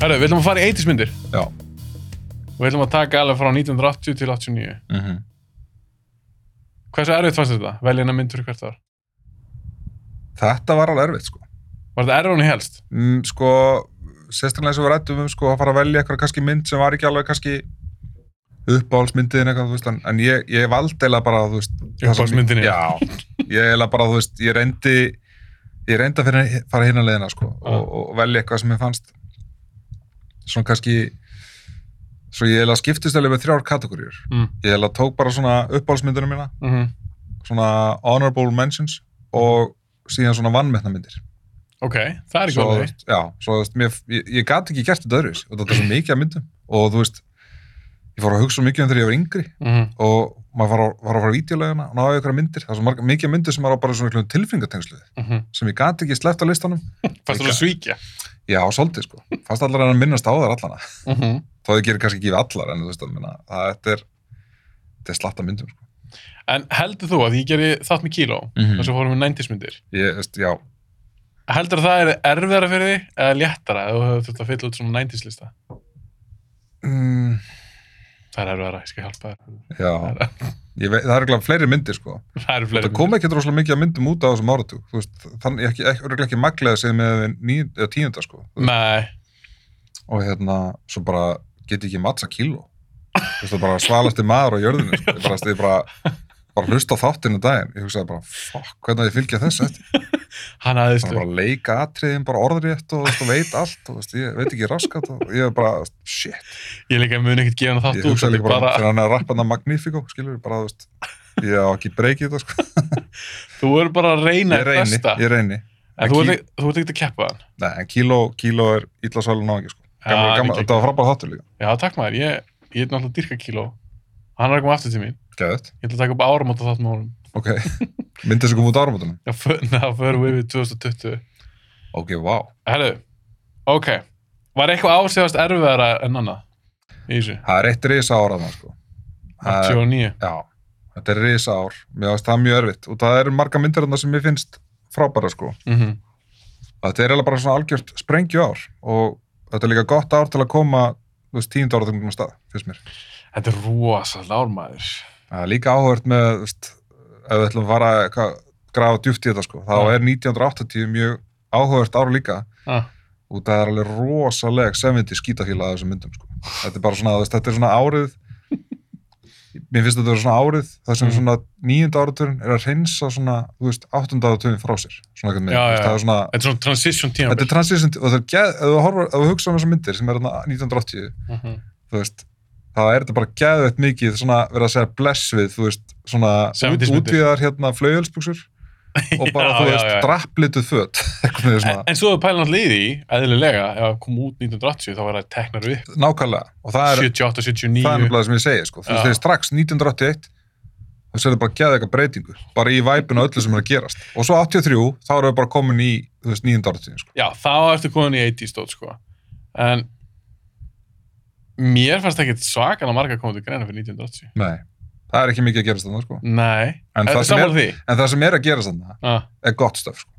Herru, við ætlum að fara í 80s myndir Já. og við ætlum að taka alveg frá 1980 til 89. Mm Hversu erfitt fannst þetta? Veljana myndur hvert ár. Þetta var alveg erfitt, sko. Var þetta erfið hún í helst? Mm, sko, sérstaklega eins og við rættum um, sko, að fara að velja eitthvað kannski mynd sem var ekki alveg kannski uppáhaldsmyndin eitthvað, þú veist, en, en ég, ég valdi eiginlega bara, þú veist... það sem- Uppáhaldsmyndin, já. Já, ég eiginlega bara, þú veist, ég reyndi, ég reyndi að finna, fara hérna leiðina, sko, og, og velja eitthvað sem ég fannst svona kannski, svo ég eiginlega skiptist alveg með þrjár kategóriur. Mm. Ég eiginlega tók bara svona uppáhaldsmyndina mína, Mm svona honorable mentions og síðan svona vannmetnamyndir. Ok, það er ekki Svo, þú alveg. veist, já, svo þú veist, mér, ég, ég gat ekki gert þetta öðru og þetta er svo mikið að myndum og þú veist, ég fór að hugsa svo mikið um þegar ég var yngri Mm og maður var að, var að fara á vídeolegina og náði ykkur myndir, það er svo marg, mikið af myndir sem maður á bara svona tilfingatengsluði, -hmm. sem ég gat ekki sleppt á listanum, Fannst þú að svíkja? já, svolítið sko fast allar en að minnast á þær allana Mm -hmm. þá þau gerir kannski ekki við allar, en þú veist að minna það þetta er, þetta er slatta myndum sko. En heldur þú að ég gerði þátt með kíló, mm Mhm. -hmm. þess að fórum við 90s myndir, ég, veist, já, heldur það er erfiðara fyrir þig eða léttara ef þú hefur þurft að fylla út svona 90s lista? mm, Það er erfiðara, ég skal hjálpa þér. já ég veit, það er ekki fleiri myndir sko Það eru fleiri það kom ekki rosalega mikið að myndum út á þessum áratug þú veist, þannig ekki, ekki, örugglega ekki maglega sem með níund, eða tíunda sko myndir. Nei, og hérna, svo bara get ég ekki matsa kíló þú veist, það bara svalasti maður á jörðinu sko. ég bara, ég bara, bara hlusta á þáttinu daginn ég hugsaði bara, fuck, hvernig á ég að fylgja þess eftir hann aðeins þannig bara leika atriðin, bara orðrétt og, þú veist, og veit allt, og, þú veist, ég veit ekki raskat og ég er bara, shit Ég líka mun ekkert gefa hann ég þátt út, þetta hugsaði er líka bara, bara, þegar hann er rappanda Magnifico skilur, bara, þú veist, ég á ekki breykið þetta, sko, þú er bara að reyna þitt ég reyni, besta. ég reyni En En þú kí- ert ekki- þú ert ekkert að keppa hann. Nei, en kíló, kíló er illa sælun á ekki, sko. Gammal, Já, gammal, ekki- þetta var frábæð þáttur líka. Já, takk maður, ég, ég er náttúrulega dyrka kíló. Hann er að koma aftur til mín. Gæðið. Ég ætla að taka upp áramóta þátt með honum. Ok. Myndið sem kom út á áramótunum. Já, för- nei, Það förum við við 2020. Ok, vá. Wow. Herðu, ok. Var eitthvað ásíðast erfiðara en annað í þessu? Það er eitt risa ár að það, sko. Það er, 89. já, þetta er risa ár. Mér finnst það mjög erfitt. Og það eru marga myndir þarna sem mér finnst frábæra, sko. Mm Þetta er eiginlega bara svona algjört sprengju ár. Og þetta er líka gott ár til að koma, þú veist, tíund áratöngum á stað, finnst mér. Þetta er rosalega ármaður. Það er líka áhört með, þú veist, ef við ætlum að fara að grafa djúft í þetta, sko. Þá Já. er 1980 mjög áhört ár líka. Ah, og það er alveg rosaleg semvindi skítafíla að þessum myndum sko. þetta er bara svona, þú veist, þetta er svona árið mér finnst þetta er svona árið það sem Mm. svona nýjunda áraturinn er að reynsa svona, þú veist, áttunda áraturinn frá sér svona eitthvað með, Já, já, það er svona þetta er svona transition tíma. þetta er transition, og það er geð, ef þú horfar, ef þú hugsa um þessar myndir sem er þarna 1980 Mhm. þú veist, það er þetta bara geðveitt mikið svona verið að segja bless við þú veist, svona út, 70s myndir. útvíðar hérna flaugjölsbuksur og bara, Já, þú já, veist, já. drapplituð föt, eitthvað með En, svona en svo er pælan allir í því, eðlilega, ef það kom út 1980 þá var það teknar upp nákvæmlega, og það er 78, það er 79. nefnilega sem ég segi sko. þú veist Já. þegar strax 1981 þá serðu bara að geða eitthvað breytingu bara í væpinu öllu sem er að gerast og svo 83 þá erum við bara komin í þú veist nýjum dártíðin sko. Já, þá ertu komin í 80 stótt, sko. En mér fannst ekkert svakalega marga komið til greina fyrir 1980. nei, það er ekki mikið að gerast þannig sko. Nei, en, þetta það er sem saman er, því. en það sem er að gerast þannig Ah. er gott stöf sko.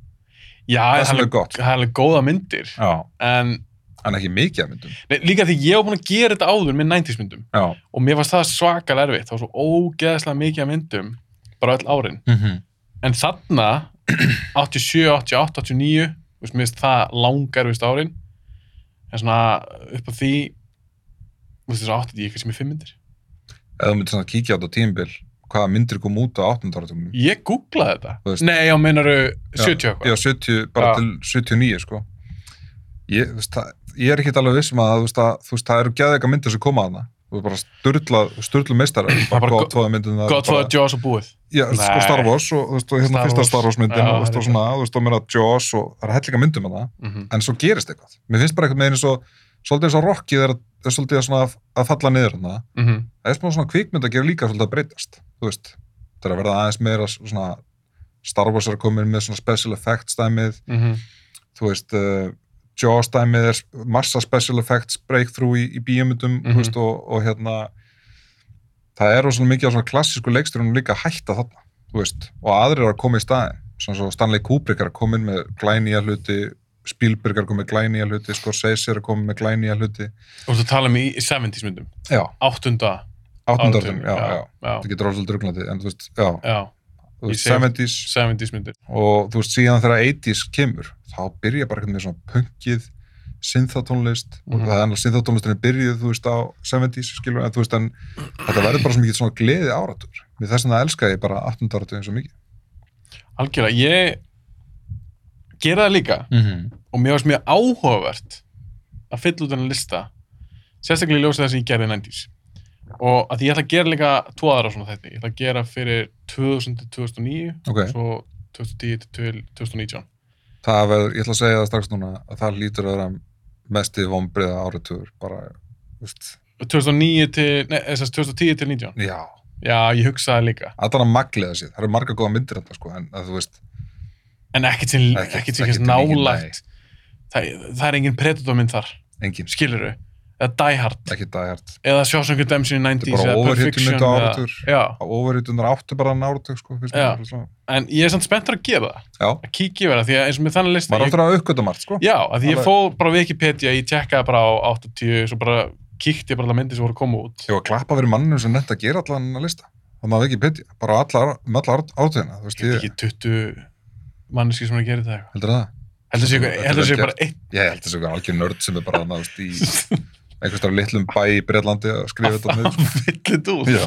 Já, það það sem er er gott það er alveg góða myndir. já. En en ekki mikið að myndum Nei, líka því ég var búin að gera þetta áður með 90s myndum já. og mér fannst það svakal erfitt, það var svo ógeðslega mikið af myndum bara öll árin. En þarna, 87, 88, 89, þú veist, mér finnst það langerfist árin, en svona upp á því, þú veist, þessu 80 ég kannski með 5 myndir. ef þú myndir svona kíkja á þetta tímbil hvaða myndir kom út á 18. dártíðinum Ég googlaði þetta. Þú veist- Nei, já, meinaru 70 og já, eitthvað. 70, bara Já. til 79 sko. ég, þú veist, það, ég er ekkert alveg viss um að, þú veist, að þú veist, það eru geða eitthvað myndir sem koma hana þú veist, bara styrla, styrla meistara bara bara go- gott fóða myndin Godfather, Jaws og búið. já, þú veist, sko, Nei. Star Wars og, þú veist, og hérna Star fyrsta Wars. Star Wars myndin Já, og, þú veist, það er og svona, þú veist, og mér að Jaws og það er hellinga myndum hana Mm -hmm. en svo gerist eitthvað, mér finnst bara eitthvað með eins og svolítið eins og Rocky er, er svolítið svona að, að falla niður hana Mhm, það er smá svona kvikmynd að gera líka svolítið að breytast þú veist, það er að verða aðeins meira svona Star Wars er komin með svona special effects dæmið mhm. þú veist uh, Jaws dæmið er massa special effects breakthrough í, í bíomundum Mhm. veist, og, og hérna það eru svona mikið af svona klassísku leikstjórnum líka að hætta þarna þú veist, og aðrir eru að koma í staðin svona svo Stanley Kubrick er að koma inn með glænýja hluti Spielberg er komið með glænýja hluti, Scorsese er komið með glænýja hluti. Þú ert að tala um í í 70s myndum. Já, Áttunda. áttundarðum, já, já. já. Það getur alveg svolítið ruglandi, en þú veist, já, Já, þú veist, segi- 70s 70s myndir. og þú veist, síðan þegar 80s kemur, þá byrja bara eitthvað með svona punkið, synthatónlist, mm Mhm. -hmm. það er annars synthatónlistinni byrjuð, þú veist, á 70s, skilur, en þú veist, en þetta verður bara svo mikið svona gleði áratur. Mér þess að það elska ég bara 18. áratugin svo mikið. Algjörlega, ég gera það líka og mér varst mjög áhugavert að fylla út þennan lista sérstaklega í ljósið það sem ég gerði í 90s og að því ég ætla að gera líka tvo aðra svona þetta, ég ætla að gera fyrir 2000-2009 Ok, svo 2010-2019 það verður, ég ætla að segja það strax núna, að það lítur að vera mesti vonbriða áratugur, bara, þú veist, 2009 til, nei, eh, þess að 2010 til 19 já, já, ég hugsaði líka allan að magliða sér, það eru marga góða myndir þetta, sko, en að þú veist, en ekkert sem, Ekkert- ekkert ekkert sem sem engin- nálægt það, það er engin predatormynd þar engin, skiluru, eða Die Hard ekki dagart, eða Shawshank Redemption í 90s Þetta er bara eða overhitun Perfection þetta á eða- áratur. já, á ofurhýtunar áttu bara náratug, sko, fyrst Já. mér, svona. en ég er samt spenntur að gera það já, að kíkja yfir það, því að eins og með þannig lista maður ég, áttur að aukvita margt, sko. já, að því ég Alveg. fóð bara á Wikipedia, ég tjekkaði bara á 80 svo bara kíkti ég bara alla myndir sem voru að koma út Ég var að klappa fyrir mannum sem nefnt að gera allan að lista. Það maður ekki pitja, bara á alla, um alla átöðina, þú veist, ég veit ég ekki 20 manneski sem er að gera þetta eitthvað heldur það. heldur þessi Þetta er heldur þessi vel bara einn Ég held þessu eitthvað algjör nörd sem er bara þarna, þú veist, í einhvers þar litlum bæ í Breitlandi að skrifa þetta niður, sko. fyllit út Já,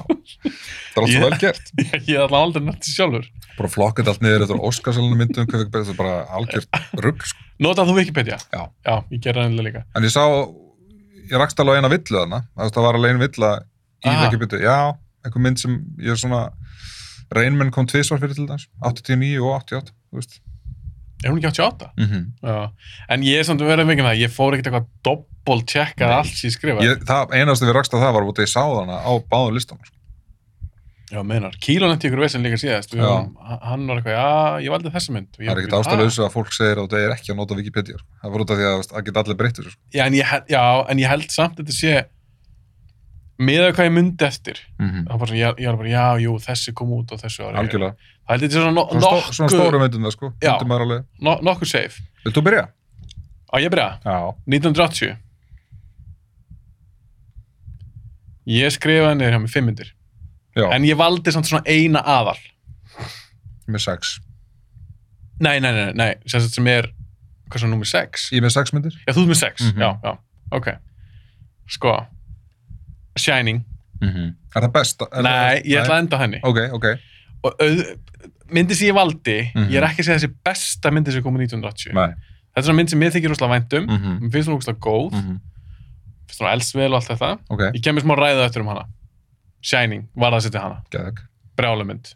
það er allt Ég- svo vel gert. ég ég er alltaf aldrei nætti sjálfur Bara flokkað allt niður eftir Óskarsalunum myndum, hvað fyrir þetta er bara algjört rugg, sko. Notað þú Wikipedia? Já. Já, ég gerði það endilega líka. En ég sá, ég rakst alveg á eina villu þarna, þú veist, það var alveg eina villa í Ah. Wikipedia, já, einhver mynd sem ég er svona, Reynmenn kom tvisvar fyrir til þess, 89 og 88, þú veist. Er hún ekki 88? Mm -hmm. Já. En ég er samt að vera veginn það, ég fór ekkert eitthvað doppol tjekkað Nei. allt sem ég skrifaði. Ég, það einast við rakst að það var út að ég sá þarna á báðum listanum. sko. Já, meinar. Kílón eftir ykkur vesen líka síðast. Já. Já. Hann var eitthvað, já, ég "Ah." valdi þessa mynd. Það er ekkert ástæðlausu að fólk segir að það er ekki að nota Wikipedia. Sko. Það var út af því að veist, það geta allir breyttur. Sko. Já, en ég, hel- já, en ég held samt að þetta sé, miðað við hvað ég myndi eftir, Mm -hmm. þá bara svona, ég, ég var bara, já, jú, þessi kom út á þessu ári. Algjörlega. Það held ég þetta sé svona, Svona, no, stó, svona stóru myndum það sko. Já. Myndum maður alveg. nokkuð, no, nokkuð safe. Vilt þú byrja? Á, ég byrja. Já. 1980. Ég skrifaði niður hjá mig fimm myndir. Já, En ég valdi samt svona eina aðal. með sex. Nei, nei, nei, nei, sem sagt sem er, hvað sem er númið sex? Ég með sex myndir? Já, þú ert með sex, Mhm. já, já, ok. Sko, Shining, Mm -hmm. Er það best? Er Mhm. nei, það, ég ætla að enda á henni. Ok, ok. Og auð, myndi sem ég valdi, Mhm. ég er ekki að segja þessi besta myndi sem kom í 1980. Nei. Þetta er svona mynd sem mér þykir rosalega vænt um, Mm -hmm. mér finnst hún rosalega góð, Mhm. finnst hún elsvel og allt þetta. Ok, Ég kemur smá ræða eftir um hana. Shining, var það að setja hana, geðveg. brjálumynd,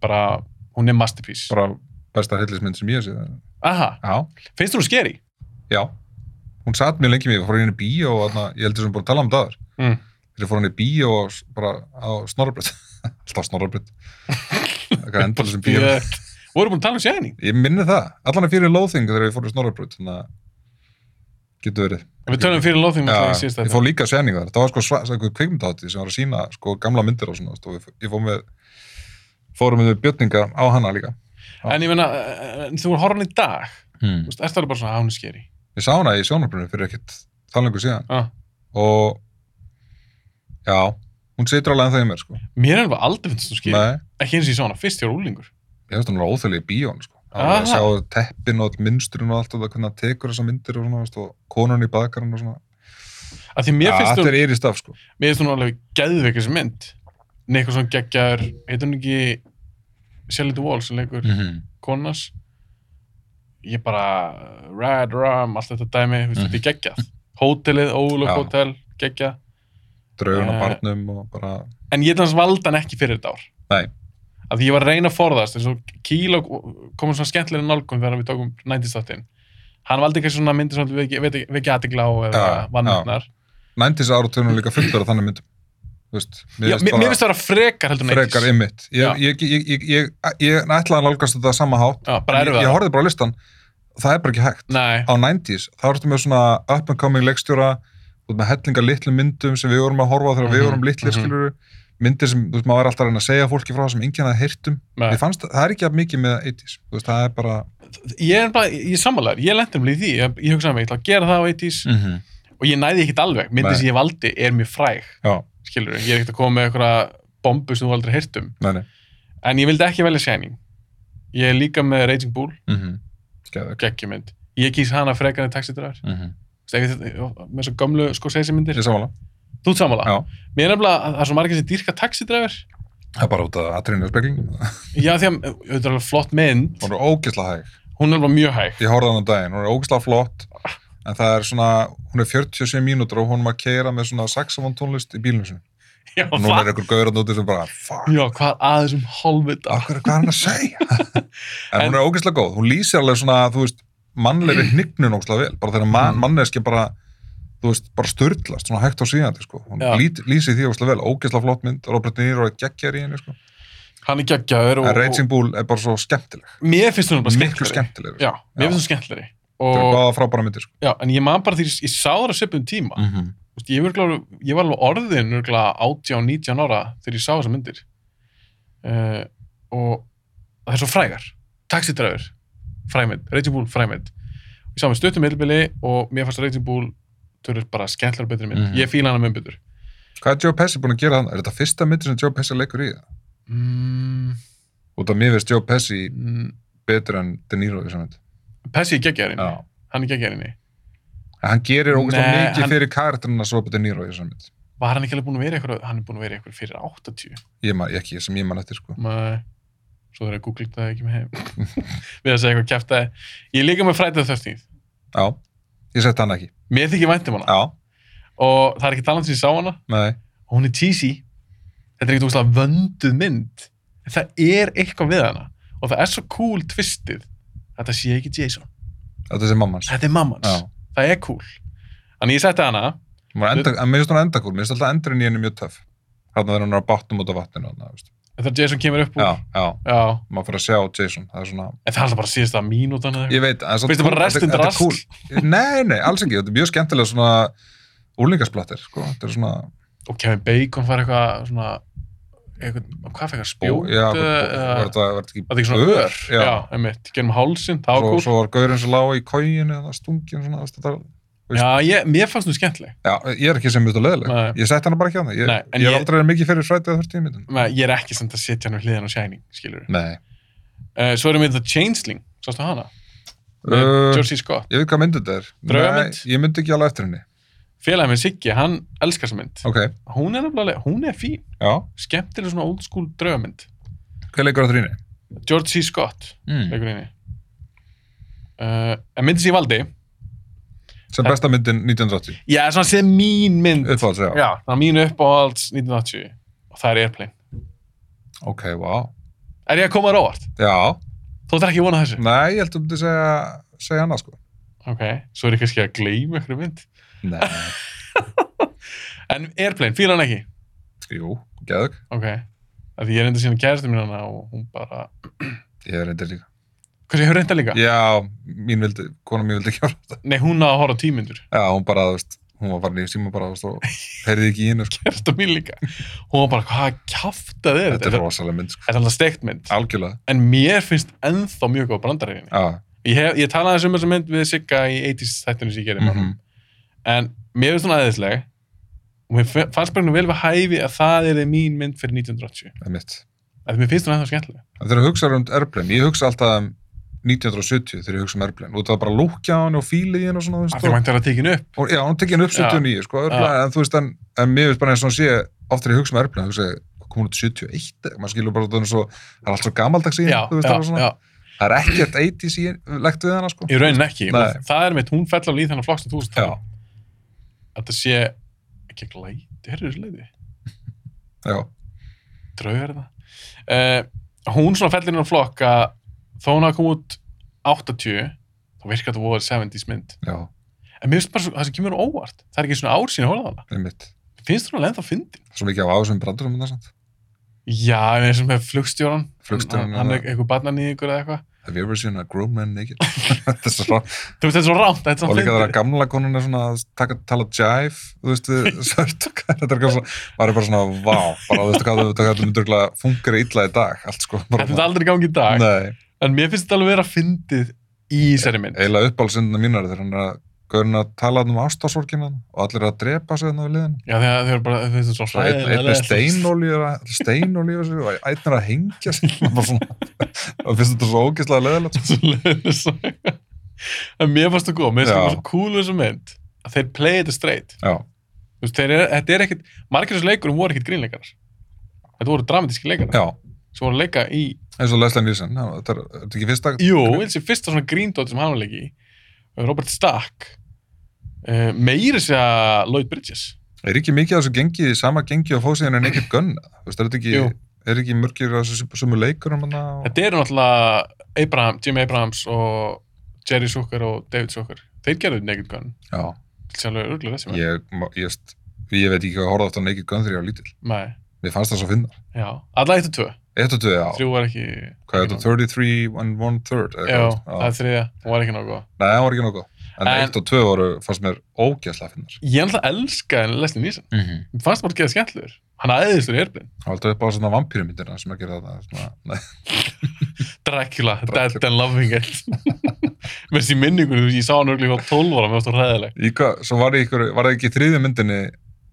bara, hún er masterpiece. Bara besta hillismynd sem ég sé. Aha, Já. finnst hún scary? Já. Hún satt mjög lengi mér, ég fór inn í bíó og þarna, ég heldur sem búin að tala um það áður. Mm. þegar ég fór hann í bíó og s- bara á snorrabröð alltaf snorrabröð eitthvað endalið sem bíó Ég, voru búin að tala um Shining? ég minni það, allan að fyrir loathing þegar ég fór í snorrabröð þannig að getur verið Við tölum fyrir loðingum Já, alltaf í síðast ég þetta. fór líka sæning þar, það var sko sva- eitthvað kveikmyndahátti sem var að sína sko gamla myndir og svona og ég fó- ég fór með fórum við bjötninga á hana líka Já. En ég meina, eh, en þú voru horfðan í dag, hmm. þú veist, ertu alveg bara svona, að hún er skeri. ég sá hana í sjónarbröðinu fyrir ekkit það lengur síðan Ah. og já, hún situr alveg ennþá í mér sko. Mér er alveg aldrei finnst þú skeri. Nei, Ekki eins og ég sá hana, fyrst ég var úlingur. ég finnst hún alveg óþægileg í bíón sko. Það Aha. var að sjá teppin og all minstrun og allt og það hvernig það tekur þessa myndir og svona veist, og konun í bakarinn og svona Af því mér Ja, finnst þetta þú, er er í staf sko mér finnst þú alveg geðveikis mynd. Nicholson geggjar, heitir hún ekki Shelley Duvall sem leikur mm. -hmm. konas. Ég bara, eh, Rad Rum, allt þetta dæmi, þú veist, Mhm. þetta er geggjað. Hótelið, Ólok Já. Hotel, geggjað. draugun á Eh. barnum og bara en ég þannig valdi hann ekki fyrir þetta ár Nei. af því ég var að reyna að forðast eins og Kíla komum svona skemmtilega nálgum þegar við tókum 90s þáttinn hann valdi eitthvað svona myndir sem við ekki aðtegla á eða Já, vannarnar nændis áratunum líka fullur af þannig myndum Þú veist, mér finnst bara finnst það að vera frekar heldur en frekar 90s ymmit Já. ég, ég, ég, ég, ég, ég ætlaði að nálgast þetta sama hátt Já, bara En erum ég, við ég það horfði bara á listan, það er bara ekki hægt Nei, á 90s, þá ertu með svona up and coming leikstjóra, þú ert með hellinga litlum myndum sem við vorum að horfa á þegar við Mhm, vorum litlir, mm mhm. -hmm. skilur myndir sem, þú veist, maður er alltaf að reyna að segja fólki frá sem enginn að heyrtum, Nei. ég fannst, það er ekki að mikið með 80s, þú veist, það er bara Ég er bara, ég er sammálaður, ég lendi um líð því, ég, ég hugsaði mig, ég ætla að gera það á 80s mm -hmm. og ég næði ekkit alveg, myndið Nei. sem ég valdi er mjög fræg, já, skilur ég er ekkit að koma með einhverja bombu sem þú aldrei hirtum, nei, nei en ég vildi ekki velja Shining. Ég er líka með Raging Bull, mm -hmm. Skeðug geggjumynd. Ég kýs hana frekar en taxitrar, mm -hmm. með svo gömlu Scorsese myndir. Ég samála, Þú ert sammála? já, Mér er nefnilega að það er svo margir sem dýrka taxidræfur. það er bara út af atriðinu og speklingum, Mhm. Já, því að þetta er alveg flott mynd. hún er ógisla hæg Hún er bara mjög hæg. ég horfði á hann á daginn, hún er ógisla flott en það er svona, hún er 47 mínútur og hún er að keira með svona saxofón tónlist í bílunum sinni, Já, og núna hvað? er ykkur gauður að núti sem bara, fuck, Já, hvað að þessum hálfvita? okkur, hvað er hann að segja en En- hún er ógisla góð, hún lýsir alveg svona, þú veist, mannlegri hnignun ógisla vel, bara þegar man, Mm. manneski bara þú veist, bara störtlast, svona hægt á síðandi sko. hún Já. lít, lýsir því ógisla vel, ógisla flott mynd Robert De Niro er geggjær í henni sko. Hann er geggjaður en og, Raging Bull er bara svo skemmtileg og mér finnst hún bara miklu skemmtilegri. skemmtileg, Já, mér Já. finnst hún skemmtilegri. það er Og, báða frábæra myndir sko. já, en ég man bara því að ég sá það á svipum tíma. Mm. mm -hmm. Vist, ég, var alveg, ég var alveg orðin örgulega 18, 19 ára þegar ég sá þessar myndir. Uh, og það er svo frægar. Taxidræfur, fræmynd. Raging Bull, fræmynd. Ég sá með stuttum yllbili og mér fannst Raging Bull törur bara skemmtilega og betri mynd. Mhm. Ég fíla hana með betur. Hvað er Joe Pesci búin að gera þannig? Er þetta fyrsta myndir sem Joe Pesci leikur í það? Mm, Út af mér veist Joe Pesci mm, betur en De Niro í þessu mynd. Pessi er geggjærinni. Já. Hann er geggjærinni. En hann gerir ógeðslega Nei, mikið hann- fyrir karakterina svo De Niro í þessu mynd. Var hann ekki alveg búin að vera eitthvað? Hann er búin að vera eitthvað fyrir 80. Ég man, ekki, sem ég man eftir sko. Mæ, svo þegar ég googla það ekki með heim. Við að segja eitthvað kæftæði. Ég er líka með frætið þörstnýð. Já, ég sett hann ekki. Mér þykir væntum hana. Já, Og það er ekki talan sem ég sá hana. nei, og hún er cheesy þetta er ekkert ógustlega vönduð mynd en það er eitthvað við hana og það er svo cool twistið að það sé ekki Jason, þetta er sem mamma hans. þetta er mammans Já, það er cool þannig ég setti hana Hún var enda- en mér finnst hún enda kúl, mér finnst alltaf endurinn í henni mjög töff. Þarna þegar hún er á bátnum út af vatninu. Þarna, veist. þegar Jason kemur upp úr já, já, Já. maður fyrir að sjá Jason, það er svona, en það er alltaf bara síðasta mínútan eða ég veit, en samt Finnst þér bara kúl, restin þetta- þetta er drasl? kúl. Nei, nei, alls ekki, þetta er mjög skemmtilega svona úlingasplattir, sko, þetta er svona, eitthvað og Kevin Bacon fær eitthvað svona eitthvað, hvað fær eitthvað Bó- spjót já, eða- var var eða- þetta var þetta ekki þetta er svona ör, já, já. einmitt, gerum hálsin það var svo, cool svo var gaurinn sem lág í kóginu eða stungin svona, veist, þetta, já, ég, mér fannst nú skemmtileg já, ég er ekki sem mjög Nei. leðileg, ég sett hana bara ekki á það ég, Nei, en ég er ég- aldrei verið mikið fyrir frætið að þurfti í myndin Men ég er ekki sem þetta setja hann hérna við hliðan og Shining, skilur nei, uh, svo erum við þetta Changeling, sástu hana með Uh, Eh, George C. Scott ég veit hvað myndið þetta er Draugamynd? nei, ég myndi ekki alveg eftir henni félagin minn Siggi, hann elskar þessa mynd ok, hún er nefnilega, hún er fín já, skemmtileg svona old school draugamynd hver leikur að þrýni? George C. Scott, Mm. leikur henni uh, en myndi sem ég valdi sem besta myndin 1980 já, svona sé mín mynd uppáhalds, Eh, já, já, það er mín uppáhalds 1980 og það er Airplane ok, wow er ég að koma þér á óvart? já, þú ætlar ekki að vona þessu nei, ég held um þetta segja segja annað sko ok, svo er ég kannski að gleyma ykkur mynd nei, en Airplane, fíla hann ekki jú, geðug, ok, af því ég reyndi að sína kæristu mín hana og hún bara ég er reyndið líka hversu, ég hefur reynda líka? já, mín vildi, kona mín vildi ekki ára þetta nei, hún náði að horfa á tímyndur já, hún bara, þú veist, hún var bara í síma bara, þú veist, og heyrði ekki í hennu sko. kæristu mín líka hún var bara, hvað kjáftað er Þetta er rosalega mynd, sko. Þetta er alltaf steikt mynd, Algjörlega. en mér finnst ennþá mjög góð brandaræfinni. Já. Ég, hef- ég talaði þessum þessum mynd við Sigga í 80s þættinu sem ég gerði Mm með honum. En mér finnst hún aðeinsleg og mér fe- fannst bara hún vel við hæfi að það er mín mynd fyrir 1980. Það er mitt. Af því mér finnst hún ennþá skemmtilega. En Þegar ég hugsa um Airplane, ég hugsa alltaf um 1970 þegar ég hugsa um Airplane. Út af bara lúkja á hann og fílið í hann og svona, Af því þú veist. mænti að tekja henni upp. Og, og já, hún tekið hann upp Já. 79, sko. Örugglega, En þú veist, en, en mér veist bara eins og hún sé, oft þegar ég hugsa um Airplane, hugsa ég, kom hún út 71? Maður skilur bara út af hann svo, það er allt svo gamaldags í Já, hann, þú veist, það er já, svona. já. Það er ekkert 80s í legt við hana, sko. Í raunin ekki. Nei. Og Það er mitt, hún fell á líð þennan flokkstum þú veist Já, það. Þetta sé ekki glæti, herru þessu leiði. já, Draugur er það. Uh, hérna. hún svona fellir hennar flokk að þó hún hafa komið út 80, þá virkar þetta voru 70s mynd. já, En mér finnst bara svo, það sem kemur á óvart. Það er ekki svona ár sín að horfa á hana. það er mitt. Mér Finnst hún alveg ennþá fyndin? Svo mikið af ásum brandurum, þetta er sant. Já, en eins og með flugstjóran. Flugstjórann, Hann, hann já. er eitthvað barnan í ykkur eða eitthvað. Have you ever seen a grown man naked? Þetta er svo Þú veist, þetta er svo rámt, þetta er svo og líka þegar fyndið. gamla konun er svona að taka, tala jive, þú veist, við svört og hvað, þetta er eitthvað svona, maður er bara svona, vá, bara þú veist hvað þetta þetta myndur ekki að fungera illa í dag, allt sko. Þetta er aldrei í gangi í dag. Nei, Eh, En mér finnst þetta alveg vera fyndið í þessari mynd. eiginlega uppálsindina mínar er þegar hann er að, gaurin að tala um ástasorgina og allir er að drepa sig þannig við liðin. Já, þegar þau eru bara, þau finnst þetta svo Svo einn- einn er hræðilegt. steinolíu steinolíu sig og einn er að hengja sig, maður bara svona, og finnst þetta svo ógeðslega sko. leðilegt. Svo leiðis. En mér fannst það góð, mér finnst Já. það svo cool þessu mynd að þeir play þetta straight. Já, Þú veist, þeir eru, þetta er ekkit, margir þessu leikurum voru ekkit grínleikarar. Þetta voru dramatíski leikarar já, sem voru að leika í, eins og Leslie Nielsen, já, þetta er, þetta er ekki fyrsta, jú, þessi fyrsta svona gríndóti sem hann var að leika í, eh, Robert Stack, uh, meiri sig að Lloyd Bridges. Er ekki mikið af þessu gengi, sama gengi og fóðsíðan en ekkert gönn? Þú veist, er þetta ekki, Jú. er ekki mörgir af þessu sumu leikurum hann og... Þetta eru náttúrulega Abraham, Jimmy Abrahams og Jerry Zucker og David Zucker. Þeir gerðu Naked Gun. Já, Þetta er alveg örgulega þessi með. ég, ma- ég, st- ég veit ekki hvað að horfa aftur en ekkert gönn þegar ég var lítil. Nei, Mér fannst það svo finnar. já. Alla eitt og tvö. Eitt og tvö, já. Þrjú var ekki... Hvað er þetta? 33 and one third? eða Já, hvað? það er þriðja. Hún var ekki nokkuð. Nei, það var ekki nokkuð. En, En- eitt og tvö voru, fannst mér ógæslega finnar. Ég náttúrulega elskaði Leslie Nielsen. Mm -hmm. Mér fannst bara að geða skemmtlur. Hann aðeins þurr í erbin. Aldrei bara svona vampýrumyndirna sem að gera þetta. Svona, nei, Dracula, Dracula. Dead and Loving It. Með þessi minningur, þú veist, ég sá hann örgulega á 12 ára, mér fannst það ræðileg. í hvað, svo var, í ykkur, var það ekki í þriðju myndinni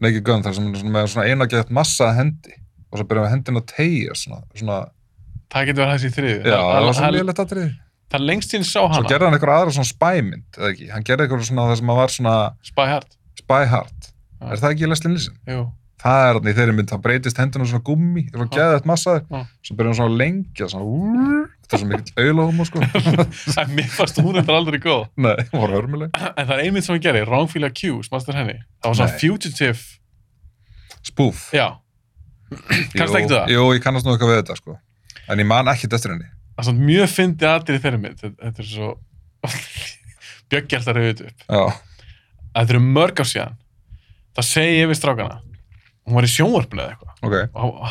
Naked Gun þar sem hann er svona, með svona eina gett massa af hendi og svo byrjaði hendin að tegja svona, svona Það getur verið hans í þriðju. Já, það var svo það, það, liðlegt aðrið. það er lengst sín sá Svo hana, gerði hann eitthvað aðra svona spæmynd, eða ekki? Hann gerði eitthvað svona það sem að var svona Spy Hard. spy hard. Já. Er það ekki í Leslie Nielsen? Jú, Það er hann í þeirri mynd, hann breytist hendina svona gummi, svona Já. geðið eitt massaður, Já. svo byrjaði hann svona að lengja, svona úrr, þetta er svo mikill auðlóðum sko. en mér fannst hún þetta aldrei góð. Nei, hún var örmuleg. En það er einmitt sem hann gerir, Wrongfila Q, smastur henni. Það var svona Nei. fugitive, Spoof. já, Kannast Jú, ekki það? Jú, ég kannast nú eitthvað við þetta, sko. En ég man ekkert eftir henni. það er svona mjög fyndi aðrið þeirri mynd. Þetta- Þetta er svo, bjöggjaldar hefur þetta upp. Já, Að Þetta eru mörg á síðan. Það segi ég við strákana. Hún var í sjónvarpinu eða eitthvað. ok.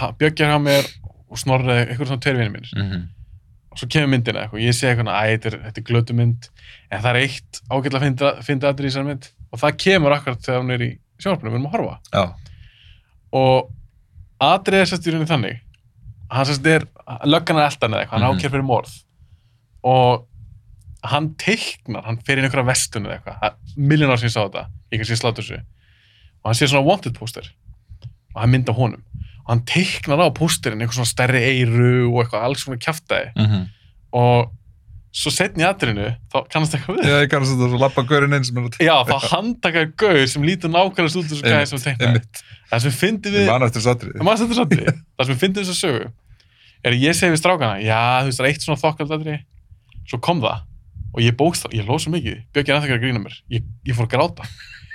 Og bjöggjar hjá mér og snorrið eitthvað svona tveir vinni mínir. Mm -hmm. Og svo kemur myndin eða eitthvað. Ég segi eitthvað, að þetta er, þetta er glötu mynd. En það er eitt ágætla fyndi aðrið í þessari mynd. Og það kemur akkurat þegar hún er í sjónvarpinu. Við erum að horfa. Já, og atriðið er sérst í rauninni þannig hann sérst er, löggan er eldan eða eitthvað hann Mhm. ákjör fyrir morð og hann teiknar hann fer inn í einhverja vestun eða eitthvað miljón ár sem ég sá þetta, ég kannski slátt þessu og hann sé svona wanted poster og hann mynda honum og hann teiknar á pósterinn einhver svona stærri eiru og eitthvað alls svona kjaftaði mm -hmm. og svo setn í atriðinu þá kannast eitthvað við ég kannast þetta, svo lappa gaurinn inn sem er að tegja. Já, það handtakaði gauð sem lítur nákvæmlega stútur þessu gæði sem teiknaði. Einmitt, Það sem fyndi við ég man eftir sattrið. En maður stendur svolítið, það sem finnir þess að sögu er að ég segi við strákana, já, þú veist, það er eitt svona þokkaldadri, svo kom það og ég bókst það, ég lóð svo mikið, Björk er aðeins að grína mér, ég, ég fór að gráta,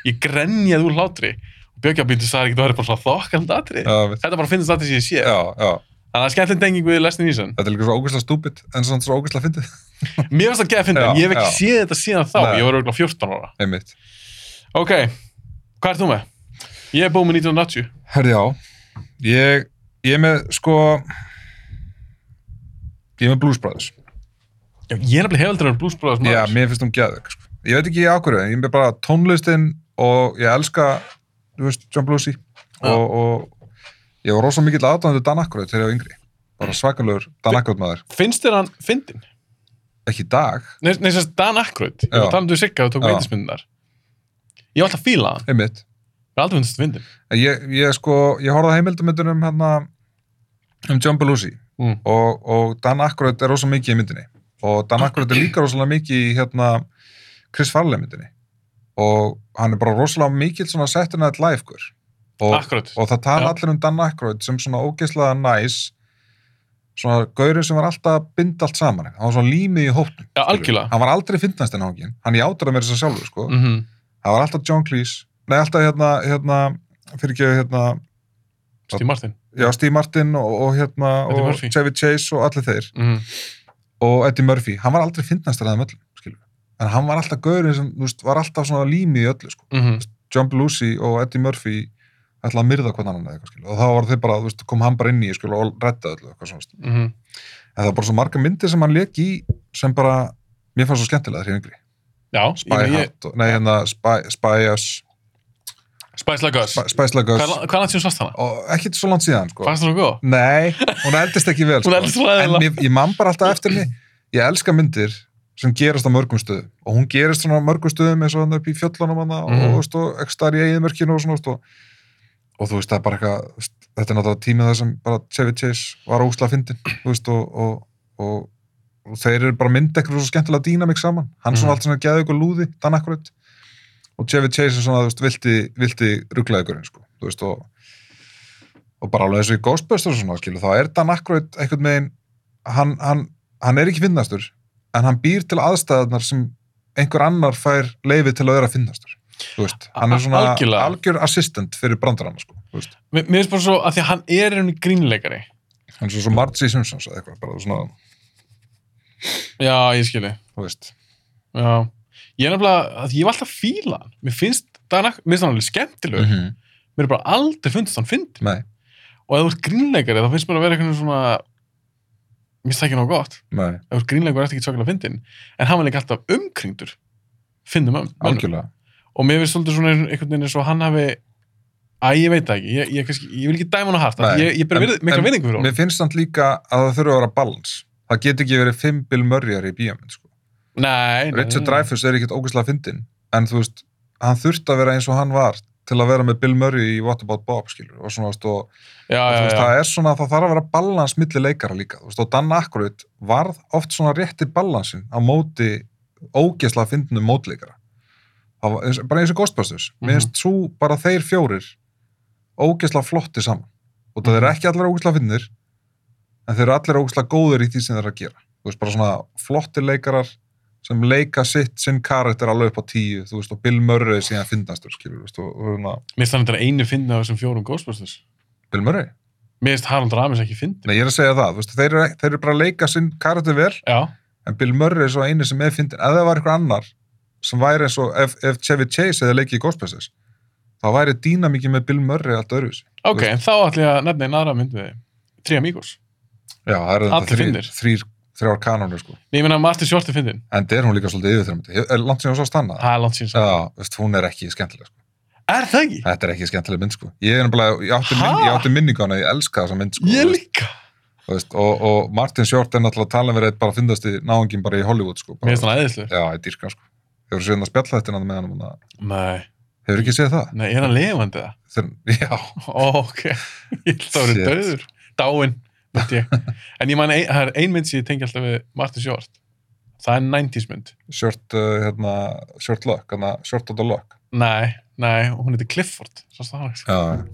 ég grenjaði úr hlátri og Björk að býndu það er ekkert að vera bara svona þokkaldadri. Já, við- Þetta bara finnst það sem ég sé. já, já. Þannig að það er skemmtileg denging við Leslie Nielsen. Þetta er líka svo ógeðslega stúbid, en samt svo ógeðslega fyndið. Mér finnst það geða að finna, Já, ég hef ekki já. séð þetta síðan þá, Nei. ég var auðvitað 14 ára. Einmitt. Ok, hvað ert þú með? Ég er búið með 1980. Herði á, ég, ég er með sko, ég er með Blues Brothers. Já, Ég er nefnilega hefaldur en Blues Brothers Já, maður. mér finnst hún gæðug. Sko. Ég veit ekki af hverju, en ég er með bara tónlistinn og ég elska, þú veist, John Bluesy. Já. Og, og ég var rosa mikill aðdóðandu Dan Akkuröð þegar ég var yngri. Bara svakalur Dan Akkuröð maður. Finnst þér hann fyndin? Ekki í dag, Nei, nei sérst Dan Aykroyd, ég var Já. að tala um því Sigga og tók Já. veitismyndunar. Ég var alltaf að fíla hann, einmitt. ég var aldrei finnst þetta fyndin. En Ég, ég sko, ég horfði á heimildamindunum hérna um John Belushi Mm. og, og Dan Aykroyd er rosa mikið í myndinni og Dan Ah, Aykroyd er líka rosalega mikið í hérna Chris Farley myndinni og hann er bara rosalega mikill svona Saturday Night Live hver og, Aykroyd, og það tala Já. allir um Dan Aykroyd sem svona ógeðslega næs svona gaurið sem var alltaf að binda allt saman hann var svona límið í hóptum já algjörlega. hann var aldrei fyndnast en hóngin hann játur að mér þess að sjálfur sko Mm það var alltaf John Cleese nei alltaf hérna, hérna fyrir ekki hérna, Steve Martin. já, Steve Martin og, og hérna, Eddie og Murphy. Chevy Chase og allir þeir Mm og Eddie Murphy, hann var aldrei fyndnastur að þeim öllum, skilur við. en hann var alltaf gaurið sem, þú veist, var alltaf svona límið í öllu, sko, -hmm. John Belushi og Eddie Murphy ætlaði að myrða hvernig hann eða eitthvað, skilur við. og þá var þeir bara, þú veist, kom hann bara inn í, skilur, við, og redda öllu, eitthvað svona, Mm -hmm. en það var bara svo marga myndir sem hann leik í sem bara, mér fannst svo skemmtilega þér yngri Já, ég Spy meina, ég- Hard, og- nei hérna Spy, Spy Us Spice Like Us. Spy, Spice Like Hvað Us hvað er langt sem svast hana? og ekkert svo langt síðan sko. Fannst það svo góð? nei, hún eldist ekki vel Hún sko. eldist svo en eðla. ég, ég man bara alltaf eftir henni ég elska myndir sem gerast á mörgum stöðum og hún gerist svona á mörgum stöðum eins og hann upp í fjöllunum hann Mhm. mm. og, veist, og ekki starf í eiginmörkinu og svona veist, og, og þú veist það er bara eitthvað þú veist, þetta er náttúrulega tímið þar sem bara Chevy Chase var ósla fyndin þú veist, og, og, og, og þeir eru bara mynd eitthvað svo skemmtilega dýnamik saman hann Mhm. svona allt svona geði ykkur lúði Dan Aykroyd og Chevy Chase er svona þú veist, vilti, vilti rugglaði ykkur sko, þú veist, og, og bara alveg eins og í Ghostbusters og svona, skilu, þá er Dan Aykroyd einhvern veginn hann, hann, hann er ekki finnastur en hann býr til aðstæðarnar sem einhver annar fær leifi til að vera finnastur þú veist, hann er svona Algjörlega. algjör assistant fyrir brandarann sko, þú veist. Mér mér finnst bara svo að því að hann er einhvern grínleikari. hann er svo, svo Margie Simpsons eða eitthvað, bara svona, Já, ég skilji. þú veist Já. Ég er nefnilega, að ég var alltaf að fíla hann. Mér finnst, það er mér finnst hann alveg skemmtilegur. -hmm. Mér er bara aldrei fundist hann fyndin. nei, Og ef þú ert grínleikari, þá finnst mér að vera einhvern veginn svona, mér finnst það ekki nóg gott. nei, Ef þú ert grínleikari, ert ekki tjókilega fyndin. En hann var líka alltaf umkringdur. Fyndum um. algjörlega Og mér finnst svolítið svona einhvern veginn eins og hann hafi, Æ, ég veit það ekki, ég, ég, kannski, ég vil ekki dæma hann að harta, Nei. ég, ég bara En- verið, mikla en verðingu fyrir hann. Mér finnst samt líka að það þurfa að vera balans. Það get ekki verið fimm Bill Murrayar í bíómynd, sko. Nei, nei, Richard nei. Dreyfuss er ekkert ógeðslega fyndin, en þú veist, hann þurfti að vera eins og hann var til að vera með Bill Murray í What About Bob, skilur. Og svona, þú veist, og, Já, og já, þú veist, já. það er svona, það þarf að vera balans milli leikara líka. Þú veist, og Dan Aykroyd varð oft svona rétti balansin á móti ógeðslega fyndinum mótleikara. Það var, eins- bara eins og Ghostbusters. Mhm. Mér finnst svo bara þeir fjórir ógeðslega flotti saman og það Mhm. eru ekki allir ógeðslega finnir en þeir eru allir ógeðslega góðir í því sem þeir eru að gera þú veist, bara svona flottir leikarar sem leika sitt, sinn karakter alveg upp á tíu, þú veist, og Bill Murray síðan finnastur, skilur, þú veist, og, og svona Mér finnst þannig að einu fyndin af þessum fjórum Ghostbusters. Bill Murray? Mér finnst Harald Ramis ekki fyndin. Nei, ég er að segja það, þú veist, þeir eru, þeir eru bara að leika sinn karakter vel, Já, en Bill Murray er svo eini sem er fyndin, ef það var eitthvað annar sem væri eins og, ef, ef Chevy Chase hefði leikið í Ghostbusters, þá væri dýna mikið með Bill Murray allt öðruvísi ok, en þá ætlum ég að nefna einn aðra mynd við þig. Trí Amigos. Já, það eru Allir þetta fyndnir. þrír, þrír, þrjár kanónur, sko Nei, ég meina Martin Short er fyndin. en það er hún líka svolítið yfirþyrmandi, er langt sem ég svo stannað Það er langt síðan. Já, veist, hún er ekki skemmtileg sko. Er það ekki? Þetta er ekki skemmtileg mynd sko. Ég, er nefnilega, ég, átti, minn, Ha? ég átti minningu á hana, ég elska þessa mynd sko, Ég veist, líka. þú veist, og, og Martin Short er náttúrulega talað verið bara að fyndast í náðungin bara í Hollywood sko, Mér bara, finnst hann aðeinslu. Já, ég dýrka sko. Hefur séð hann að spjalla þetta með hann Nei, Hefur ekki séð það? nei, er hann levandi það? Þeir, já, Ó, ok, ég held að Shit. vera döður. Dáin, veit ég. En ég man, ein, það er ein mynd sem ég tengi alltaf við Martin Short. Það er 90s mynd. Short, uh, hérna, Short Luck, hérna, Short of the Luck Nei, nei, hún heitir Clifford. Svo stafnast. Já,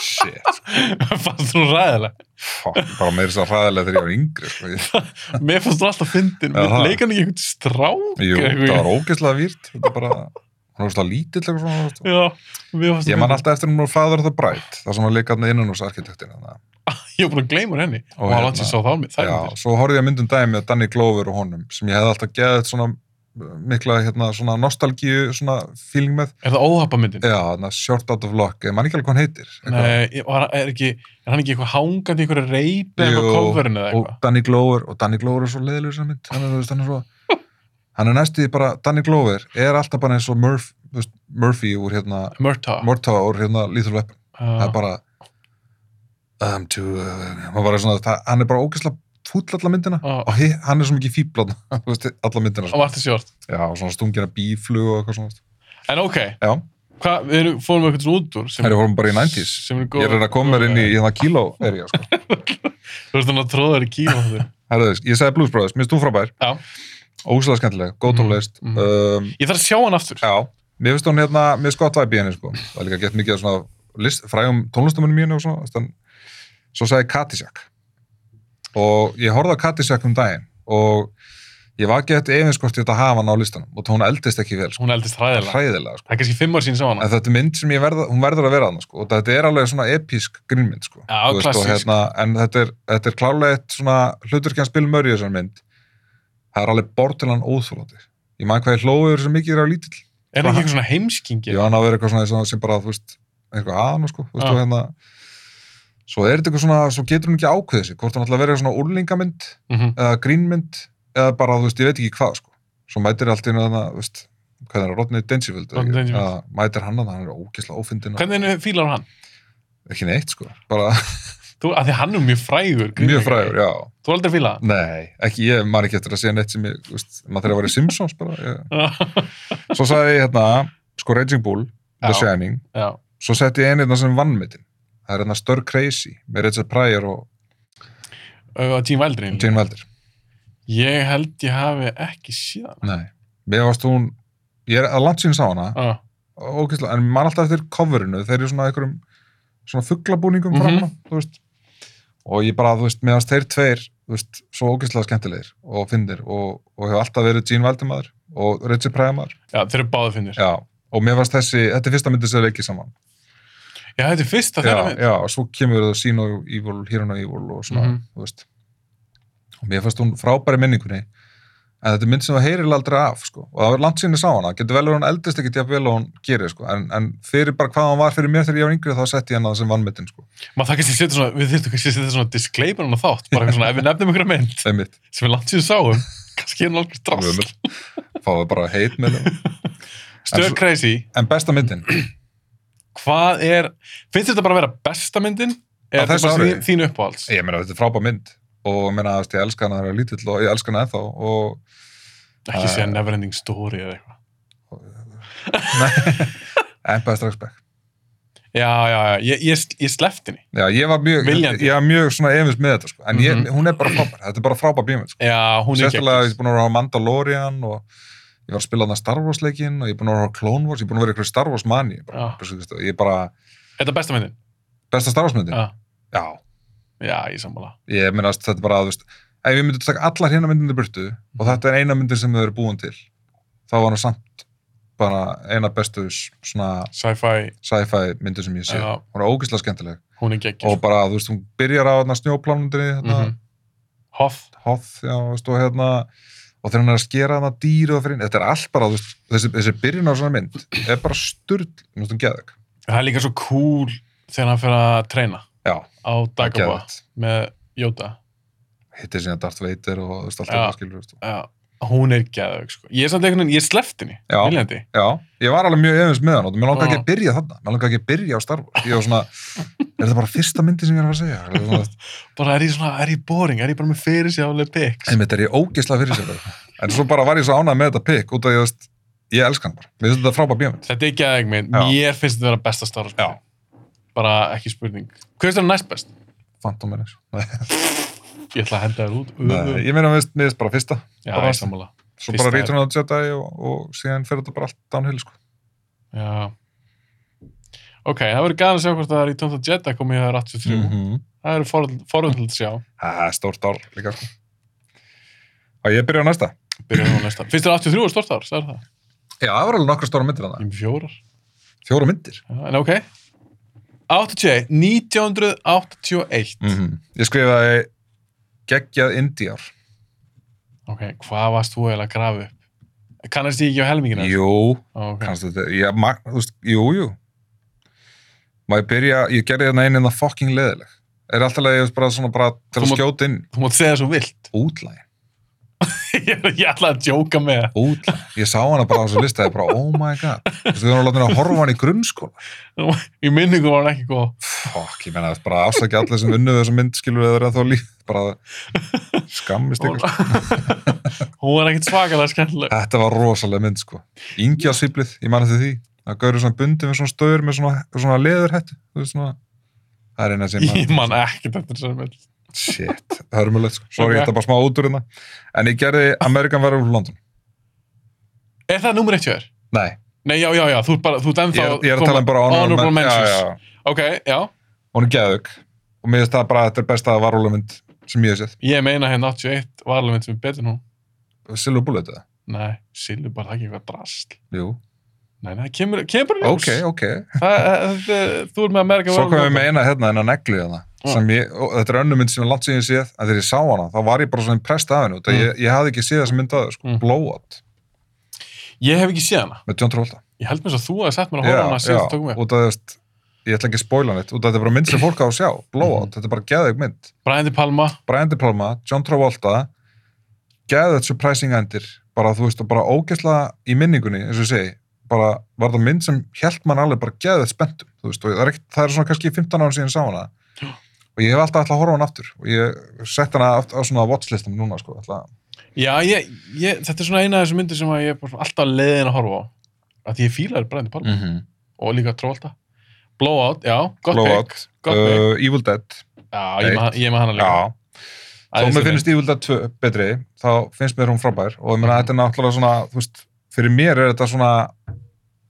shit sko. Fannst hún ræðilega? Fuck, bara meira svo hræðilega þegar ég var yngri sko. ég, Mér fannst það alltaf fyndin, Já, það. leikann ekki einhvern strák Jú, eitthvað? það var ógeðslega výrt Þetta er bara, hún er svo lítill eitthvað svona, þú veist, og- Já, mér fannst Ég það man fyndin. alltaf eftir hún úr Father of the Bride, þar sem hann leik hann innan hús arkitektin. Ég var búin að gleyma henni Og og hann hérna- langt sér sá þá mér, það er Já, myndir. svo horfði ég að myndum dæmi með Danny Glover og honum, sem ég hefði alltaf geðið svona uh, mikla hérna, svona nostalgíu svona feeling með. Er það óhappa myndin? Já, hérna, Short Out of Luck, ég man ekki alveg hvað hann heitir. eitthvað. Nei, ég- og hann er ekki, er hann ekki eitthvað hangandi í einhverju reypi eða Jú, eitthvað coverinu eða Og eitthvað? Danny Glover, og Danny Glover er svo leiðilegur sem mynd, hann er, þú veist, hann er svo, hann er næstu í bara, Danny Glover er alltaf bara eins og Murph, þú veist, Murphy úr hérna, Murta. Morta úr hérna Lethal Weapon. það er Já, bara um, to, uh, bara svona, það, hann er bara ógeðslega fúll alla myndina Já. og he, hann er svo mikið fíblan alla myndina og sko. Martin Short. já, og svona stungina bíflug og eitthvað svona En ok, já, hvað, við erum, fórum við eitthvað svona út úr sem, það er vorum bara í 90s sem er góð. ég er að koma mér inn í hérna kíló er ég, sko. Þú veist þannig að tróða þér í kíma þetta. Herðu, ég segi Blues Brothers, minnst þú frábær Já. ógeðslega skemmtileg, Mhm, góð tónlist mhm. um, Ég þarf að sjá hann aftur. já, mér finnst hún hérna mér finnst gott væp í henni, sko það er líka gett mikið af svona list, frægum tónlistamunum í henni og svona þann, svo sagði Katisjak og ég horfði á Katisjak um daginn og ég var gett efins hvort ég ætti að hafa hann á listanum og hún eldist ekki vel, sko, Hún eldist hræðilega. hræðilega sko. Það er kannski fimm ár sín sá hana. en þetta er mynd sem ég verð, hún verður að vera hann sko, og þetta er alveg svona episk grínmynd sko, Já, Þú og klassísk. hérna, en þetta er, þetta er klálega eitt svona hluturkjans Bill Murray í þessar mynd það er alveg bortilan óþólandi ég man hvað ég hlóður sem mikið er á lítill Er það ekki eitthvað svona heimskingi? Já, hann á að vera eitthvað svona eins og hann sem bara, þú veist, eitthvað að hann, sko, þú veist, Já. og hérna, svo er þetta eitthvað svona, svo getur hún ekki ákveðið sig hvort hún ætla að vera svona úrlingamynd mhm, eða grínmynd eða bara, þú veist, ég veit ekki hvað sko. svo mætir allt í hérna, þú veist hvað er það, Rodney Dangerfield Rodney Dangerfield. eða mætir hann að hann er ógislega ófindin og- Hvernig fílar hann? ekki neitt, sko, bara Þú, að því hann er mjög frægur. mjög frægur, já Þú er aldrei að fíla hann? nei, ekki ég, maður ekki eftir að segja neitt sem ég, þú veist, maður þegar að vera í Simpsons bara, ég. svo sagði ég hérna, sko Raging Bull The Já. Shining, Já. svo setti ég einirna sem vannmyndin, það er hérna Stur Crazy með Richard Pryor og Og Gene Wildrin. Gene Wilder Ég held ég hafi ekki síðan. nei, mér varst hún ég er að langt sín sá hana Ah. ógeðslega, en mann alltaf eftir coverinu þeir eru svona einhverjum svona fugglabúningum Mhm. mm þú veist og ég bara, þú veist, meðan þeir tveir þú veist, svo ógeðslega skemmtilegir og fyndir og, og hefur alltaf verið Gene Valdemaður og Richard Pryor maður Já, þeir eru báði finnir. Já, já, og mér varst þessi, þetta er fyrsta myndið sem þeir leikið saman þetta er fyrsta þeirra já, mynd. já, og svo kemur það sín og Evil, Híran og Evil og svona, Mhm. þú veist og mér fannst hún frábæri minningunni en þetta er mynd sem það heyrir aldrei af sko. og það var langt síni sá hana, getur vel að hún eldist ekki til að vel að hún gerir, sko. en, en fyrir bara hvað hann var fyrir mér þegar ég var yngri þá sett ég hana sem vannmyndin, sko. Maður það kannski setja svona, við þurftum kannski að setja svona disclaimer um hann á þátt, bara eitthvað svona, ef við nefnum einhverja mynd það er mitt, sem við langt síðan sáum, kannski er hún algjör drast. fáðu bara heit með það Stöð En svo- crazy, en besta myndin, hvað er, finnst þetta bara að vera besta myndin? Á Er þetta þessu bara ári? þín, þín uppáhalds? ég meina þetta er frábær mynd og ég meina, þú veist, ég elska hana þegar ég var lítill og ég elska hana ennþá og Ekki Ah. segja Neverending Story eða eitthvað. en besta strax Já, já, já, ég, ég, ég sleft henni. Já, ég var mjög, Viljandi. ég var mjög svona efins með þetta, sko. en ég, Mhm. hún er bara frábær, þetta er bara frábær bíómynd, sko. Já, hún er ekki Sérstaklega, ég er búin að vera á Mandalorian og ég var að spila þarna Star Wars leikinn og ég er búin að vera á Clone Wars, ég er búin að vera ykkur Star Wars mani, ég bara, Já. Bara svo, þú veist, ég er bara, Þetta er besta myndin. besta Star Wars myndin, Já, já, já, ég sammála. ég meina, þetta er bara, þú veist, ef ég myndi taka allar hérna myndinni burtu Mhm. og þetta er eina myndin sem þau eru búin til, þá var hann samt bara eina bestu s- svona Sci-fi, sci-fi myndin sem ég sé, Já. hún er ógeðslega skemmtileg hún er ekki og Hérna- bara, þú veist, hún byrjar á þarna snjóplánundinni, þarna, Mhm. Hoff, Hoth, já, veist, og hérna og þegar hann er að skera hana dýr og fyrir inn, þetta er allt bara, þú veist, þessi, þessi byrjun á svona mynd er bara sturl, þú veist, hún geðug það er líka svo cool þegar hann fyrir að treyna já, á Dagobah geðveikt. með Jóta. hittir síðan Darth Vader og þú veist, allt Já. þetta skilur, þú veist Já, hún er geðaug, sko. Ég er samt einhvern veginn, ég sleft henni, Já. viljandi. já, ég var alveg mjög efins með hann og mér langar ekki Já. að byrja þarna, mér langar ekki að byrja á starfa ég var svona, er þetta bara fyrsta myndi sem ég er að fara að segja Svona, Bara er ég svona, er ég boring, er ég bara með fyrir sér álega pics? einmitt er ég ógisla fyrir sér bara. en svo bara var ég svo ánægð með þetta pikk út af, ég veist, ég elska hann bara við veist þetta frábæð bíómynd Þetta er geðaug minn, Já. mér finnst þetta vera besta Star Wars. Já. Bara ekki spurning. Hvað er þetta næst best? Phantom Menace. Nei, Ég ætla að henda þér út. nei, ég meina, mér finnst- mér finnst bara fyrsta Já, bara- ég sammála. svo Fyrsta bara er- rítur hann á Jedi og, og síðan fer þetta bara allt downhill sko. Já. Ok, það verður gæðan að sjá hvort það er í Tónta Jedi komið í það 83. -hmm. Það eru forvöldið að sjá. það er stórt ár líka sko. og ég byrja á næsta Byrjum á næsta. Finnst þér 83 er stort ár, það er það. já, það var alveg nokkra stóra myndir Ég er hann með fjórar. fjóra myndir Já, En ok. 80, 1981. -hmm. ég skrifaði geggjað indíjar Ok, hvað varst þú eiginlega að grafa upp? Kannast ég ekki á helmingina? jú, Ok. kannski þetta ég, ma, þú veist, jú, jú má ég byrja, ég gerði hérna einin það fucking leðileg er alltaf leið, ég veist bara svona bara til Þú að mátt- skjóta inn Þú mátt segja svo vilt. útlæg, ég ég ætla að djóka með það. útlæg ég sá hana bara á þessu lista, ég bara oh my god þú veist, við erum að láta henni að horfa á hann í grunnskóla Í minningu var hann ekki góð. Fokk, ég meina, bara afsækja allir sem unnuðu þessum mynd, skilur eða þá líf, bara skammist ykkur. Hún var ekkit svakalega skemmtileg. Þetta var rosalega mynd, sko. Ingja sýplið, ég man eftir því, að gaurið svona bundi með svona stöður með svona, svona leðurhettu, þú veist svona, það er eina sem Ég man ekkert eftir þessari mynd. Shit, hörmulegt, sko. Sorry, Ok. þetta er bara smá út úr hérna. En ég gerði Amerikan verður úr London. Er það nummer eitt hjá þér? Nei, Nei, já, já, já, þú ert bara, þú ert ég ennþá er, ég er að tala um bara honorable men- mentions. Já, já, já. Ok, já, Hún er geðug. Og mér finnst það bara að þetta er besta varúlega mynd sem ég hef sett. ég meina hérna 81 var alveg mynd sem er betur nú. Silver Bullet, eða? Nei, Silvi bara það er ekki eitthvað drasl. Jú. Nei, nei, kemur, kemur bara í ljós. Ok, ok. Það, það, þú ert með Amerika Svo komum við með eina hérna, eina neglu hérna, Já. sem ég, og þetta er önnum mynd sem ég langt síðan séð, en þegar ég sá hana, þá var ég bara svona prest af henni, út af Mm. ég, ég hafði ekki séð þessa mynd aðeins, sko, Mm. Blowout, Ég hef ekki séð hana. með John Travolta. Ég held mér svo að þú hefði sett mér að horfa á hana síðan þú tókum við. út af þú veist, ég ætla ekki að spoila neitt, út af þetta er bara mynd sem fólk á að sjá, blowout, Mm. þetta er bara geðug mynd Brian De Palma, Brian De Palma, John Travolta geðug surprising endir bara þú veist, og bara ógeðslega í minningunni, eins og ég segi, bara var það mynd sem held mann alveg bara geðug spenntum þú veist, og það er, ekki, það er svona kannski 15 ára síðan saman að og ég hef alltaf alltaf að horfa á hann aftur og ég sett hana aft- á svona watchlistum núna sko, alltaf, já, ég, ég, þetta er svona eina af þessum myndir sem að ég er bara svona alltaf leiðin að horfa á að því ég fílaði Brian De Palma mm -hmm. og líka Travolta Blowout, já, gott blowout, pick, gott pick. uh, Evil Dead Já, ég er með- ég er með hana líka já, Þó mér finnst Evil Dead 2 betri, þá finnst mér hún frábær og ég meina Mhm. þetta er náttúrulega svona, þú veist, fyrir mér er þetta svona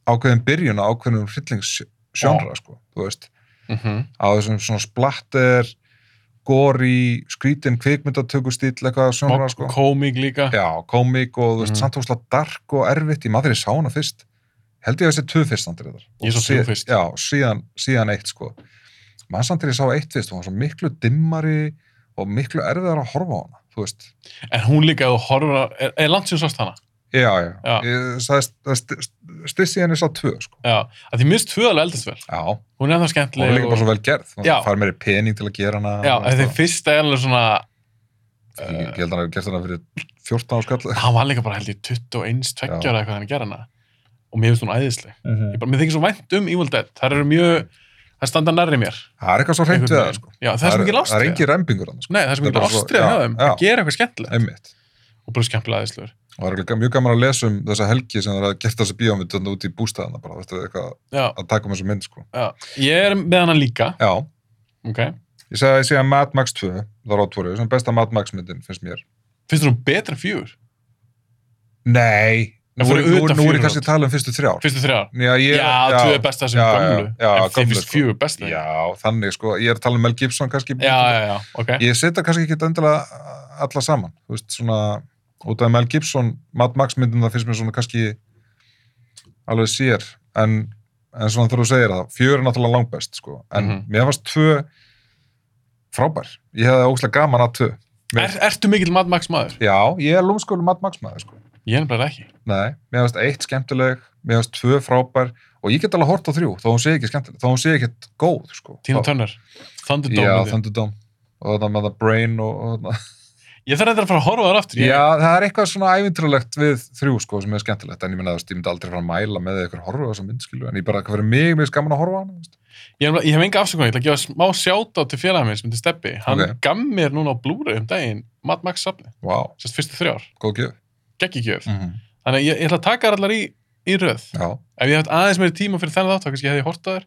ákveðin byrjun á ákveðinum hryllingssjónra, sko, þú veist, mm á þessum svona splatter, gori, skrítin, kvikmyndatökustíl, eitthvað sjónra, sko. Komik líka Já, komik og þú veist, Mhm. mm. samtókslega dark og erfitt, ég maður þegar ég sá hana fyrst, held ég að þessi tvö fyrst andir þetta. Ég sá þrjú fyrst. Já, síðan, síðan eitt, sko. Maður samt þegar ég sá eitt fyrst, hún var svo miklu dimmari og miklu erfiðar að horfa á hana, þú veist. En hún líka, ef þú horfur að, er, er langt sem sást hana? Já, já. Já. Ég- Það er st- st- st- styrt síðan ég sá tvö, sko. Já, að því minnst tvö alveg eldast vel. Já, og Hún er það hún er skemmtileg. líka bara svo vel gerð. Hún Já. fær meiri pening til að gera hana. Já, og en því eitthvað. fyrsta er alveg svona, Ég ég held að hann hafi gert hana fyrir 14 ára skall. hann var líka bara held ég 21, 20 Já. ára eitthvað hann gerði hana. Og mér finnst hún æðisleg. -hmm. Ég bara, mér þykir svo vænt um Evil Dead. Það eru mjög, það standa nærri mér. Það er eitthvað svo hreint við Einhvern það, veginn. sko. Já, það er svo mikið Það er lástrið. engin rembingur hann, sko. Nei, það er svo Það er mikið bara svo- lástrið já, hjá þeim. já. Að gera eitthvað skemmtilegt. Einmitt. Og bara skemmtilega æðislegur. Og það er líka mjög gaman að lesa um þessa helgi sem það er að gert þessi bíómynd þarna út í bústæðana bara, þetta er eitthvað Já, að taka um þessu mynd, sko. já. Ég er með hana líka. Já, Ok. ég segi að ég segja Mad Max 2, það er átvorið, sem besta Mad Max myndin, finnst mér. Finnst þér hún betra en fjögur? Nei, Það nú, er- fóru nú, er- utan nú er ég fjögur kannski að tala um fyrstu þrjár. Fyrstu þrjár? Já, ég, Já, tvö er besta sem já, gömlu. já, já, en þið gömlu, finnst sko. fjögur besta. Já, þannig sko, ég er að tala um Mel Gibson kannski. Já, já, já, ok. Ég setja kannski ekki endilega alla saman, þú veist, svona, út af Mel Gibson, Mad Max myndin það finnst mér svona kannski alveg sér, en, en svona þegar þú segir það, fjör er náttúrulega langbest, sko, en Mhm. mér fannst tvö frábær, ég hefði ógslag gaman að tvö. Mér- Er, ertu mikill Mad Max maður? Já, ég er lúmskólu Mad Max maður, sko. Ég er nefnilega ekki. Nei, mér finnst eitt skemmtileg, mér finnst tvö frábær og ég get alveg hort á þrjú, þó hún sé ekki skemmtileg, þó hún sé ekki góð, sko. Tina Þá- Turner. Thunderdome. Já, myndi. Thunderdome og það með það Brain og, og þarna. Ég þarf eitthvað að fara að horfa á þar aftur. Ég, Já, það er eitthvað svona ævintýralegt við þrjú sko sem er skemmtilegt, en ég minna að ég myndi aldrei fara að mæla með eitthvað horfa þess að mynd skilu, en ég bara, hvað fyrir mig, mér er skaman að horfa á hana veist. ég, er nefnilega- ég hef enga afsökun. Ég ætla að gefa smá sjáta til félagin minn sem heitir Steppi. Hann Ok. okay. gaf mér núna á Blu-ray um daginn Mad Max safni. Vá, Sérst fyrstu þrjár. góð gjöf Gekkigjöf. mm -hmm. Þannig að ég, ég ætla að taka þær allar í, í röð. Já, Ef ég hafði aðeins meiri tíma fyrir þennan þátt, þá kannski hefði ég hort á þær.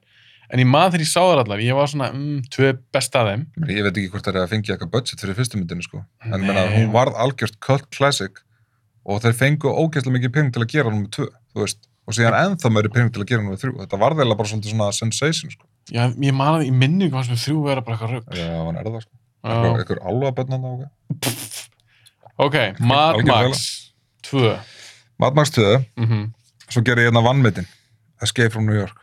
En ég maður þegar ég sá þær allar, ég var svona, mm, tvö best af þeim. ég, meina, ég veit ekki hvort það er að fengja eitthvað budget fyrir fyrstu myndinu sko, en ég minna, Nei. hún varð algjört cult classic og þeir fengu ógeðslega mikið pening til að gera nummer tvö, þú veist, og síðan ennþá meiri pening til að gera nummer þrjú, þetta varð eiginlega bara svolítið svona sensation sko, Já, ég man að í minningu hans með þrjú vera bara eitthvað rugg. já, hann er það sko, Já. eitthvað alvabönn hann ákveð. Ok, Mad Algjör Max 2. Mad Max 2, Mm svo gerði ég hérna vannmyndin Escape from New York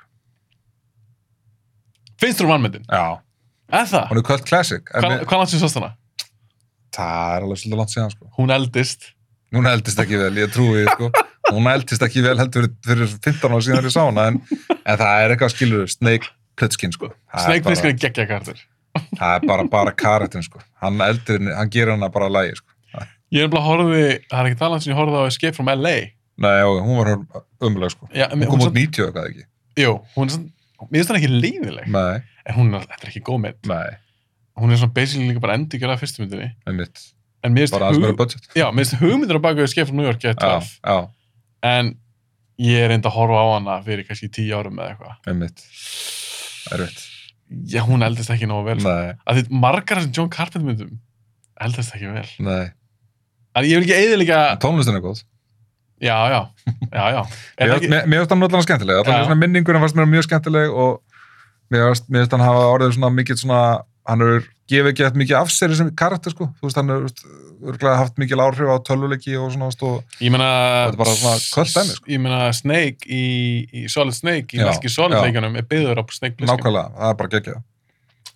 Finnst þú vannmyndin? já. Er það? hún er kvöld classic en Hvað við- hvað langt sem sást hana? það er alveg svolítið langt síðan sko. Hún eldist. núna eldist ekki vel, ég trúi því sko. hún eldist ekki vel heldur fyrir, fyrir 15 ára síðan þegar ég sá hana en, en það er eitthvað skilur Snake Plissken sko. Það er Snake bara- Plissken er geggja kartur. það er bara, bara karatinn sko. hann, eldir, hann gerir hana bara lægi sko. Ég er bara horfði, það er ekki talað um sem ég horfði á Escape from LA. Nei, já, hún var umlega sko. Já, hún en kom út samt- 90 eitthvað ekki Jú, hún er svona, mér finnst hann ekki leiðileg. nei, En hún er, þetta er ekki góð mynd. nei, Hún er svona basically líka bara endurgjörða fyrstu myndinni. einmitt En mér bara aðeins meira finnst budget já, mér finnst hugmyndir á baku Escape from New York gett já, töff. já, En ég er enda að horfa á hana fyrir kannski tíu árum eða eitthvað. einmitt erfitt Já, hún eldist ekki nógu vel. nei, Að því margar af þessum John Carpenter myndum eldast ekki vel. nei, En ég vil ekki eðilega... tónlistin er góð Já, já, já, já. Er það Mér varst- ekki- mér- mér finnst hann allan skemmtileg, allan Já. svona minningurinn fannst mér mjög skemmtileg og mér finnst- mér finnst hann hafa orðið svona mikið svona, hann er gefið ekki eftir mikið af sér sem karakter sko, þú veist hann er örglega haft mikil áhrif á tölvuleiki og svona veist, og Ég meina, Þetta er bara svona kvöld dæmi, sko. Ég meina, Snake í, í Solid Snake, í Já, Meski Solid já. leikunum, er byggður á Snake Plissken. nákvæmlega, það er bara geggjað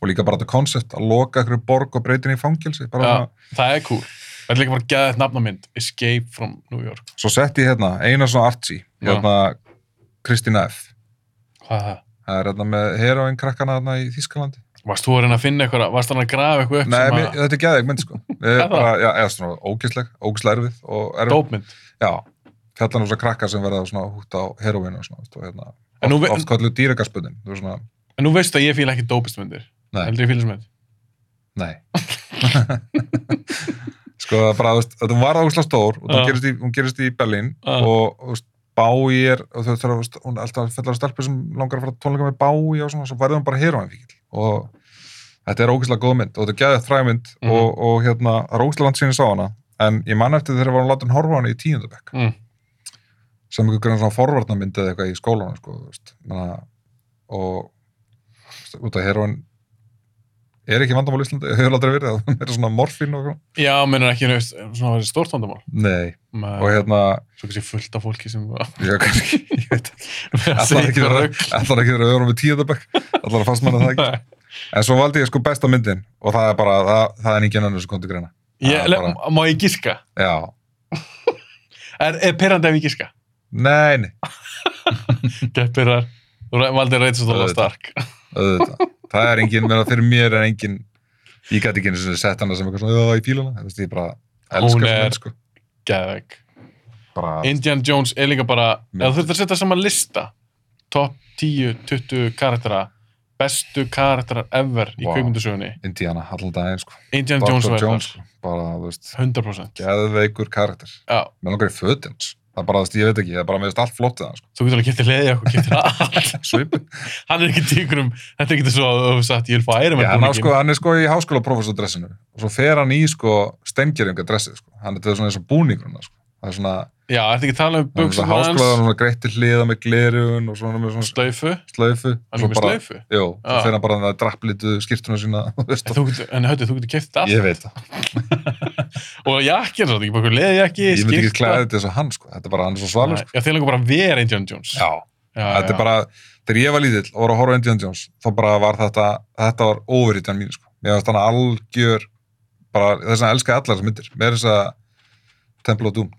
og líka bara þetta koncept að loka ykkur borg og breytin í fangilsi bara Já. svona, Það er cool. Það er líka bara geðað eitt nafnamind, Escape from New York. svo sett ég hérna eina svona Archie, hérna Kristín F Hvað er það? það er hérna með heroin krakkana hérna í Þískalandi Varst þú að reyna að finna eitthvað, varst hann að grafa eitthvað upp Nei, sem mér, að þetta er geðveik mynd sko Ég Er það? bara, já, eða svona ógisleg, ógisleg erfið og erfið, dópmynd? já fjallan og svo krakka sem verða svona hútt á heroinu og svona, veist, og hérna En nú oft, ve- oft kallu dýragaspunnin, þú veist svona En nú veistu að ég fíla ekki dópistmyndir. Nei. Heldur ég fíla sem þetta. Nei Sko það er bara, þú veist, þetta var águstlega stór og Já. hún gerist í, hún gerist í Berlín Já. og, þú veist, Bái er og þau þarf að, þú veist, hún er alltaf fellar stelpur sem langar að fara á tónleika með Bái og svona, svo verður hún bara heroin fíkil og þetta er ógustlega góð mynd og þetta er gæðið þræmynd Mhm. og, og hérna, það er ógustlega langt síðan ég sá hana en ég man eftir þegar ég var að láta hún horfa á hana í tíundabekk Mm. sem einhver grann svona forvarnamynd eða eitthvað í skólanum sko, þú veist, menna, og þú veist, út af heroin er ekki vandamál í Íslandi, hefur aldrei verið það er svona morfín og eitthvað Já, mennur ekki nefnist, svona verið stórt vandamál. nei, og Með, hérna, svo kannski fullt af fólki sem ég kannski ég veit ekki, allar ekki segja verið allar ekki verið að vera með tíðabæk allar að fast manna það ekki, Nei. en svo valdi ég sko besta myndin og það er bara, það, það er engin annars sem kom til greina, Ég, Það er bara- má ég giska? já, Er, er perrandi ef ég giska? nei, nei Geppirðar. Þú re- valdir reyðs og stóla Auðvitað. stark. auðvitað, það er engin, menn fyrir mér er engin ég gæti ekki einu sinni sett hana sem eitthvað svona, já, ég fíla hana, þú veist, ég bara Hún elska er- hana, sko, Gæðveg. bara Indiana Jones er líka bara, Mynd. eða þú þurft að setja saman lista, top 10, 20 karaktera, bestu karakterar ever í Vá. kveikmyndasögunni. Indiana, allan daginn, sko Indiana Jones Dr. var Jones, það. sko, bara, þú veist 100%. geðveikur karakter Já, með langar í fötin hans. það er bara, þú veist, ég veit ekki, það er bara með allt flott við hann sko. þú getur alveg getið leðið okkur, getið allt. svipin, Hann er ekki tíkurum, þetta er ekki svo að þú hefur sagt, ég vil fá ærum já, hann, á, sko, hann er sko í háskóla professordressinu og svo fer hann í sko steingerjungadressið, sko. hann er þetta svona eins og búningurna sko. það er svona, Já, ertu ekki að tala um hann er buksum svona hans, háskóla hann er svona greitt til hliða með glerun og svona með svona slöyfu, slöfu hann er með Ah. bara, slöyfu. jú, svo Já. fer hann bara með drapplitu skýrtuna sína þú veist, En, þú getur- en höttu, þú getur keft allt. ég veit það, Og jakkinn, svo þetta er ekki bara eitthvað leðjakki, ég myndi ekki klæða þetta eins og hann sko. þetta er bara, hann er svo svalur sko. Já, þið langar bara að vera Indiana Jones. já, já, þetta er já. bara, þegar ég var lítill og var að horfa á Indiana Jones, þá bara var þetta þetta var overhýtjan mín, sko mér varst þannig algjör bara, þess að elska allar þessar myndir, mér er þess að Temple of Doom,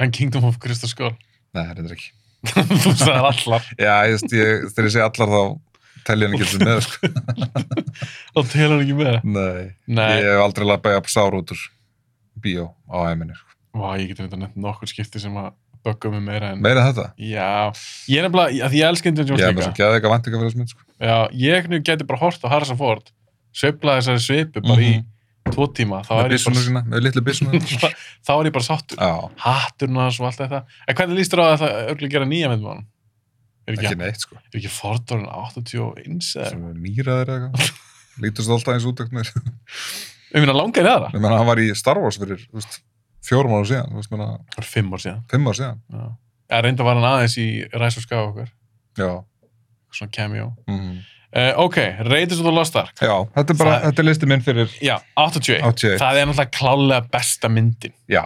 En Kingdom of Crystal Skull. nei, þetta er ekki þú sagðar allar já, ég, veist, ég, þegar ég segi allar þá telja henni ekki sem með, sko og telur hann ekki með nei, Nei, ég hef aldrei labbað jafn sár út úr bíó á æminni, sko, Vá, ég getur þetta nefnt nokkur skipti sem að bögga mig meira en meira en þetta Já, ég er nefnilega, að ég elska Indiana ég Jones hef með líka þess að geða eitthvað vant fyrir þess mynd, sko Já, ég nú geti bara hort á Harrison Ford sveifla þessari sveipu bara í tvo tíma, þá með er ég byssuna bara sína, með litlu byssuna þá er ég bara sáttur já, hatturinn hans og allt þetta En hvernig líst þér á að það örgulega gera nýja mynd með honum? Er ekki ekki, neitt, sko er ekki Ford orðin 81 eða? sem er mýraður eða eitthvað lítust alltaf eins út ekkert Ég minna langar í aðra Ég meina, hann var í Star Wars fyrir þú veist, fjórum ára síðan, þú veist, meina, Það er fimm ár síðan fimm ára síðan. Já, Eða reynda var hann aðeins í Ræs og Skaga okkar, Já. svona cameo Mm. Uh, ok, Raiders of the Lost Ark Já, þetta er bara, Það- þetta er listi minn fyrir Já, 81 81. Það er náttúrulega klárlega besta myndin Já,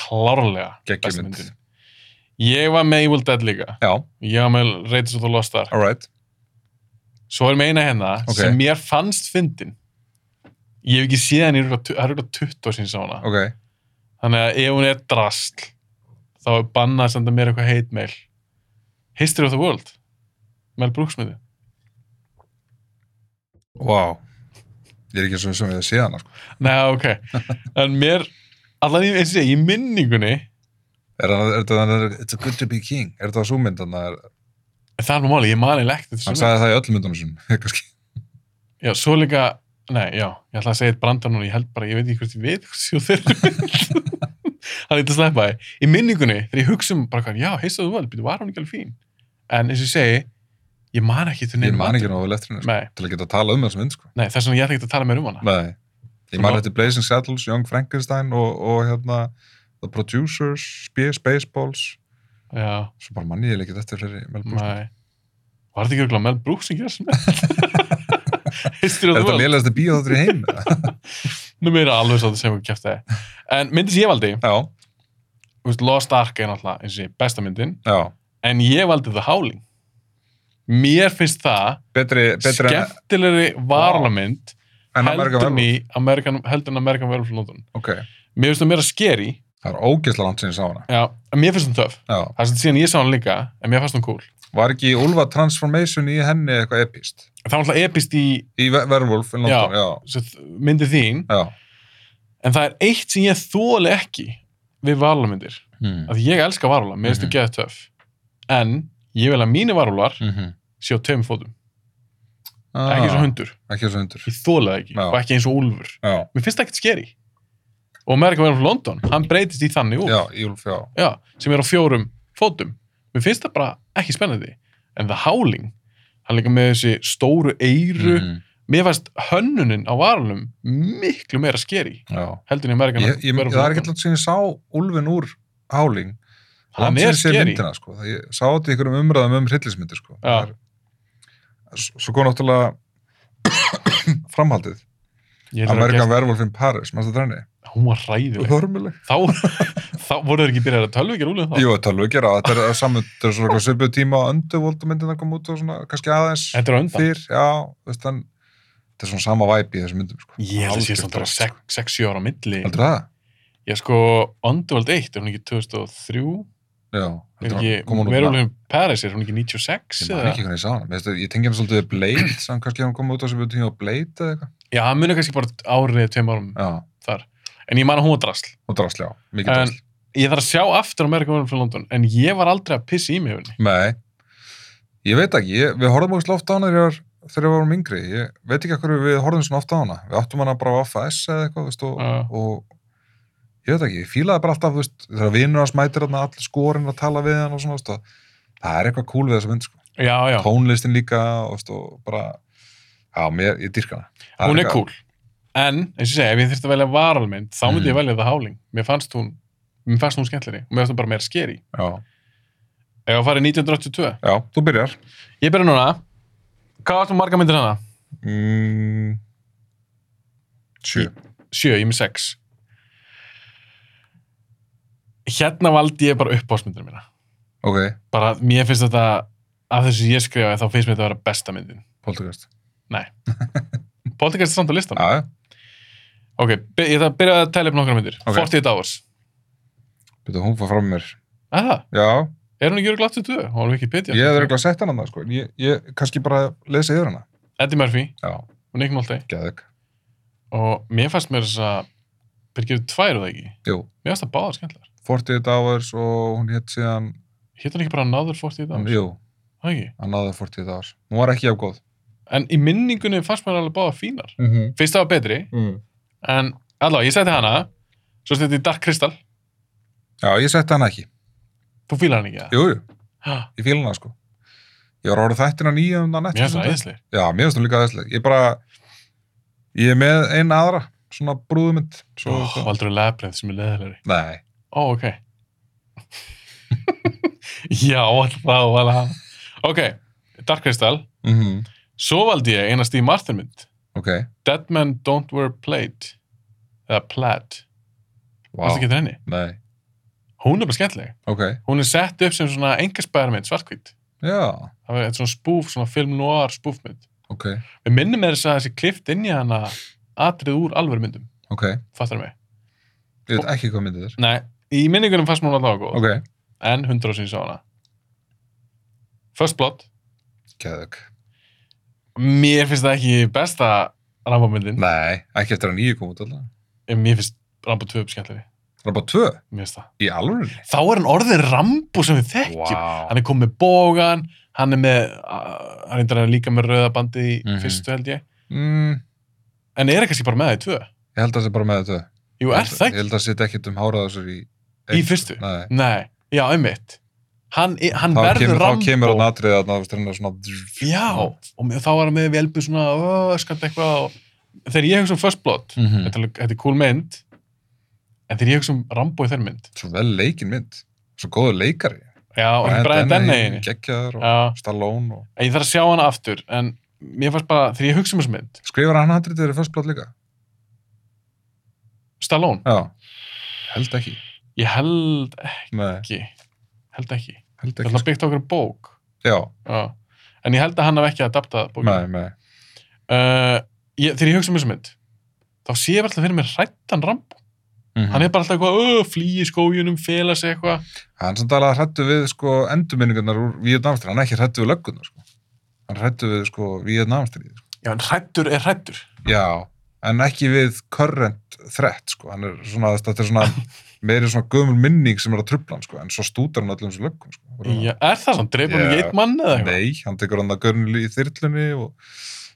Klárlega besta geggjumynd. myndin Ég var með Evil Dead líka Já, Ég var með Raiders of the Lost Ark alright. Svo er meina hérna Ok. sem mér fannst fyndin Ég hef ekki séð hann í rúkla, það er rúkla 20 ár síns á hana Ok, Þannig að ef hún er drasl þá er bannað að senda mér eitthvað hate mail History of the World Mel Brooks myndi wow. Ég er ekki eins og sem við séð hana, sko. Nei, ok En mér, allan ég, eins og ég, segi, í minningunni Er það, er það, er það, it's a good to be king, er það svo mynd, þannig að Það er nú máli, ég mani lekt þetta hann sem sagði það í öllum myndunum sinum, kannski. Já, svo líka, nei, já, ég ætla að segja eitt brandar núna, ég held bara, ég veit ekki hvort ég veit hvort séu þeirra Það er eitthvað að sleppa því. Í minningunni, þegar ég hugsa um bara hvað, já, heistaðu vel, býtu, var hún ekki alveg fín? En eins og ég segi, ég man ekki til Ég neinum man ekki atriðum. nógu vel eftir henni, sko, Nei, til að geta að tala um þessa mynd, sko. nei, þess vegna ég ætla ekki að tala meir um hana. Nei. Ég man eftir Blazing Saddles, Young Frankenstein og, og hérna, The Producers, Space, Baseballs, Já, svo bara manni ég ekki eftir fleiri Mel Brooks. nei. Var þetta ekki örugglega Mel Brooks sem gera svona? History Er of the þetta World. lélægast að bíó þáttur í heim? eða? Nú meira alveg svo að segja hvað kæft það er. En myndin sem ég valdi, já, þú veist, Lost Ark er náttúrulega, eins og ég, segi, besta myndin. já. en ég valdi The Howling mér finnst það Betri, betri en, skemmtilegri varlamynd en Amerika heldur verður. í American- heldur en American Werewolf in London Ok, mér finnst það meira scary það er ógeðslega langt sinni sá hana. já, en mér finnst það töf Já, það er sem síðan ég sá hann líka en mér fannst hann cool Var ekki Ulfa Transformation í henni eitthvað epist? það var alltaf epist í Í Ve- Werewolf in London, já. sem þ- myndið þín já. en það er eitt sem ég þóli ekki við varúlamyndir Mm. að ég elska varúla, mér finnst þú Mhm. geða töff en ég vil að mínu varúlar Mm -hmm. séu á tveim fótum, ekki eins og hundur Ah, Ekki eins og hundur. ég þóla það ekki Já. og ekki eins og úlfur Já, mér finnst það ekkert skeri og American Werewolf London, hann breytist í þannig úr já, Úlf, já. já, sem er á fjórum fótum mér finnst það bara ekki spennandi en The Howling, hann er líka með þessi stóru eyru, Mhm. mér fannst hönnunin á varunum miklu meira skeri Já. heldur en í American Ég, ég, Werewolf það er ekki London. alltaf sem ég sá Úlfin úr Háling. hann Langt er síðan ég sé skeri myndina, sko. Það- Ég sá þetta í einhverjum umræðum um hryllismyndir, sko. Já. Það Er, s- svo kom náttúrulega framhaldið. Ég ætla að Amerikan gesta- Werewolf in Paris, mannstu þrenni? hún var ræðileg Hörmuleg. þá, þá voru þeir ekki byrjað að tölvíkja rúlið þá Jú, þetta alveg gera. Þetta er saman, þetta er svona svipuð tíma á Underworld myndina kom út og svona, kannski aðeins þetta er á undan fyrr, já, veist hann, þetta er svona sama væp í þessum myndum, sko. ég held að sé Algjört svona drasl, 6-7 ára á milli Heldur það? ég sko Underworld 1 er hún ekki 2003 Já. er heldur hún- ekki kom hún út með- Werewolf in Paris er hún ekki 96 Ég man eða? ekki hvernig ég sá hana. Mér finnst þetta- Ég tengi hana svolítið við Blade, sem kannski hann kom út á svipuð tíma á Blade eða eitthvað. Já, hann munið kannski bara árið eða tveim árum Já, þar. En ég man að hún var drasl. og drasl, já. Mikið En- drasl. Ég þarf að sjá aftur American Werewolf in London, en ég var aldrei að pissa í mig henni. Nei, ég veit ekki, ég, við horfum ógst oft á hana þegar, þegar við vorum yngri, ég veit ekki hverju við horfum svona oft á hana, við áttum hana bara á FS eða eitthvað, veist, og, Já. og ég veit ekki, ég fílaði bara alltaf, veist, þegar vinnur hans mætir hana, allir skorinn að tala við hann og svona, veist, og, það er eitthvað cool við þessa mynd, sko. Já, já, tónlistin líka, og, veist, og bara, já, mér, ég dyrka hana. Það hún er eitthvað- cool. En, eins og ég segi, ef ég þurfti að velja varalmynd, þá myndi ég Mhm. velja það háling. Mér fannst hún, mér fannst hún skemmtleri og mér fannst hún bara meira skeri. Já, Ef að fara í 1982. já, þú byrjar. Ég byrja núna. Hvað varst þú marga myndir hérna? hana? Mm, sjö. Sjö, ég er með sex. Hérna valdi ég bara uppáhaldsmyndir mína. Ok, Bara, mér finnst þetta, af þessu ég skrifaði, þá finnst mér þetta að vera besta myndin. poltergast. Poltergeist er samt á listan. Já, já, Ok, by- ég ætla að byrja að tala upp nokkra myndir. Ok. 48 hours. betur hún fór frá mér. Að það? Já, Er hún ekki örugglega 82? Hún var ekki pitja. Ég hefði regla sett hann annað, sko. en Ég, ég kannski bara lesa yfir hana. Eddie Murphy Já, og Nick Nolte. geðug. Og mér fannst mér þess að byrgir tvær og það ekki. Jú, Mér fannst það báðar skemmtilegar. 48 hours og hún hétt síðan, Hitt hún ekki bara Another 48 hann, hours? jú, Það ekki. hann náði 48 hours. Hún var ekki jafn góð. En í minningunni fannst mér alveg báðar fínar. Mm -hmm. Fyrsta var betri, mm. en allavega, ég seti hana, svo seti ég Dark Crystal. Já, ég sett hann ekki. Þú fílar hann ekki það? Jú, jú, Hæ? ég fíla hana, sko. Ég var orðið þættin að nýja um það Mér nætti. finnst það æðislega. Já, mér finnst hún líka aðeinslega. Ég bara, ég er með eina aðra, svona brúðmynd. Svo, Ó, aldrei labrinð sem er leðilegri. Nei, Ó, ok. Já, það var það. Ok, Dark Crystal. mhm, Svo valdi ég eina Steve Martin mynd. ok. Dead Men Don't Wear Plaid. Eða Plaid. Vá, Wow. ekki eftir henni? nei, Hún er bara skemmtileg. ok. Hún er sett upp sem svona engaspæðarmynd, svartkvít. Já, Það var eitt svona spoof, svona film noir spoofmynd. ok, Við minnum með þess að þessi klift inn í hana atrið úr alvöru myndum. ok. Fattar mig? Ég veit ekki hvað myndið er. Nei, í minningunum fannst mér hún allavega góð. Ok, En hundra sem ég sá hana. First Blood. geðug. Mér finnst það ekki besta rambamyndin. Nei, ekki eftir að nýju kom út alltaf. En Mér finnst Rambo 2 upp skemmtilegri. Það er bara tvö Mér finnst það. í alvöru. Þá er hann orðin Rambo sem við þekkjum. Wow. Hann er komið með bógan, hann er með, uh, hann er líka með rauðabandi í Mhm. fyrstu held ég. Mm, En er það kannski bara með það í tvö? ég held að það sé bara með þetta. Jú, er það Ég ekki? held að það sé ekkert um hárað þessar í... Í fyrstu? Nei. Nei, já, einmitt. Hann, í- hann Þá verður kemur, Rambo. þá kemur hann atrið að náðast hérna svona... Já, og með- þá var hann með velbu svona öskant eitthvað. Og... Þegar ég hugsa um First Blood, Mm -hmm. þetta, er- þetta er cool mynd, en þegar ég hugsa um Rambo í þeirri mynd, Svo vel leikin mynd. Svo góður leikari. já, og ekki bara enn denna einu. Gekkjaður og Já, Stallone og... en ég þarf að sjá hana aftur, en mér fannst bara, þegar ég hugsa um þessu mynd, Skrifar hann handrið þeirri fyrst blótt líka? Stallone, Já. Held ekki. ég held Nei, ekki, held ekki. held Það ekki. er Sko. byggt á okkur bók. Já, Já. En ég held að hann hef ekki adaptað bókina. Eh, nei, nei. Uh, ég, þegar ég hugsa um þessu mynd, þá sé ég alltaf fyrir mér hrættan Rambo. Mhm. hann er bara alltaf eitthvað, "Ö, flýi í skójunum fela sig eitthvað, Hann sem talaði hrættu við sko endurminningarnar úr Víðnamstrið, hann er ekki hrættu við löggunar sko. Hann hrættu við sko Víðnamstrið. Sko. já en hrættur er hrættur Já, en ekki við current threat sko. Hann er svona, þetta er svona meiri svona gömul minning sem er að trubla hann sko, en svo stútar hann öllum þessu löggum sko. Og- Mm. já, er það svona, dreipur hann Já. ekki eitt mann eða eitthvað Nei, hann tekur hann að görnul í þyrlunni og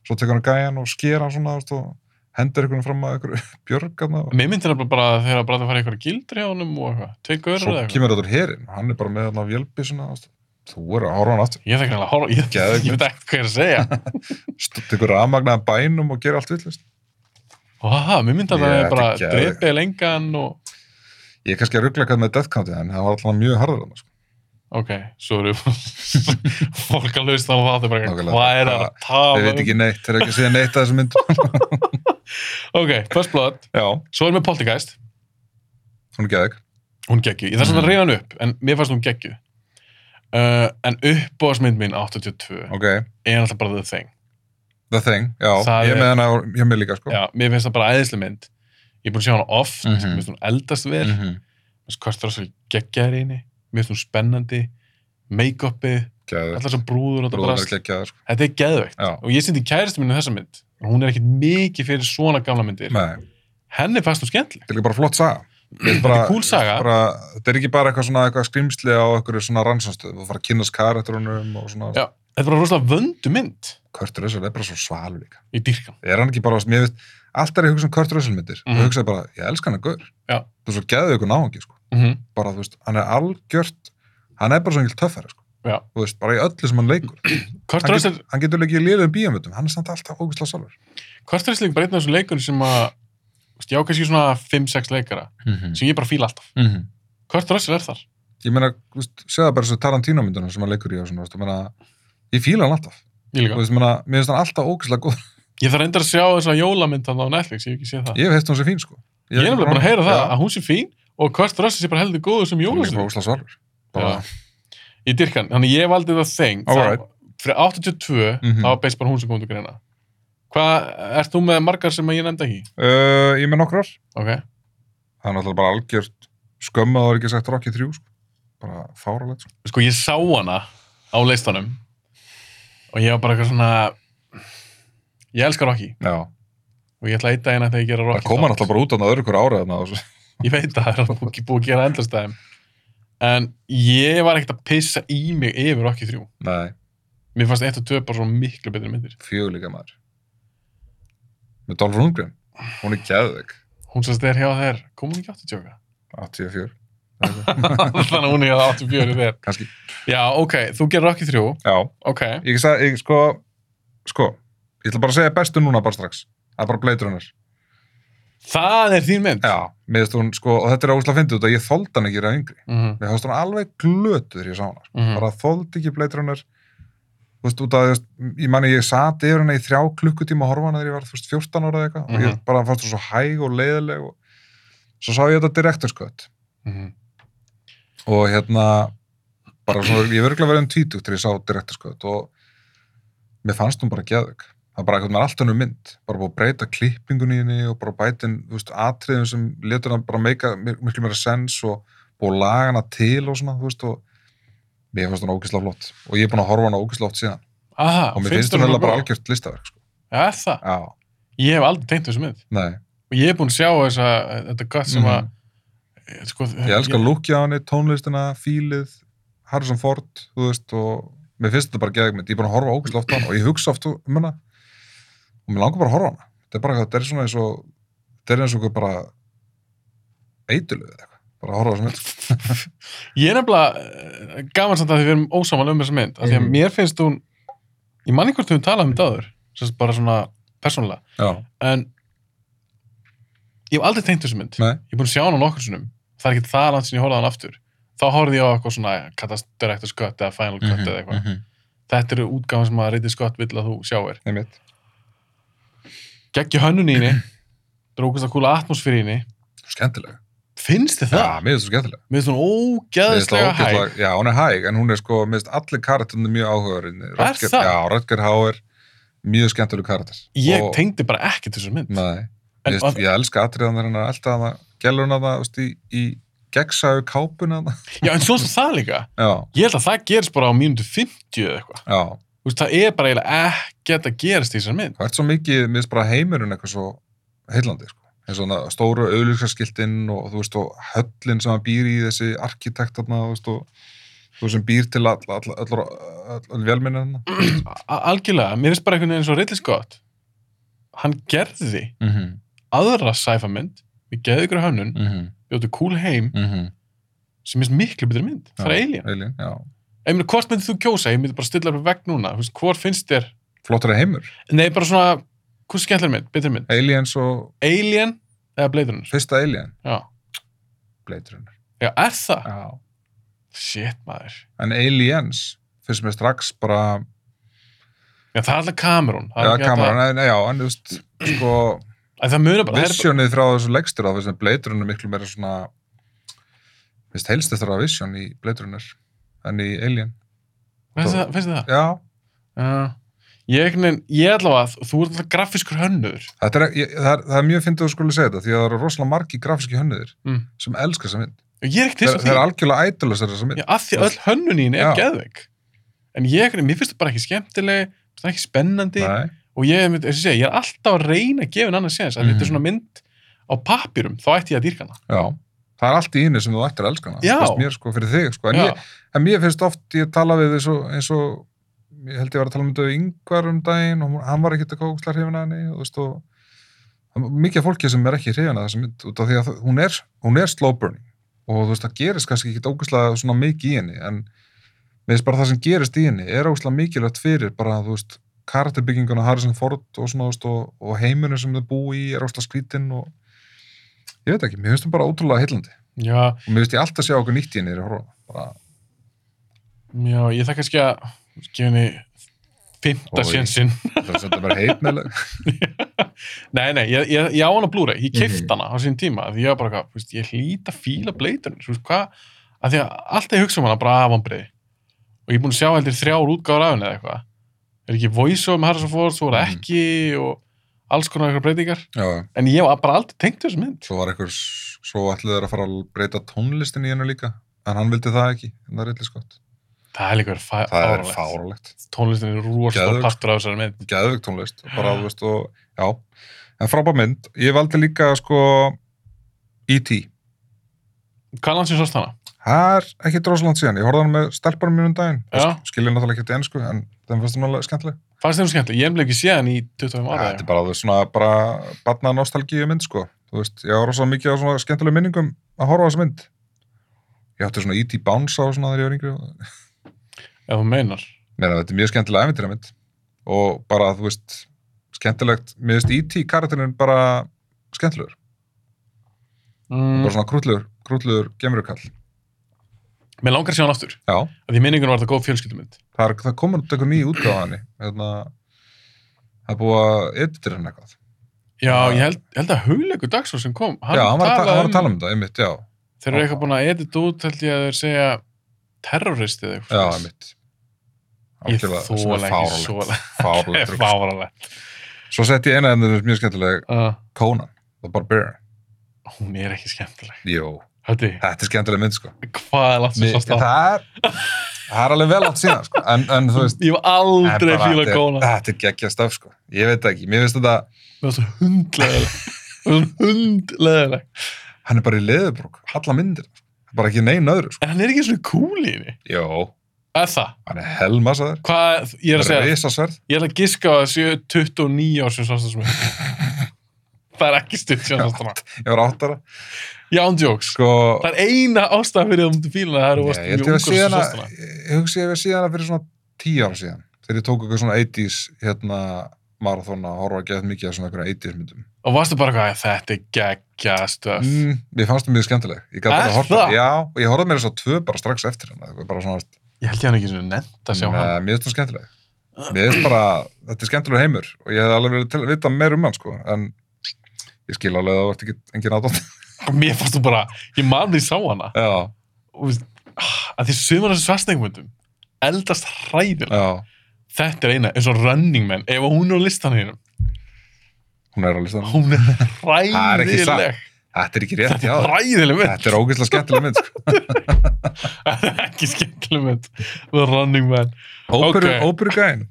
svo tekur hann gæjan og sker hann svona þú veist, og hendur einhvern fram að einhverju björgarna og mér myndir hann bara þegar að bara það fara eitthvað gildri á honum og eitthvað, tvei görur svo eða eitthvað kemur þetta úr herin og hann er bara með hann á vjölbi svona, þú er að horfa á hann aftur ég þekki hann að horfa, ég, Geðveikt. ég veit ekki hvað ég er að segja St- tekur rafmagnaðan bænum og gerir allt villist. og það, mér myndi að Ég, það er bara þetta er geðveikt. dreipið lengan og, Ég er kannski að ruggla eitthvað með Death County en það var alltaf mjög harður hann. Sko. ok, svo eru fólk að lausta á það, það er bara Nákvæmlega. Ah, hvað er það að Ég tala veit um ekki neitt, þeir eru ekki að segja neitt að þessu mynd. ok, First Blood, Já. svo erum við Poltergeist Hún er geðeg. hún geggju, ég þarf Mhm. svona að reyna hann upp en mér fannst hún geggju uh, en uppbóðsmynd mín 82 Ok. er alltaf bara the thing The Thing. Já. Það ég er er- með hana hjá mér líka sko. já, mér finnst það bara æðislega mynd ég er búin að sjá hana oft, Mhm. mér finnst hún eldast vel Mm mér finnst hvort það er svo geggjaðir í henni mér finnst hún spennandi make-upið, Geðeg. alltaf svo brúður og þetta Bróður brast er geggjaður. Sko. þetta er geðveikt Já. og ég sýndi kæristu mínu þessa mynd og hún er ekkit mikið fyrir svona gamla myndir Nei. henni fannst hún skemmtileg Þetta er líka bara flott saga. Þetta er Þetta er cool saga. Bara, þetta er ekki bara eitthvað svona eitthvað skrýmsli á eitthvað svona rannsónstöðu og fara að kynast karakterunum og svona. Já. þetta er bara rosalega vöndu mynd Kurt Russell er bara svo svalur líka. í dýrkan er hann ekki bara, mér veist, allt er ég að hugsa um Kurt Russell myndir Mhm. og hugsa bara, ég elska hann að gaur Já. þú svo geðu ykkur náhangi, sko mm -hmm. bara, þú veist, hann er algjört hann er bara svo engil töffari, sko Já. þú veist, bara í öllu sem hann leikur Kurt hann, Russell get, hann getur leikið í liðum bíamötum, hann er samt alltaf ógustlega salur Hvort er þessi líka bara einn af þessum leikunum sem að þú veist, ég á kannski svona 5-6 leikara sem ég bara fíla alltaf. Hvort er þessi er þar? ég meina, þú veist, segða bara þessu Tarantino myndunum sem hann leikur í og svona, þú veist, ég meina ég fíla hann alltaf, Ég þú líka. veist, ég meina, mér finnst hann alltaf ógustlega góð Ég þarf reyndar að sjá þessa jólamynd þannig á Netflix, ég hef ekki séð það. ég hef heilt hún sem fín, sko Ég er nefnilega bara að heyra það Já. að hún sé fín og Hvort Russell sé bara heldur góður sem Hann er líka bara jólasveit ógeðslega svalur. Bara- í dyrkan. Þannig ég valdi það þeng. Alright. Fyrir 82, Mhm. það var beist bara hún sem kom til greina. Hvað, ert þú með margar sem að ég nefndi ekki? Uh, ég er með nokkrar Ok. það er náttúrulega bara algjört skömm að það er ekki sagt Rocky 3 sko. bara fáralegt sko. sko ég sá hana á leistanum og ég var bara eitthvað svona ég elskar Rocky já, og ég ætla að eita hérna þegar ég gera það Rocky koma þátt. náttúrulega bara út af öðru hverju árið þarna og svo- ég veit að það er búið, búið að gera endastæðum en ég var ekkert að pissa í mig yfir Rocky 3 nei, mér fannst 1 og 2 bara svo miklu betri myndir fjögur líka maður með Dolph Rundgren hún er geðvig, hún sem stær hjá þér, kom hún ekki 80 84 þannig að hún er hjá 84 þér kannski, já ok, þú gerir Rocky 3 já, ok, ég sagði ég, sko, sko, ég ætla bara að segja bestu núna bara strax, það er bara Blade Runner það er þín mynd já, miðast hún, sko, og þetta er óslega fyndið út að ég þoldi hann ekki í yngri, Mhm, mér þást hún alveg glötuð þegar ég sá hana, sko. mhm. bara þóldi ekki Blade Runner þú veist, út af, þú veist, ég manni ég sat yfir hana í þrjá klukkutíma að horfa á hana þegar ég var, þú veist, 14 ára eða eitthvað og ég Mhm. bara fannst þú svo hæg og leiðileg og svo sá ég þetta direktorskött Mhm. og hérna bara svona, ég verður verið um tvítugt þegar ég sá direktorskött og mér fannst hún bara geðug það er bara eitthvað með allt önnur mynd bara búið að breyta klippingun í henni og bara bætin, þú veist, atriðum sem letur hann bara meika mik- miklu meira sens og búið að laga hana til og svona, þú veist, og mér fannst hún ógislega flott og ég er búin að horfa á hana ógislega oft síðan Aha, og mér finnst hún þér heila bara góð? algjört listaverk sko. Já, er það? já, ég hef aldrei tengt þessu mynd nei, og ég er búinn að sjá þessa, þetta gött sem að eh, sko, Mhm. ég elska lúkja á henni tónlistina, fílið Harrison Ford, þú veist og mér finnst þetta bara geðegmynd, ég er búin að horfa ógæslega oft á hana og ég hugsa oft um hana og mér langar bara að horfa á hana þetta er bara, þetta er svona eins og þetta er eins og einhver bara eituluð eða eitthvað, bara að horfa á þessum mynd sko. ég er nefnilega eh, gaman samt að því við erum ósamal um þessa mynd af því að Mhm. mér finnst hún ég man einhvern veginn talað um þetta áður sem sagt bara svona persónulega já, en ég hef aldrei tengt þessu mynd Nei. ég er búinn að sjá hana nokkur sinnum það er ekki það langt sem ég horfði á hana aftur þá horfði ég á eitthvað svona kataströktus gött eða final Mhm, gött eða eitthvað þetta eru útgáðan sem að reytið skott vill að þú sjáir einmitt geggju hönnun í henni drókast að kúla atmosfýr í henni svo skemmtilega, finnst þið já, það? mér finnst þú skemmtilega Mér finnst hún Mér finnst ógæðislega það hæg. ógeðslega- já, hún er hæg, en hún er sko, mér finnst allir karakterinu mjög áhugaverðinni, það? já, Röttger Hauer mjög skemmtileg karakter Ég Og- tengdi bara ekki til þessu mynd. Nei, En, Ég, veist, og, ég elska atriðan þegar hann er alltaf að gæluna það, veist, í, í gegnsæðu kápuna það. já, en svo er það líka. Já, Ég held að það gerist bara á mínútu 50 eða eitthvað. já. Þú veist, það er bara eiginlega ekkert að gerast í þessar mynd. Það ert svo mikið, mér finnst bara heimurinn eitthvað svo heillandi, sko. Eins og svona stóru auðlýskarskiltinn og þú veist, og höllin sem hann býr í þessi arkitektarna, þú veist, og þú veist, sem býr til all, all, all, all, all, all velminna. A algjörlega, mér finnst bara einhvern veginn svo reyndis gott. Hann gerði Mm -hmm, aðra sci-fi mynd við geðu ykkur hönnun, mm -hmm, bjóttu cool heim mm -hmm. sem finnst miklu betur mynd. Það er alien. Alien, já. Ég meina, hvort myndir þú kjósa? Ég myndi bara stilla upp vegg núna. Þú veist, hvort finnst þér? Flottari heimur. Nei, bara svona, hvort skemmtileg mynd, betri mynd? Aliens og Alien eða Blade Runner? fyrsta Alien, Já. Blade Runner. Já, er það? Já. Shit, maður. En Aliens finnst mér strax bara Já, það er alltaf Cameron. Það er Já, ekki hægt að- kameran, nei, já, en þú veist, sko, Að Það munur bara. það er bara- visjónið frá þessu legstur á þessum bleitrunum miklu meira svona, veist, helst eftir að visjón í bleitrunir en í Alien. Finnst þér það? Finnst þér það? Já, Já. Ég, einhvern veginn- ég allavega, þú ert alltaf grafiskur hönnur. þetta er, ég, það er, það er mjög fyndið að þú skulle segja þetta, því að það eru rosalega margi grafíski hönniðir Mm. sem elska þessa mynd. Og Ég er ekkert Þeir, þess að því. þeir eru algjörlega ætlust þessa mynd. Já, að því öll hönnun í henni er Já. geðveik. En ég, einhvern veginn- mér finnst það bara ekki skemmtileg, það er ekki spennandi. Nei, Og ég, einmitt, eins og ég, segi, ég er alltaf að reyna að gefa en annars séðans. Mm Mhm. Þetta er svona mynd á papýrum, þá ætti ég að dýrka hana. já. Það er allt í henni sem þú ættir að elska hana. Já. Fyrst mér, sko, fyrir þig, sko. En, Já. ég, en mér finnst oft, ég tala við eins og, eins og ég held ég var að tala um þetta við yngvar um daginn og hún- hann var ekkert að kóksla hrifin að henni og þú veist og það er mikið af fólki sem er ekki hrifin að þessa mynd út af því að hún er, hún er slow burning og þú veist það gerist kannski ekkit ógæslega svona mikið í henni en mér finnst bara það sem gerist í henni er ógæslega mikilvægt fyrir bara þú veist karakterbygginguna Harrison Ford og svona þú veist og, og heiminu sem þau búi í er ógæslega skrítin og ég veit ekki, mér finnst það bara ótrúlega heillandi Já, og mér finnst ég alltaf sjá okkur nýtt í henni þegar ég horfi á hana. bara já, ég þakka kannski að gefa henni fymta Oj. sénsinn. Það er svolítið bara heit með lög. Nei, nei, ég, ég, ég á hana Blu-ray, ég keift Mhm. hana á sín tíma af því ég var bara, eitthvað, þú veist, ég hlýta fíla bleitunir, þú veist hvað, af því að alltaf ég hugsa um hana bara af afambriði og ég er búin að sjá heldur þrjár útgáður af henni eða eitthvað er ekki voice um Harrison Ford, svo er það Mhm. ekki og alls konar eitthvað breytingar Já, en ég var bara aldrei tengt þessu mynd svo var einhver, svo ætluðu þeir að fara að breyta tónlistin í hennu líka, en hann vildi það ekki, en það er eitthvað skott. það er líka verið fá- Það er fáránlegt. fáralegt. tónlistin er rosalega Geðveikt. partur af þessari mynd Gæðvig tónlist, og bara, þú veist, og, já. En frábær mynd, ég valdi líka, sko, E E.T. hvað landsins ást hana? Það er ekki drosland síðan, ég horfði á hann með stelparum mínum um daginn. Já. Skilja náttúrulega ekki til ennsku, en þeim fannst það alveg skemmtileg. fannst þér hún skemmtileg? ég hef nefnilega ekki séð hann í 25 Já, ára Þetta er bara, þú veist, svona, bara batna nostalgíu mynd, sko. Þú veist, ég var rosa mikið á svona skemmtilegum minningum að horfa á þessa mynd. Ég átti svona E.T. Bounce á svona þegar ég var yngri og ef þú meinar Nei, nei, þetta er mjög skemmtilega æfintyra mynd og bara, þú veist, skemmtilegt, mér veist E.T. karakterinn bara skemmtilegur, bara mm. svona krútlegur, krútlegur gemurukall. Mm, mér langar að sjá hann aftur Já, af því minningun var þetta góð fjölskyldumynd það, er, það komur út eitthvað nýju útgáð af henni, hérna, það er búið að editra henni eitthvað. Já, Já. ég held, ég held að hugleikur Dagsson sem kom, hann, já, hann var, að, ta- talaði hann var að tala um þetta, einmitt, já, þeir eru eitthvað búin að edita út, held ég að þeir segja terrorist eða já, eitthvað. svoleiðis. einmitt. Ég Algjörlega, þola svona ekki fáránlegt, svoleiðis. fáránlegt Það er drugg. fáralegt. Svo sett ég eina en það er mjög skemmtileg Uh, Conan, The Barbarian. Ah, hún er ekki skemmtileg. Jú, Hætti, þetta er skemmtileg mynd, sko. hvað er langt sem Mér, svo það stáð? er, það er alveg vel átt síðan, sko, en, en þú veist, Ég var aldrei En bara fíla þetta er- kóna. Þetta er geggja stöf sko, ég veit það ekki Mér finnst þetta, Mér var svo hundleðileg. Mér var svo hundleðileg. hann er bara í leðubrúk Alla myndir, bara ekki neinn öðru sko. En hann er ekki svona cool í henni. Jó, Er það? hann er helmasaður Hvað, ég er að segja, Rísasverð, ég er að giska á að það séu 29 ár sem svo stáð sem ég. Það er ekki stutt sem svo stáð. ég var áttara Já, ándjóks. Sko, Það er eina ástæða fyrir að þú múttu fíla hana, það er ég, að ég, þú held varst mjög ungur ég, var sem síðana, sást hana. ég hugsi ég var síðana fyrir svona tíu ára síðan Þegar ég tók eitthvað svona 80s hérna, marathon að horfa að geða mikið að svona einhverja 80s myndum Og varstu bara hvað, þetta er geggja stöf. mm, Mér fannst það mjög skemmtileg Ég Er gat bara að það? horfa, já, og ég horfði mér þess að tvö bara strax eftir hana eitthvað Bara svona, Ég held ég hann ekki svona nefnt að sjá hann. Nei, mér finnst það skemmtileg. Mér finnst bara, þetta er skemmtilegur heimur og ég hef alveg verið til að vita meir um hann, sko, en ég skil alveg að það vart ekki engin aðdótt. Mér fannst þú bara, ég man því sá hana. Já, Og þú veist, ah, að því sumar þessu svarsningmyndum, eldast hræðilega. já. Þetta er eina, eins og Running Man, ef hún er á listan hennum. hún er á listanum hún er Það er ekki satt. ræðileg þetta er ekki rétt, já, ræðileg mynd þetta er ógeðslega skemmtileg mynd sko. Það er ekki skemmtileg mynd The Running Man óperu, Ok. óperu gæn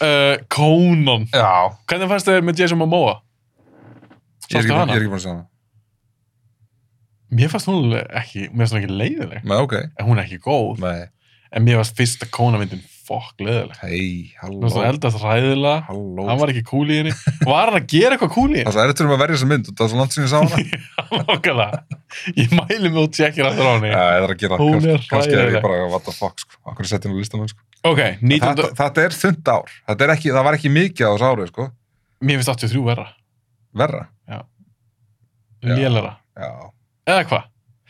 uh, Conan já, hvernig fannst þér með Jason Momoa? ég er Sástu ekki, búin- hana? ég er ekki búin að segja hana mér fannst hún alveg ekki, mér fannst hún ekki leiðileg Nei, ok, en hún er ekki góð nei, en mér fannst fyrsta Conan myndin fokk leiðileg hei, hún var halló svona eldast ræðilega halló, hann var ekki kúl í henni var hann að gera eitthvað kúl í henni? það er svo erfitt fyrir mig að verja þessa mynd og það er svo langt sinni sá hana Nákvæmlega. ég mæli mig og tjekkir aftur á henni Já, það er að gera, Hún er kannski- kannski er hræðileg. ég bara what the fuck, sko, akkur er settin á listanum sko. ok, 19... þetta, þetta er þund ár, þetta er ekki, það var ekki mikið á þessu árið, sko, mér finnst 83 verra verra Já. lélera, já, eða hvað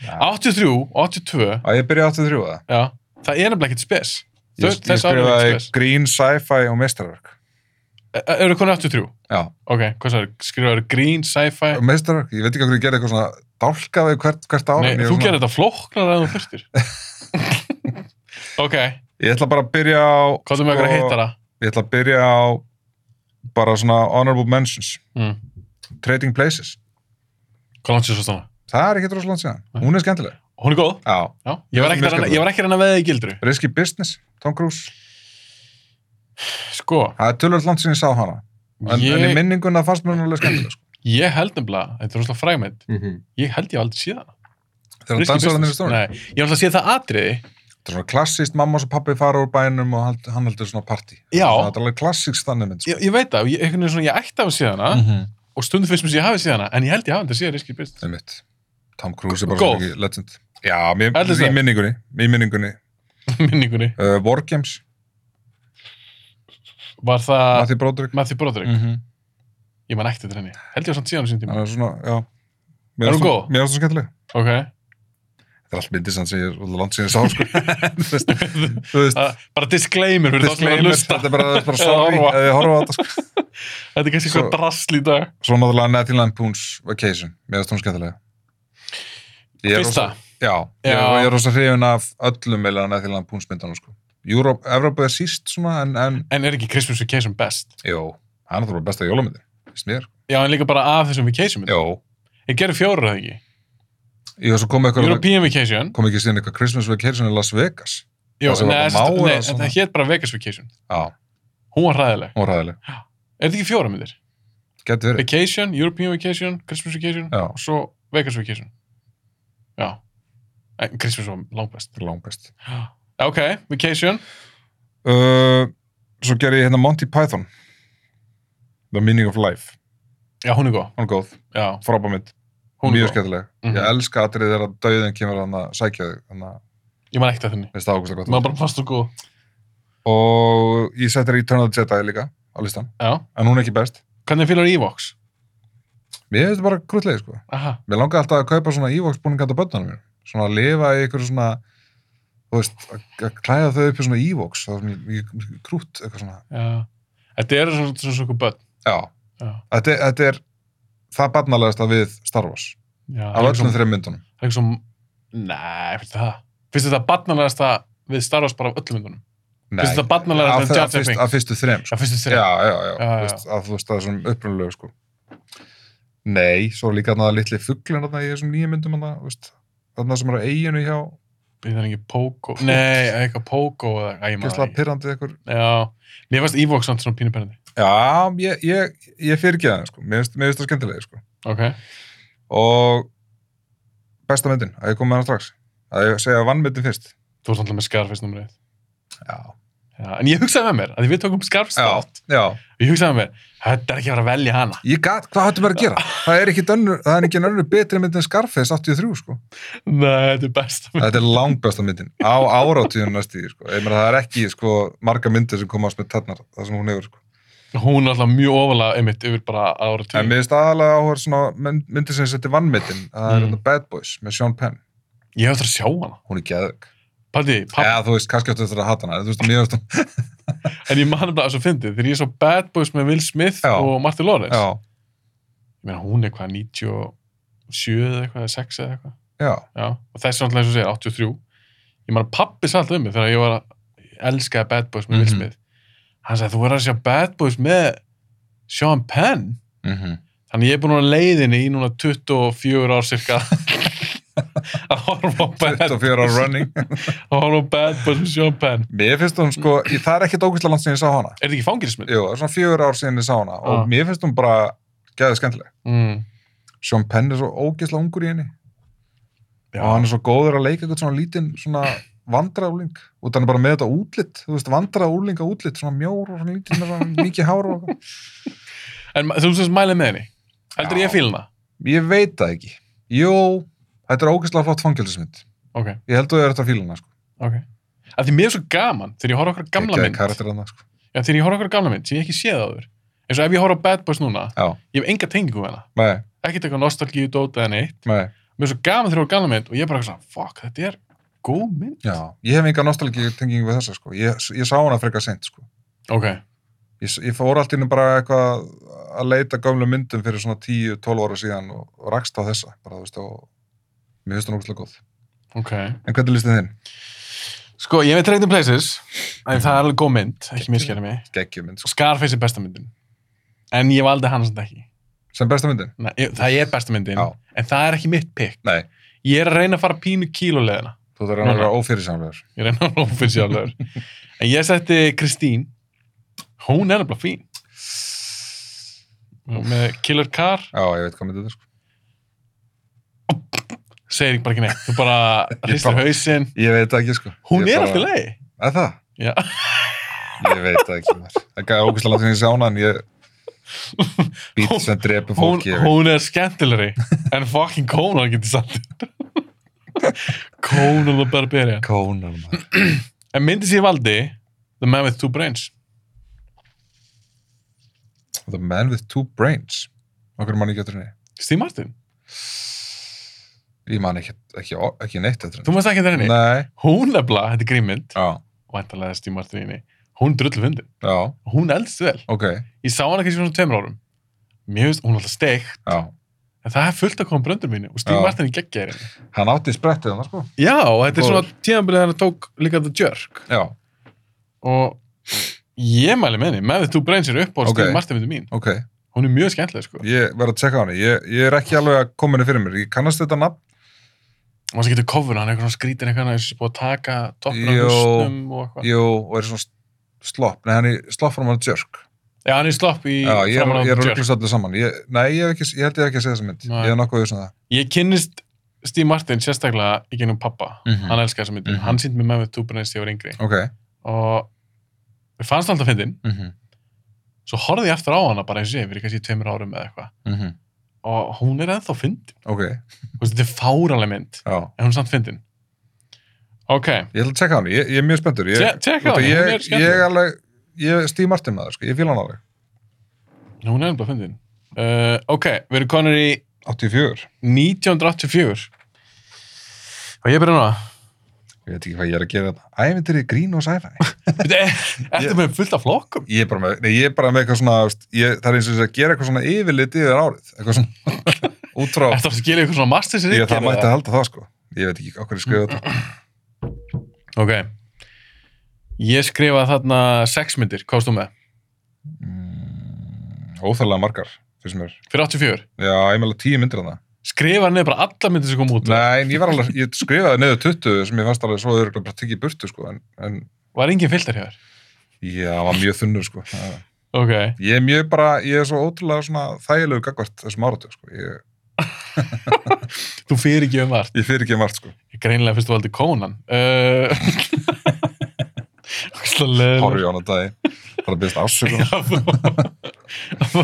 já. 83, 82 Á, ég byrja 83 að það já, það er nefnilega ekkert spes Ég, Þau- ég þessi ár eru skrifaði ekkert spes. Green Sci-Fi og Meistarverk E- eru konið 83? Já, ok, hvað sagður, skrifaður grín, sci-fi Meistarverk, ég veit ekki hvernig ég gerði eitthvað svona dálkaði hvert, hvert ár Nei, en ég, þú svona... var svona, gerir þetta flóknar að þú fyrstir ok, ég ætla bara að byrja á hvað er með eitthvað sko, heitara? Ég ætla að byrja á bara svona honorable mentions Mm. Trading Places, hvað langt sér svo stanna? það er ekki droslega langt síðan Nei. Hún er skemmtileg hún er góð, Já, já, ég var ekkert Það er að mjög reyna- ég var ekki að reyna með það í gildru Risky Business, Tom Cruise sko, Það er tölvöld langt sinni ég sá hana En, en í ég, minninguna fannst mér hún alveg skemmtileg sko. ég held nefnilega þetta er rosalega frægmynd, mm -hmm. ég held ég hef aldrei séð hana Þegar Mhm. hann Risky dansaði business. þannig í stóri Nei, ég hef alltaf séð það atriði Þetta er svona klassíst, mamma og pappi fara úr bænum og hald- hann heldur svona partí Já. Svona, Þetta er alveg klassíst þannig mynd sko. ég, ég veit það, ég, einhvern veginn svona, ég ætti að hafa séð hana -hmm. og stundum finnst mér sem ég hafi séð hana en ég held ég hafi þetta séð Risky Business Einmitt. Tom Cruise er bara Golf. svona ekki legend. Já, mér, Ætli í það. minningunni. Í minningunni. minningunni, Uh, War Games, var það Matthew Broderick. Matthew Broderick, -hmm. ég man ekkert henni held ég var samt síðan á sín tíma Hann er svona, já. Mér Er finnst hún hún- góð? Mér finnst það skemmtileg. ok, Þetta er allt myndið sem ég er land síðan sá, sko. þú veist, þú veist, Það- bara disclaimer fyrir þá sem er að disclaimer, lusta þetta er bara, þetta er Eða bara sorry horfa. ef ég horfa á þetta, sko. þetta er kannski eitthvað Svo- drasl í dag Svo náttúrulega Nathan Lampoon's Vacation. Mér finnst hún skemmtileg. Ég er fyrsta, rosa- Já, ég Já. er- ég er rosa hrifin af öllum meila Nathan Lampoon's myndunum, sko. Europe, Evropa er síst, svona, en, en, en er ekki Christmas Vacation best jú, hann er það bara besta jólamyndin, finnst mér. já, en líka bara af þessum vacation myndum. Jó, ég gerir fjórar er það ekki, Jú, svo kom eitthvað, European Vacation kom ekki síðan eitthvað Christmas Vacation í Las Vegas. Jó, Það sem var nei, sem bara sagt- mágur nei, og en svona. það hétt bara Vegas Vacation Já, hún var hræðileg, hún var ræðileg. er þetta ekki fjórar myndir? Gæti verið. Vacation, European Vacation, Christmas Vacation Já. og svo Vegas Vacation Já en Christmas var langbest Þetta er langbest. Já, Ok, Vacation Uh, svo gerði ég hérna Monty Python. The Meaning of Life. Já, hún er góð Hún er góð. Já, Frábæð mynd. hún er Mjög góð skemmtileg. Mhm. Ég elska atrið þegar döðin kemur hann að sækja þig. Þannig að Ég man ekkert að þenni veist það ákvæmst að gott. Maður bara fast og góð Og ég setja Return of the Jedi líka á listan. Já, En hún er ekki best. hvernig fylgur Evox? Mér finnst þetta bara grútlegið, sko. Aha, Mér langar alltaf að kaupa svona Evox búning handa börnunum mér. Svona að lifa í ykkur svona, þú veist, að- að klæða þau upp í svona Evox. Það er svona mikið- mikið krútt, eitthvað svona. já Þetta eru svona svona svona börn Já, Já, þetta, er- þetta er það barnalegasta við Star Wars. já Af það er öllum svona- þreim myndunum. Það er ekki svona Nei, finnst þetta það Finnst þetta barnalegasta við Star Wars bara af öllum myndunum? Finnst þetta barnalegasta Af- en Jar af Jar fyrst- Binks? Af fyrstu þreim. Já, finnst þetta Já, þrjá já, já. Já, já. já. Veist, að þú veist það er svona upprunalegu sko. Nei, svo er líka þarna litli fugglin þarna í þessum nýju myndum þarna, veist. Þarna sem er á eiginu hjá, Býðan ekki Pogo Nei, eitthvað Pogo eða Æ, ég maður gæsla pyrrandi eitthvað. Já, mér fannst Evox samt svona pínu pennandi. Já, ég, ég, ég fyrir ekki það, sko. Mér finnst- mér finnst það skemmtilegi, sko. Ok. Og besta myndin, að ég kom með hana strax. Að ég segja vannmyndin fyrst. Þú ert alltaf með Scarface nummer 1. Já. Já, en ég hugsaði með mér, að því við tókum Scarface Já, þátt. já. Ég hugsaði með mér, þetta er ekki að vera að velja hana. Ég gat, hvað hættu maður að gera? Það er ekki önnur, það er ekki önnur betri mynd en Scarface 83, sko. Nei, þetta er besta mynd. Þetta er langbesta myndin á áratíðun næstu, í, sko. Ég meina, það er ekki, sko, marga myndir sem komast með tennar, það sem hún hefur, sko. Hún er alltaf mjög ofalega einmitt yfir bara ára tíu. En mér finnst aðalega áhver svona mynd, myndir sem setti vannmyndin, það er Mm. mm. Bad Boys með Sean Penn. Ég hef það að sjá hana. Hún er geðug. Patti, papp, Eða, þú veist, kannski áttu þetta að hata hana, en þú veist, mér finnst hún, en ég manna bara að svo fyndið, þegar ég sá Bad Boys með Will Smith Já. og Martin Lawrence. já, Ég meina, hún er hvað, 97 eða eitthvað, eða 6 eða eitthvað. já, Já, og þessi er alltaf eins og segir, 83. Ég man að pappi sagði alltaf um mig þegar ég var að elskaði Bad Boys með Will Mhm. Smith. Hann sagði, þú verður að sjá Bad Boys með Sean Penn. Mhm. Þannig ég er búin að vera á leiðinni í núna 24 ár cirka að horfa á Bad, 24 ára running að horfa á Bad Boys with Sean Penn. mér finnst hún sko, ég, það er ekkert ógæslega langt sem ég sá hana Er þetta ekki fangilsmynd? Jú, það er svona fjögur ár síðan ég sá hana Ah. og mér finnst hún bara gæðið skemmtileg. Mm. Sean Penn er svo ógeðslega ungur í henni Já. og hann er svo góður að leika eitthvað svona lítinn svona vandræðúling og hann er bara með þetta útlitt, þú veist, vandræðúlinga útlitt, svona mjór og svona lítinn með svona mikið hár og eitthvað. En ma- þú sést mælið með henni? Heldur Já. ég fílna? Ég veit það ekki. Jú, þetta er ógeðslega flott fangilsismynd. Ok, Ég held að það er þetta fíluna, sko. ok. Af því mér er svo gaman þegar ég horfa okkur gamla Geggjaði mynd. karakterar þarna, sko. Já, þegar ég horfa okkur gamla mynd sem ég hef ekki séð áður. Eins og ef ég horfa á Bad Boys núna, Já, ég hef enga tengingu við hana. nei, Ekkert eitthvað nostalgíu dóta eða neitt. nei. Mér er svo gaman þegar ég horfa á gamla mynd og ég er bara svona, fuck, þetta er góð mynd. Já, ég hef enga nostalgíu tengingu við þessa, sko. Ég, ég sá hana frekar seint, sko. Ok, Ég, ég fór allt innum bara eitthvað að leita gömlu myndum fyrir svona 10-12 ára síðan og, og rakst á þessa, bara þú veist, og mér finnst hún ógustlega góð. ok. En hvernig listið þinn? Sko, ég hef með Trading Places, en það er alveg góð mynd, ekki miskjæra mig. Geggjum mynd, sko. Scarface er besta myndin en ég valdi hann samt ekki Sem besta myndin? Nei, ég- það er besta myndin Já. en það er ekki mitt pick Nei. ég er að reyna að fara pínu kílulegðina Þú þarf að Núna. vera ófyrirsamlegur. ég reyna að lófin sjálfur en ég setti Kristín hún er nefnilega fín Og með Killer Car Já, ég veit hvað myndið þetta, sko. segir ég bara ekki neitt þú bara Ég hristir bara- hausinn Ég veit það ekki, sko. hún Ég er bara- alltaf leið Er það? Já. Ég veit það ekki, maður. Það er ógustlega langt sem ég sá hana, en ég... Bít sem drepur hún, fólki, ég veit. hún er skemmtilegri en fucking Conan getur sagt Conan the Barbarian Kónan, maður. En myndið sem ég valdi, The Man with Two Brains. The Man with Two Brains. Okkur mann ekki eftir henni. Steve Martin. Ég man ekki, ekki, ekki neitt eftir henni. Þú maður ekki þetta henni. Nei. Hún nefnilega, þetta er grímmynd, Já, væntalega Steve Martin í henni, hún drullu fyndin. já, Hún eldst vel. ok. Ég sá hana kannski svona tveimur árum. Mér finnst, hún er alltaf steikt, Já. en það er fullt að koma bröndur mínu og Steve Já. Martin í geggja henni. Hann átti sprettið hann, sko. Já, og þetta er Góður. svona tíðanbilið hann tók líka The Jerk. Já, Og ég mæli með henni, Man with Two Brains er upp á Ok. Steve Martin myndi mín. ok. Hún er mjög skemmtileg, sko. Ég verð að tjekka á henni. Ég, ég er ekki alveg að koma henni fyrir mér. Ég kannast þetta nafn. Og hann getur kofur, hann er eitthvað skrítin eitthvað, hann er búið að taka toppur af Jó. húsnum og eitthvað. Jú, og er svona slopp. Nei, hann er slopp frá maður Jörg. Já, hann er slopp í Já, ég er, framan á ég er The að Jerk. rugglast öllu saman. Ég, nei, ég, hef ekki, ég held ég hef ekki að segja þessa mynd. Nei. Ég hef nokkuð við svona það. Ég kynnist Steve Martin sérstaklega í gennum pappa. Mhm. Hann elskar þessa myndin. Mhm. Hann síndi mér með með túbunins þegar ég var yngri. Ok. Og við fannst alltaf fyndin. Mm -hmm. Svo horfði ég aftur á hana bara eins og ég, fyrir kannski tveimur árum eða eitthvað. mhm. Og hún er ennþá fyndin. Ok, Þú veist, Þetta er fáraleg mynd. já. En hún er samt fyndin. Ok. Ég ætla að tjekka á henni. Ég, ég er mjög spenntur. Ég, Te- Tekka á Þetta, hana. Hún er ég, ég er skemmtileg. alveg, ég er Steve Martin maður, sko, ég fíla hann alveg. Nei, Hún er ennþá fyndin. Uh, ok, við erum konur í 84. 1984. Og ég byrja núna. Ég veit ekki hvað ég er að gera þetta. Ævindir í grín og sci-fi. Þetta er þetta er eh, með fullt af flokkum. Ég er bara með, nei, ég er bara með eitthvað svona, veist, ég, það er eins og þess að gera eitthvað svona yfirlit yfir árið. Eitthvað svona, út frá, Þetta að skilja ykkur svona masters ég, það mætti að halda það, sko. Ég veit ekki okkur ég Mm. skrifa þetta. Ok. Ég skrifaði þarna sex myndir, hvað varst þú með? Mm, óþærlega margar, finnst mér. Fyrir 84. Já, ég meðlega tíu myndir hann það. Skrifaði niður bara alla myndir sem kom út. Nei, en ég var alveg, ég skrifaði neðu 20 sem ég fannst alveg svo öðrugt bara tekið í burtu, sko, en, en Var engin filter hjá þér. Já, hann var mjög þunnur sko. Það- Ok. Ég er mjög bara, ég er svo ótrúlega svona þægilegu gagvart þessum áratu sko. Ég, Þú fyrir ekki um vart. ég fyrir ekki margt sko. Ég greinlega fyrst þú valdi Conan. Uh... Horfi Horfjá. á hann að dagi. Það er að byrja ásökun. Ef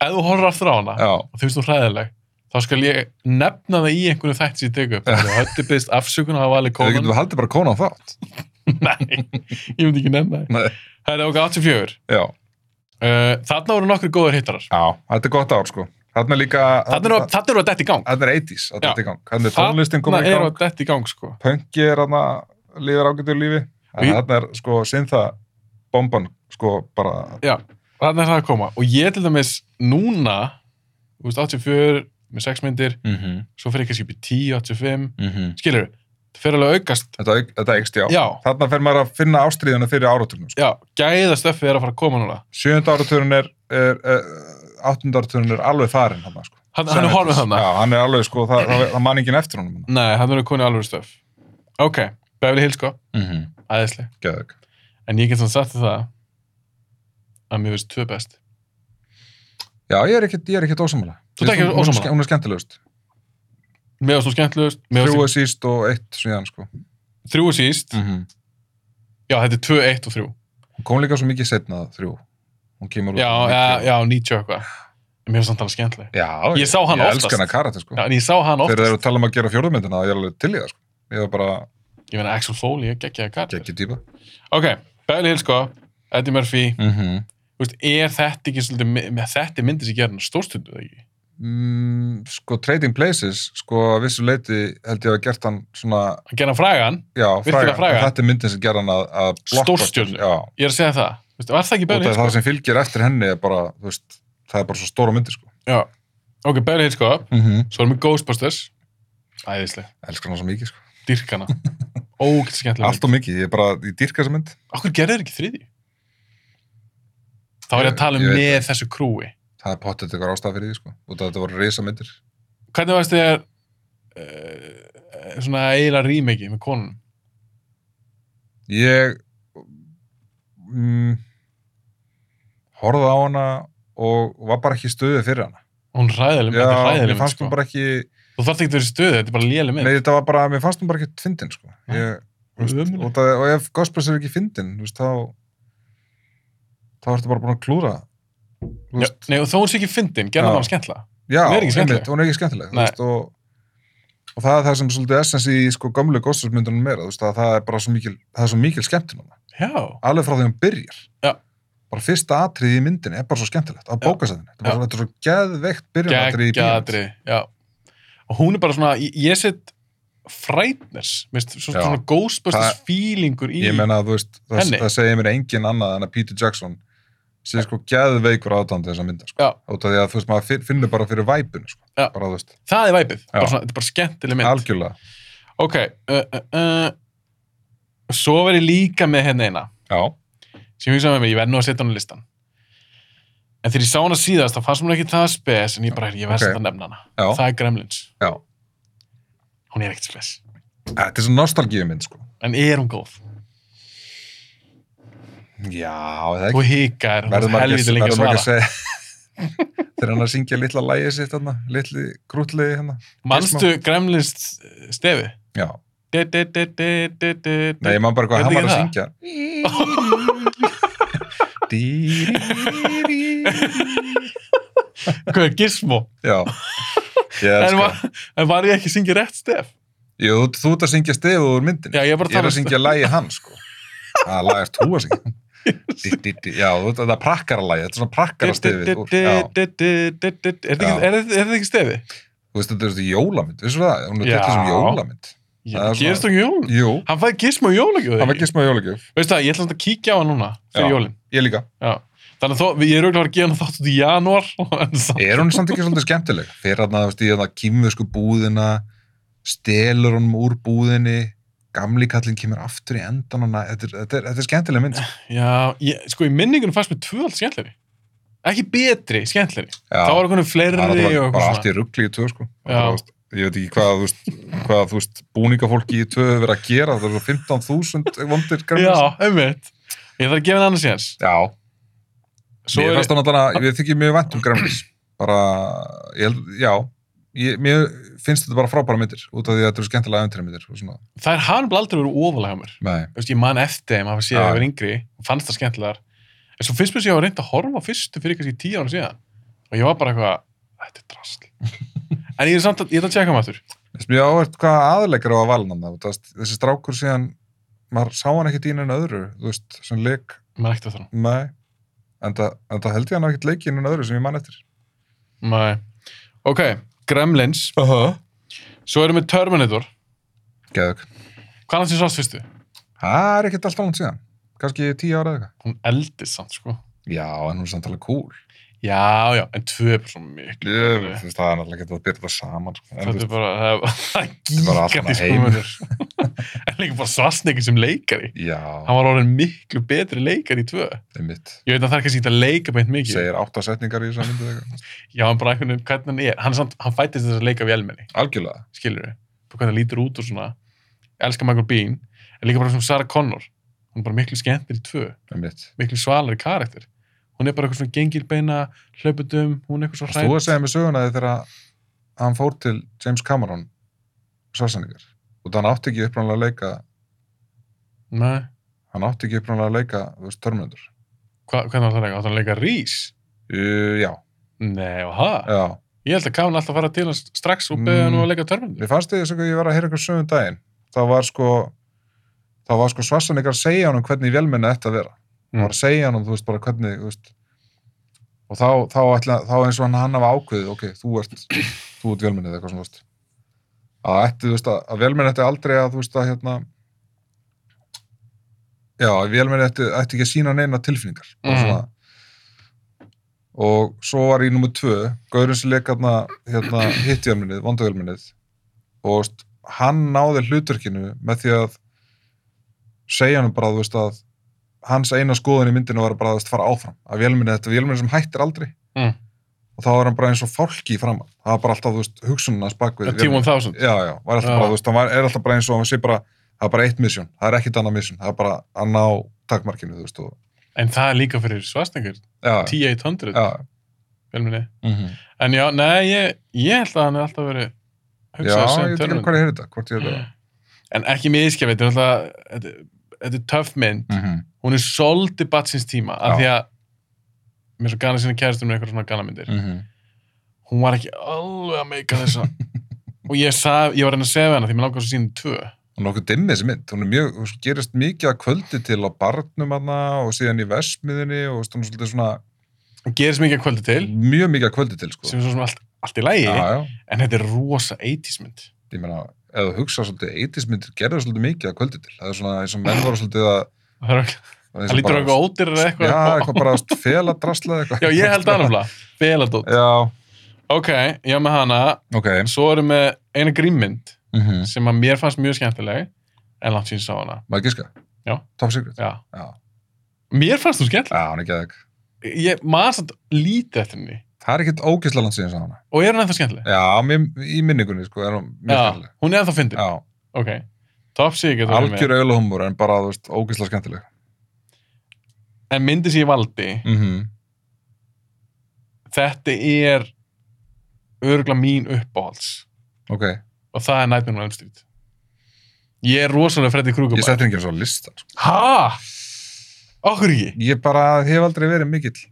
þú horfir aftur á hana Já, og þú veist þú hræðileg, þá skal ég nefna það í einhvern þætti sem ég teku upp. Þannig að höttu byrst afsökun að hafa valið það getur Conan. við haldið bara kónan þátt. Nei, ég myndi ekki nefna það. Nei. Það er okkar 84. Já, Uh, þarna voru nokkur góðir hittarar. já, þetta er gott ár sko. Þarna er líka, Þarna eru- þarna eru að detta í gang. þarna er 80s að þetta í gang. Þarna er tónlistin Þarna komin í eru gang. að detta í gang, sko. Pöngi er þarna, lifir ágættu lífi. En Í- Þarna er sko, sinn það bomban sko bara, Já, þarna er það að koma. Og ég til dæmis núna, þú veist, 84 með 6 myndir, mm -hmm, svo fyrir kannski upp í 10, 85, mm -hmm. skilur við, það fyrir alveg að aukast. þetta, auk- þetta eikst já. mhm. Já, Þarna fer maður að finna ástríðuna fyrir áraturnum sko. já, gæða stöfið er að fara að koma núna. sjöunda áratugurinn er, er, er áttundartunum er alveg farin hann, sko. Hann, hann er horfið þarna. Já, hann er alveg, sko, það, það, það man enginn eftir honum Nei, hann er komin í alveg stöf. Ok, Beverly Hills, sko. mm -hmm. Æðisleg. Geðug En ég get þannig sagt þér það að mér finnst tvö best. Já, ég er ekkert, ég er ekkert ósamlega Þú ert ekki ósammála? Hún er skemmtilegust Mér finnst þú skemmtilegust. mér Þrjú fannst- er síst og eitt síðan, sko Þrjú er síst. mm -hmm. Já, þetta er tvö, eitt og þrjú. Hún kom líka svo mikið setna þrjú Hún kemur út um Já, á já, já, 90. 90 og eitthvað. En mér finnst þannig skemmtileg. Já, Ég sá hann Ég oftast. elska hana karate, sko Já, en ég sá hann Þegar oftast. þeir eru að tala um að gera fjórðumyndina þá er ég alveg til í það, sko Ég var bara Ég meina, Axel Foley, geggjaði kall. geggjur típa Ok, Beverly Hills, sko. Eddie Murphy. mm -hmm. Þú veist, er þetta ekki svolítið, mi- með þetta er myndir sem gera hann stórstundu, eða ekki? mm, Sko, Trading Places, sko, að vissu leiti held ég að hafa gert hann svona Hann gera frægan, Já, Virkilega fræga. fræga. En Þetta er myndin sem ger hann að, að blockbuster. Stórstjörnu. Já, ég er að segja það. Þú veist, var það ekki og Beverly það, Hills, það sko? sem fylgir eftir henni er bara, þú veist, það er bara svo stóra myndi, sko. Já. Ok, Beverly Hills, sko. Mm -hmm. Svo erum við Ghostbusters. Æðislega. Elskar hann svo mikið, sko. Dyrkana. Ógætt skemmtilega. Allt og mikið, ég er bara, ég dýrka þessa mynd. Akkur gerði þeir ekki þriði? Þá er ég að tala um Ég- ég veit með þessu krúi. Það er pottet ykkur ástæða fyrir því, sko. Og þetta voru reysa myndir. Hvernig varst þér uh, svona eiginlega rýmegi með konunum? Ég mm, horfði á hana og var bara ekki í stuði fyrir hana. Hún ræðileg, þetta er Já, mér ræðileg mynd, fannst sko. hún bara ekki, Þú þarft ekki að vera í stöðu, þetta er bara léleg mynd. nei, þetta var bara, mér fannst hún bara ekki fyndin, sko. Ég, þú veist, Ömurleg. og, það, og ef Gospels er ekki fyndin, þú veist, þá, þá ertu bara búin að klúra þú Já, nei, og þó hún sé ekki fyndin, gerða Já. maður skemmtilega. Já, Hún er ekki skemmtileg. einmitt, hún er ekki skemmtileg þú Nei. veist, og, og það er það sem svolítið essens í sko, gamlu góðsvarsmyndunum meira þú veist, að það er bara svo mikil, það er svo mikil skemmtun á það. Já, alveg frá því hún byrjar Já. bara fyrsta atriði í myndinni er bara svo skemmtilegt á Já. bókasæðinu, þetta er bara- þetta er svo geðveikt byrjunatriði í bíómynd. geggjadri, já. Og hún er bara svona, ég, ég set frætners, veist, svona, Já. svona ghostbusters Það- feelingur í. ég menna að þú veist, það, Henni. það segir mér engin annað en að Peter Jackson sé sko geðveikur aðdæmdi þessa mynda sko. Já. út af því að þú veist, maður fin- finnur bara fyrir væpun sko. Já. bara þú veist, Það er væpið, bara Já. svona, þetta er bara skemmtileg mynd. algjörlega Ok, uh, uh, uh, svo verið líka með hérna eina, já, sem ég hugsaði með mér, ég verð nú að setja hann á listan. En þegar ég sá hana síðast, þá fannst mér ekki það spes, en ég bara, ég verð Ok. okay. að nefna hana. já, Það er Gremlins. já Hún er ekkert spes. þetta er svo nostalgíu mynd sko. En er hún góð? já, er það ekki Þú hikar, hún verður er maður helviti ekki, lengi að verður maður ekki að svara. segja þegar hann er að syngja litla lægi sitt hann, litli krútli hann Manstu Gremlins eh, stefi? já, De, de, de, de, de, de, nei, de. ég man bara hvað Verður hann var að ekki syngja Dýrýrýrý. Hvað er gizmo? já ég En, elska var, en var ég ekki að syngja rétt stef? Jú, þú- þú ert að syngja stefið úr myndinni Já, ég er bara að ég er tala um að syngja lægi hann sko það lægi ert þú að syngja Dí, dí, dí. já, þú veit að það er prakkara lægi þetta er svona prakkara stefið Er þú Já. þetta ekki stefi? veist þetta er svona jólamynd vissu það, hún er Já. til þessum jólamynd Það er svona- Gerist þú ekki jólun? jú, Hann fæði gizmo í jólagjóðu það var ekki smá jólagjöf Veistu það, ég ætla samt að kíkja á hann núna fyrir Já. jólin ég líka Já. Þannig að þó, ég er auðvitað að fara að gefa hann þátt út í janúar en samt- Er hún samt ekki svolítið skemmtileg? Fyrir hann að þú veist, í hann að kýmversku búðina, stelur honum úr búðinni, gamli kallinn kemur aftur í endan hana, þetta er, þetta er, þetta er skemmtileg mynd. sko. Já, ég, sko í minningunum fannst mér tvöld skemmtleri ekki betri skemmtleri Já, þá var einhvern fleiri það og var bara, bara eitthvað allt svona í ruggli í tvö, sko. Já. Bara, þú veist, ég veit ekki hvað, þú veist, hvað, þú veist, búningafólki í tvö hefur verið að gera, það eru 15.000 vondir Já, gremlins. einmitt Ég þarf að gefa hann annars séns Já, Svo mér er, fannst hann alltaf, ég þykir mjög vænt um gremlins. Bara, ég held, já, ég, mér finnst þetta bara frábæra myndir, út af því að þetta eru skemmtilega öfntri myndir og svona. það er hann bara aldrei verið ofalega mér Nei, Þú veist, ég man eftir þeim að hafa séð Já. að vera yngri og fannst það skemmtilegar en svo fyrst mér sem ég var reynd að horfa á fyrstu fyrir kannski tíu ára síðan og ég var bara eitthvað, þetta er drasl en ég er samt að, ég er að tjekka maður Þess mjög áhvert hvað aðleikar á að valna hann það, þessi strákur síðan, maður sá hann ekkert í einu öðru, þú veist, sem leik, maður ekkert að það nei, en það, en það held ég hann hafi ekkert leik í einu öðru sem ég man eftir. Nei. Ok, Gremlins Aha. Svo erum við Terminator Geðug. Hvað er það sem sást fyrstu? Það er ekkert alltaf langt síðan, kannski tíu ára eða eitthvað. Hún eldist samt, sko Já, en hún er samtalið cool. já, já, en tvö er bara svo miklu Ég, þú veist, það er náttúrulega getið að byrja það saman sko. en, þetta þú er veist, bara, það er- það er er bara allt gíkandi annað sko heimur. munur. en líka bara svarsnegi sem leikari já, hann var orðin miklu betri leikari í tvö einmitt ég veit að það er kannski ekki að leika beint mikið segir átta setningar í þess að myndu þegar já, en bara einhvern veginn hvernig hann er hann, er samt, hann fættist þess að leika við elmenni algjörlega, skilur við, hvernig hann lítur út og svona Ég elska Michael Bean, en líka bara sem Sarah Connor hún er bara miklu skemmtir í tvö einmitt miklu svalari karakter hún er bara eitthvað svona gengil beina hlauputum, hún er eitthvað svo Varst hrædd. Þú að segja mér söguna þegar að hann fór til James Cameron svarsendingar og hann átti ekki uppræðanlega að leika Nei, hann átti ekki uppræðanlega að leika þú veist, Terminator hva, hvernig var það leika? Átti hann að leika Rís? uh, Já, Nei, og það? já, Ég held að Káin alltaf fara til hans strax og beða hann Mm. um að leika törmundur. mér fannst því að ég var að heyra eitthvað sögum daginn það var sko það var sko svarsendingar að segja hann um hvernig velminna ætti að vera Mm. hann var að segja hann um þú veist bara hvernig þú veist, og þá, þá, ætla, þá eins og hann hann hafa ákveðið ok, þú ert, þú ert velminnið eitthvað svona þú veist. að, ætti, þú veist, að, að velminn ætti aldrei að þú veist að hérna já, að velminn ætti, ætti ekki að sína neina tilfinningar og, Mhm. svona, og svo var í nummer tvö gaurinn sem leik hérna, hérna hitt velminnið, vonda velminnið og þú veist, hann náði hlutverkinu með því að segja hann bara þú veist að hans eina skoðun í myndinu var bara að fara áfram að vélminni, þetta er vélminni sem hættir aldrei Mm. og þá er hann bara eins og fólki í framann það var bara alltaf, þú veist, hugsunum hans bak við vélmennið. T-1000. já, já, var alltaf Já. bara, þú veist, hann var, er alltaf bara eins og hann sé bara, það er bara eitt misjón, það er ekkit annað misjón, það er bara að ná takmarkinu, þú veist, og En það er líka fyrir svarstengur. já, T-800, já, vel minni. mm -hmm. En já, nei, ég, ég held að hann er alltaf verið já, hugsað ég sem veit ekki um hvað törmundur. ég heyrði þetta, hvort ég heyrði Mm. það En ekki með ískjafið, þetta er alltaf, þetta er- þetta er töff mynd. mm -hmm. Hún er svolítið batsins tíma, af Já. því að mér er svo gana sinna kæristum með eitthvað svona gana myndir. Mm -hmm. hún var ekki alveg að meika þessa og ég, sag, ég var að reyna að segja við hana því mér langar svo síðan tvö og nokkuð dimmi þessi mynd, hún er mjög, hún gerist mikið að kvöldi til á barnum hana og síðan í versmiðinni og þú veist, hún er svolítið svona hún gerist mikið að kvöldi til mjög mikið að kvöldi til, sko sem er svo sem allt, allt í lægi já, já, en þetta er rosa 80s mynd ég meina, ef þú hugsa svolítið, 80s myndir gerðu svolítið mikið að kvöldi til, það er svona eins og menn voru svolítið að það er- það lítur á eitthvað ódýrar eða Já, eitthvað eitthvað bara að fela drasla eða eitthvað já, ég held það náttúrulega feladótt Já, ok, já með hana ok en svo erum við eina grímmynd mm -hmm. sem að mér fannst mjög skemmtileg en langt síðan sá hana Maður gíska? Já. Top Secret? já. Já, mér fannst þú skemmtileg já hann er geðið ég maður samt lítið eftir henni Það er ekkert ógisla land síðan sá hana og er hann ennþá skemmtileg Já, mér, í minningunni, sko, er hún mjög já, skemmtileg hún er ennþá fyndin Já, ok, top secret þú erum með. algjör auðlahumur en bara, þú veist, ógisla skemmtileg en myndi sem ég valdi mm -hmm. Mhm. þetta er örgulega mín uppáhalds Ok, og það er Nightmare on Elm Street ég er rosalega Freddy Krueger ég setti ekki eins og lista sko. hæ? okkur ekki? Ég bara hef aldrei verið mikill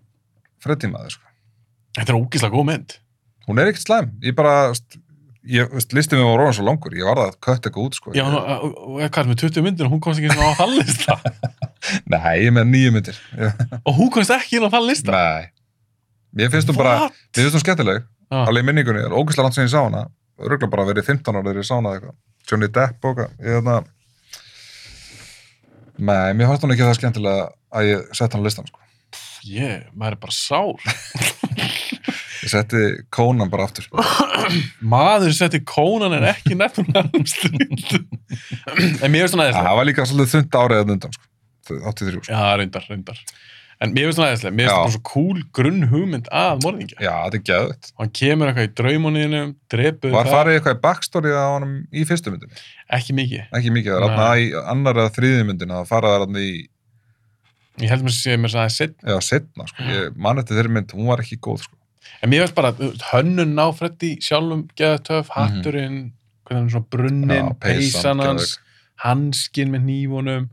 freddi maður, sko þetta er ógeðslega góð mynd Hún er ekkert slæm, ég bara, st, ég, st, listið mér var orðan svo langur, ég var það að kött eitthvað út, sko já, hún, ég, og, og, og hvað er með 20 myndir og hún komst ekki inn á þann lista Nei, ég er með nýju myndir Já. og hún komst ekki inn á þann lista Nei, mér finnst hún bara What? Ah. Mér finnst hún skemmtileg, Já. alveg í minningunni, er ógeðslega langt sem ég sá hana, örgulega bara verið 15 ára þegar ég sá hana eða eitthvað, Johnny Depp og eitthvað, ég þarna, nei, mér fannst hún ekki það skemmtilega að ég sett hann á listan, sko. yeah, Ah, maður er bara sár Ég setti kónan bara aftur, sko. maður setti kónan en ekki Nightmare on Elm Street en mér finnst hún aðeinslega Það var líka svolítið þund árið að undan, sko, 83, sko. já, reyndar, reyndar en mér finnst hún aðeinslega, mér Já. finnst hún svo cool grunn hugmynd að morðingja Já, þetta er geðvægt. og hann kemur eitthvað í draumuniðinum, drepur Var farið eitthvað í backstory á honum í fyrstu myndinni? ekki mikið. Ekki mikið, það er Nei. þarna í annar eða þriði myndinni, það farað er þarna í, Ég held mér að sé mér að það er sitt. eða setna, sko. Ég man eftir þeirri mynd, hún var ekki góð, sko. En mér veist bara, þú veist, hönnun á Freddy sjálfum geða töf, hatturinn, hvernig hann er svona brunnin, Mhm. Já, peysan, peysan hans, hanskin með nývunum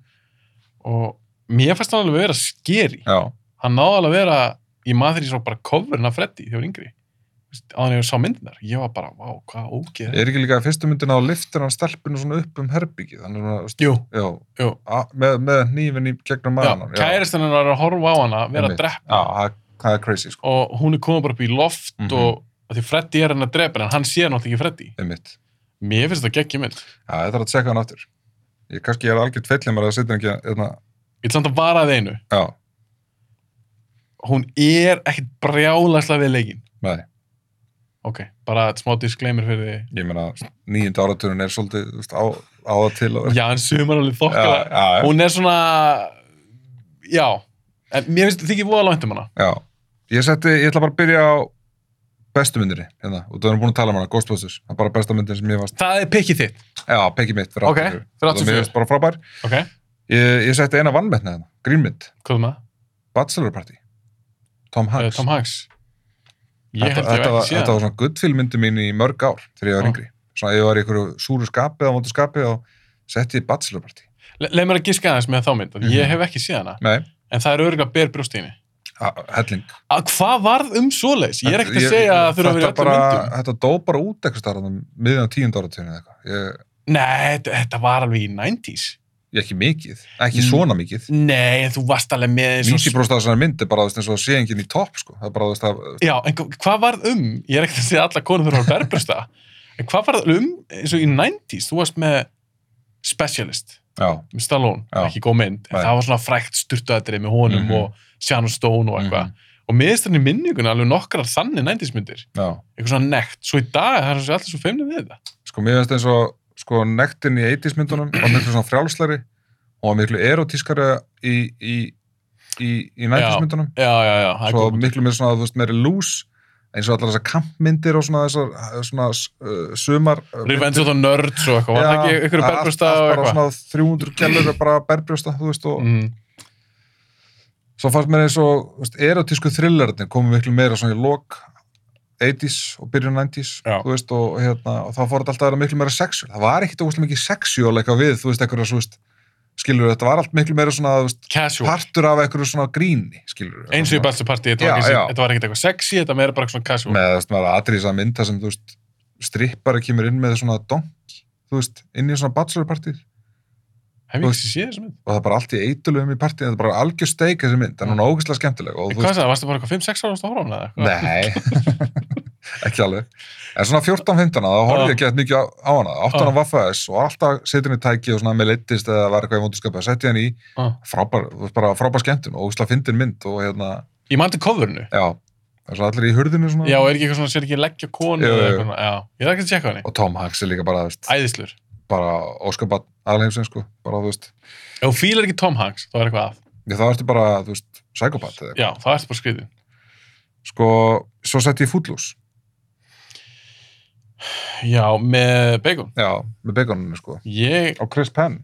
og mér fannst hann alveg vera skeri. Já, Hann náði alveg að vera, ég maður því svo bara coverin af Freddy þegar ég var yngri. Þú veist, Áður en ég sá myndinar, ég var bara, vá, hvað ógeð. er þetta?" er ekki líka í fyrstu myndina á liftir hann stelpinu svona upp um herbyggið, hann er svona, þú veist, Jú, Já, jú. a- með, með hnífin í gegnum Já, maðan kæristinn hennar er að horfa á hana, vera að Einmitt. drepa. Já, það- það er crazy sko og hún er komin bara upp í loft Mhm. og af því Freddy er henni að drepa henni, en hann sé náttúrulega ekki Freddy einmitt. mér finnst þetta geggjum mynd Já, ég þarf að tjekka hann aftur Ég kannski er algjört feillin mér að setja hann ekki hérna, ég ætla samt að vara að einu Já, hún er ekkit brjálæslega við leikinn Nei, ok, bara smá disclaimer fyrir því ég meina, nýjunda áraturinn er svolítið þú veist, á, á að til að já, en sumar alveg þokkala já, já, hún er svona já, en mér finnst þykir voða langt um hana já. Ég setti, ég ætla bara að byrja á bestu myndinni, hérna, og þú erum búin að tala um hana, Ghostbusters, það er bara besta myndin sem ég varst, það er pikkið þitt já, pekki mitt fyrir Ok, 84. fyrir Það mér 84. finnst bara frábær. ok, Ég, ég setti eina vannmyndna hérna, grínmynd, hvað er maður? Bachelor Party, Tom Eh, Hanks. Tom Hanks ég Þetta, held ég þetta, hef var, ekki þetta síðan var svona guttfilmyndi mín í mörg ár þegar ég var Já. yngri. Svona ef ég var í einhverju súru skapi eða mótu skapi og setti ég Bachelor Party. Le- leið mér að giska aðeins með þá mynd Mhm. ég hef ekki síðan hana, Nei, en það er örgulega ber brjóstíni a- helling. að hvað varð um svoleiðis? ég er ekkert að segja að þurfa að vera í þetta öllum bara- myndum Þetta dó bara út eitthvað starfðan miðan tíund áratíðinu eða eitthvað. Ég, nei, þetta- þetta var alveg í 90s ég ekki mikið, ekki Mm. svona mikið. nei, en þú varst alveg með eins og- 90% af þessari mynd er bara þú veist, eins og að sé enginn í topp, sko. Það er bara þú veist, að, Já, en hva- hvað varð um, ég er ekkert að segja að alla konur þurfa að berbrjósta, en hvað varð um eins og í 90s, þú varst með Specialist, já, með Stallone, Já. ekki góð mynd, en Nei. það var svona frækt styrtuðatrið með honum Mhm. og Shannon Stone og eitthvað. Og miðisturinn í minningunni alveg nokkrar þannig 90s myndir, já. eitthvað svona nekt, svo í dag það er svo allir svo feimnið við þetta. Sko, mér finnst eins og, sko, nektin í 80s myndunum var miklu svona frjálslegri og miklu erotískari í, í, í, í 90s Já. myndunum. Já, já, já, það er svo góð punktur. miklu með svona, þú veist, meiri lús eins og allar þessar kampmyndir og svona þessar svona uh, sumar Revenge of the Nerds og eitthvað, var það ekki ykkur berbrjósta og bara eitthvað? svona 300 gælur bara berbrjósta, þú veist, og Mm, svo fannst mér eins og, þú veist, erotísku thrillerarnir komu miklu meira svona í lok 80s og byrjun 90s Já. þú veist, og hérna, og þá fór þetta alltaf að vera miklu meira sexuál, það var ekkit óslega mikið sexuál eitthvað við, þú veist, eitthvað, þú veist skilur, þetta var allt miklu meira svona, þú veist Casual, partur af eitthvað svona gríni, skilur eins og í Bachelor Party, þetta var Já, ekki- já. þetta var ekkert eitthvað sexy, þetta var meira bara svona casual. með þú veist, maður aðrið þess að mynda sem þú veist, strippari kemur inn með svona donki, þú veist, inn í svona bachelorpartýr Hef ég ekki séð þessu mynd? og það er bara allt í eitulum í partíð, þetta er bara algjör steik þessi mynd, en hún er ógeðslega skemmtileg Mm. En og þú Hvað veist, sagði, það? varstu bara eitthvað 5-6 ára og stóra á hana? eða eitthvað? nei ekki alveg, en svona 14-15 þá horfði ég ekki eitthvað mikið á, á hana, 8 Já. á Vaffaðis og alltaf setur henni í tæki og svona með leittist eða var eitthvað í vondurskapa, setti henni í Já. frábær, þú veist, bara frábær skemmtun og ógeðslega fyndin mynd og hérna, Ég mætti coverinu. já, það er svona allir í hurðinu svona Já, er ekki eitthvað svona, sér ekki leggja konu Jú, eða jú. eitthvað svona. Já, ég þarf ekki að tjekka henni. og Tom Hanks er líka bara, þú veist, Æðislur. bara óskapat aðalheimsins sko, bara þú veist Ef þú fílar ekki Tom Hanks, þá er eitthvað að. ég, þá ertu bara, þú veist, psykopat eða eitthvað. Já, þá ertu bara skriðin. sko, svo sett ég Footloose Já, með Bacon. já, með baconinu sko Ég, og Chris Penn,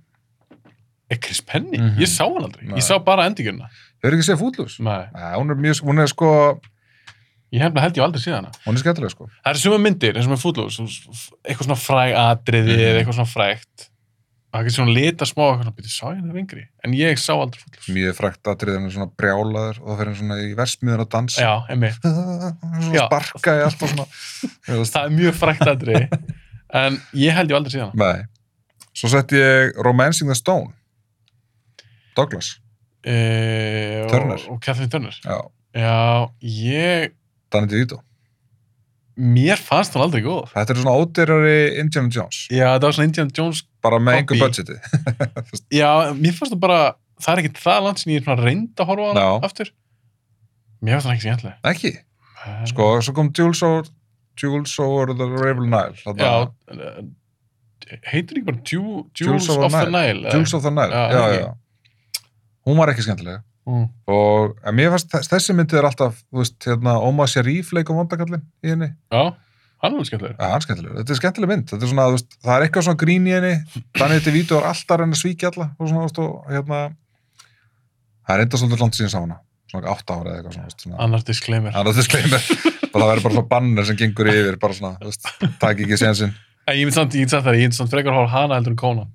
er Chris Penny? Mhm. Ég sá hann aldrei. Nei. Ég sá bara endingjörna. hefur ekki séð Footloose? Nei, Nei, hún er mjög, hún er sko ég hef held ég aldrei síðan hana. hún er skemmtileg sko, Það eru suma myndir, eins og með Footloose, svona s- eitthvað svona fræg atriði Mhm. eða eitthvað svona frægt. Það er ekki svona lita smá, eitthvað svona, býttu, sá ég hana yngri? En ég sá aldrei Footloose. mjög frækt atrið hann er svona brjálaður og það fer hann svona í versmiðun að dansa Já, emmi. Já. svona sparka í allt og svona Þú veist. það er mjög frækt aðri en ég held ég aldrei síðan nei, svo sett ég Romancing the Stone Douglas, e Turner. og, og Catherine Turner já, já, ég Danny DeVito mér fannst hún aldrei góð þetta er svona ódýrari Indiana Jones já, það var svona Indiana Jones bara með engu Copy. budgeti já, mér fannst hún bara, það er ekki það land sem ég er svona reynd að horfa á hana Já. aftur mér fannst hún ekki skemmtileg ekki, sko, svo kom Jules over, Jules over the River Nile þarna. já, eh, heitir ekki bara Ju- Jules Jules of the Nile eða- Jules of the Nile, Já, já, ekki. já, hún var ekki skemmtilega Mm. og en mér fannst þess- þessi myndið er alltaf, þú veist, hérna Oma Sharif leikum vandakallin í henni, já, hann var skemmtileg ja, hann er skemmtilegur þetta er skemmtileg mynd, þetta er svona, þú veist, það er eitthvað svona grín í henni, þannig þetta vítu er alltaf að reyna að svíkja alla og svona, þú veist, og hérna það er enda svolítið langt síðan sá hana svona átt ára eða eitthvað svona, þú veist, svona annars disclaimer annars þess gleymir, og það verður bara svona banner sem gengur yfir, bara svona, þú veist, takk ekki sénsinn, en ég myndi samt, ég myndi samt það, ég myndi samt frekar horfa á hana heldur en Conan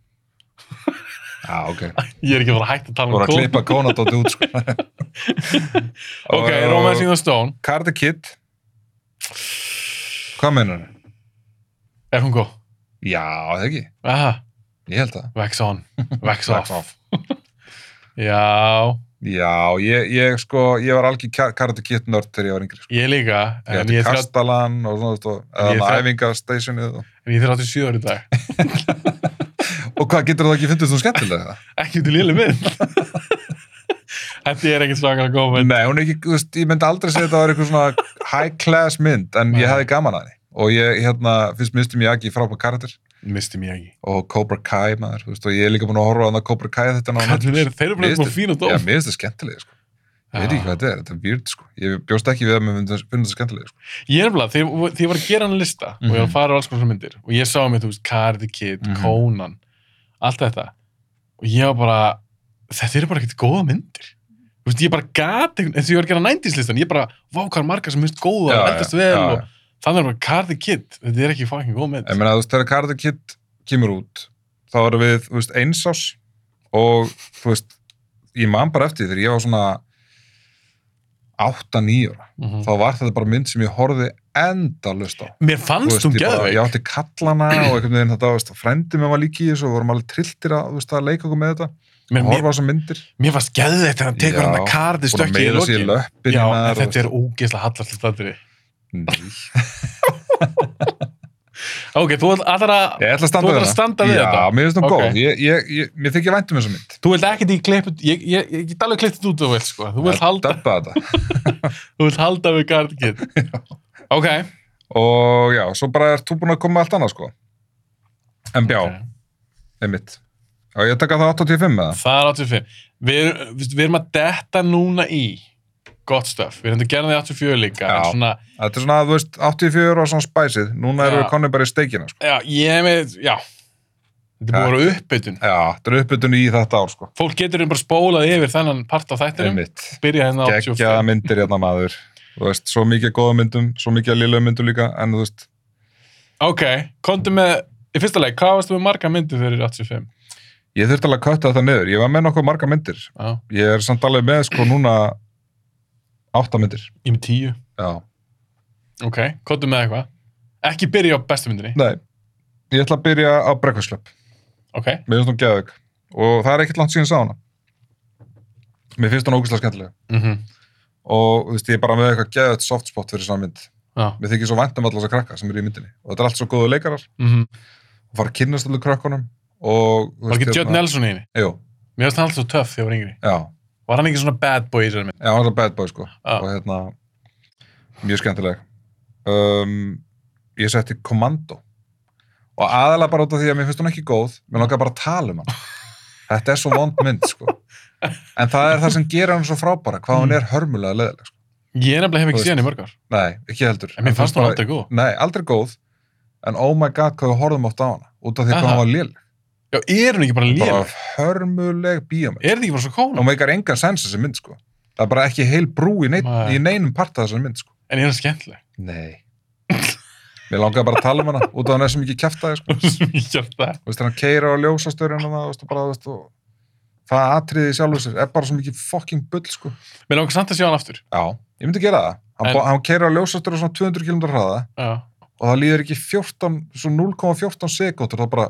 já, ok ég er ekki að fara að hætta að tala Þú um voru að Conan klippa Konadóti út sko. Ok, Og- Romancing the Stone Karate Kid Hvað meinar það? Er hún góð? Já, það ekki, Aha, ég held það wax on, wax Wax off Já, Já, ég, ég sko ég var algjör Ka- Karate Kid nörd þegar ég var yngri sko. ég líka Ég En hætti ég er þrjá- Kastalan og svona, þú veist, og En ég er eða þrjá- æfingastationið og... en ég er 37 ári í dag og hvað getur það ekki fundið þú skemmtilega? Ekki út í léli mynd Þetta er ekkert svakar að koma Nei, hún er ekki, þú veist, ég myndi aldrei segja þetta var eitthvað svona high class mynd, en Nei. ég hefði gaman að henni. Og ég, hérna, finnst Mr. Miyagi frábæð karakter Misti mér ekki og Cobra Kai, maður, þú veist, og ég er líka búin að horfa á hann að Cobra Kai þetta á Þeir Netflix. eru bara Misti- búin fín og Já, dóf mér finnst það skemmtilega, sko. Ég veit ekki hvað þetta er, þetta er weird, sko. Ég bjóst ekki við að mér finnst þetta skemmtilega, sko. Ég er nefnilega, þegar þegar ég var að gera hann lista og ég var að Mhm. fara á alls konar svona myndir og ég sá mér, þú veist, Cardi Kid, Mhm. Conan allt þetta og ég var bara, þetta eru bara ekkert góða myndir þú veist, ég bara gat einhvern- eins og ég var að gera 90s listan, ég bara vá hvað er margar sem minnst góða og Já, já, eldast vel já, og já. þannig er bara Cardi Kid þetta er ekki fucking góð mynd Ég meina, þú veist, þegar Karate Kid kemur út, þá erum við, þú veist, einsás og, þú veist, ég man bara eftir því þegar ég var svona 8-9 ára. Mhm. þá var þetta bara mynd sem ég horfði endalust á. Mér Þú fannst veist, hún ég bara- Ég geðveik átti kallana og einhvern veginn þetta, þú veist, frændi mér var líka í þessu og vorum alveg trilltir að, þú veist, að leika okkur með þetta. Mér, Horfa mér, á þessar myndir. mér fannst geðveikt þegar hann tekur Já, hann að Cardi Búin að stökki í meira sér í lokin löppin. Já, en þetta er ógeðslega hallast þetta Ok, þú ætlar að Ég ætla að Þú standa ætlar að standa við Já, þetta? mér finnst hún Ok. góð. Ég, ég, ég, mér þykir væntum þessa mynd. Þú vilt ekkert í klippu, ég, ég, ég get alveg klippið út þú vilt sko, þú vilt halda, Dabba þetta. þú vilt halda við Gardi Kid. Ok. Og já, svo bara er þú búin að koma með allt annað, sko. En bjá, okay. einmitt. Já, ég að taka það 85 með það. Það er 85. Við, erum- við, við erum að detta núna í gott stöf, við erum að gera það í 84 líka, Já. en svona, Þetta er svona, þú veist, 84 og svona spæsið. Núna erum Já. við konið bara í steikina, sko. já, ég er með, já, þetta er búið að vera uppbytun. Já, þetta er uppbytun í þetta ár, sko. Fólk getur um bara spólað yfir þennan part af þættinum, Einmitt. byrja hérna á geggjaða 85. myndir hérna maður þú veist, svo mikið af góða myndum, svo mikið af liðlega myndum líka en þú veist, Ok, komdu með, í fyrsta leik, hvað varstu með marga myndir fyrir 85? ég þurfti alveg að kötta þetta niður ég var með nokkuð marga myndir Já, ég er samt alveg með sko núna átta myndir ég er með 10. já, Ok, komdu með eitthvað. Ekki byrja á bestu myndinni. nei, ég ætla að byrja á brekkvæslöp, Ok, mér finnst hún geðug og það er ekkert langt síðan sá hana mér finnst hún ógæslega skemmtilega mhm. og þú veist, ég er bara með eitthvað geðugt softspot fyrir svona mynd Já. mér þykir svo vænt um alltaf þessa krakka sem eru í myndinni og þetta er allt svo góðu leikarar Mm og fara að kynnast allir krökkunum og þú Var veist, ekki Judd hérna- Nelson í henni? Jú, Mér varst hann alltaf svo töff þegar ég var yngri. já, Var hann ekki svona bad boy í þessari mynd? Já, hann er bad boy sko Já. og hérna, mjög skemmtileg um, ég setti kommando og aðalega bara út af því að mér finnst hún ekki góð mér langar bara að tala um hann þetta er svo vond mynd sko en það er það sem gerir hann svo frábæra hvað Mm. hún er hörmulega leðileg sko. Ég nefnilega hef Þú ekki veist. séð hann í mörg ár. nei, ekki heldur En mér fannst hann bara- alltaf góð. nei, aldrei góð, en oh my god hvað við horfum átt á hana, út af því hvað Aha. hún var léleg Já, er hann ekki bara bara léleg? hörmuleg bíómynd Er þetta ekki bara svo kóla? hún meikar engan sens þessi mynd sko það er bara ekki heil brú í, neinn, Nei. í neinum parta þessar mynd sko En er hann skemmtileg? Nei. Mér langaði bara að tala um hana, út af hann er sem ekki kjæftaði, sko. Sem ég gert það. Þú veist, hann keira á ljósastörjun og það, þú veist, og bara, þú veist, og það atriði sjálfur sér, er bara sem ekki fucking bull, sko. Mér langar samt að sjá hann aftur. Já. Ég myndi gera það. Hann, En- en... hann keira á ljósastörjun svona 200 km hraða Já. og það líður ekki 14, svo 0,14 sekúndur, þá bara,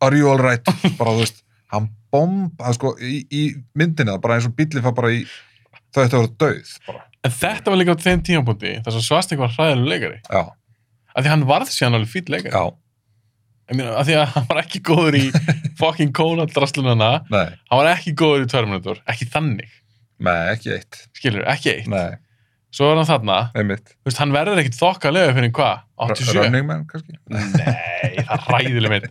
are you all right? bara, þú veist, hann bomb, hann sko, í, í myndinni, það er bara eins og bíllinn fær bara í, þau ættu að vera döið, bara. En þetta var líka á þeim tímapunkti þar sem Svastik var hræðilega leikari. Já, Af því hann varð síðan alveg fýll leikari. já, Ég meina, af því að hann var ekki góður í fucking kónadrasslunana. nei, Hann var ekki góður í Terminator. Ekki þannig. nei, ekki eitt, Skilur, ekki eitt. nei, Svo var hann þarna. einmitt. Þú veist, hann verður ekkit þokkalega fyrir hvað? 87. Running Man, kannski? Nei, það er ræðileg mynd.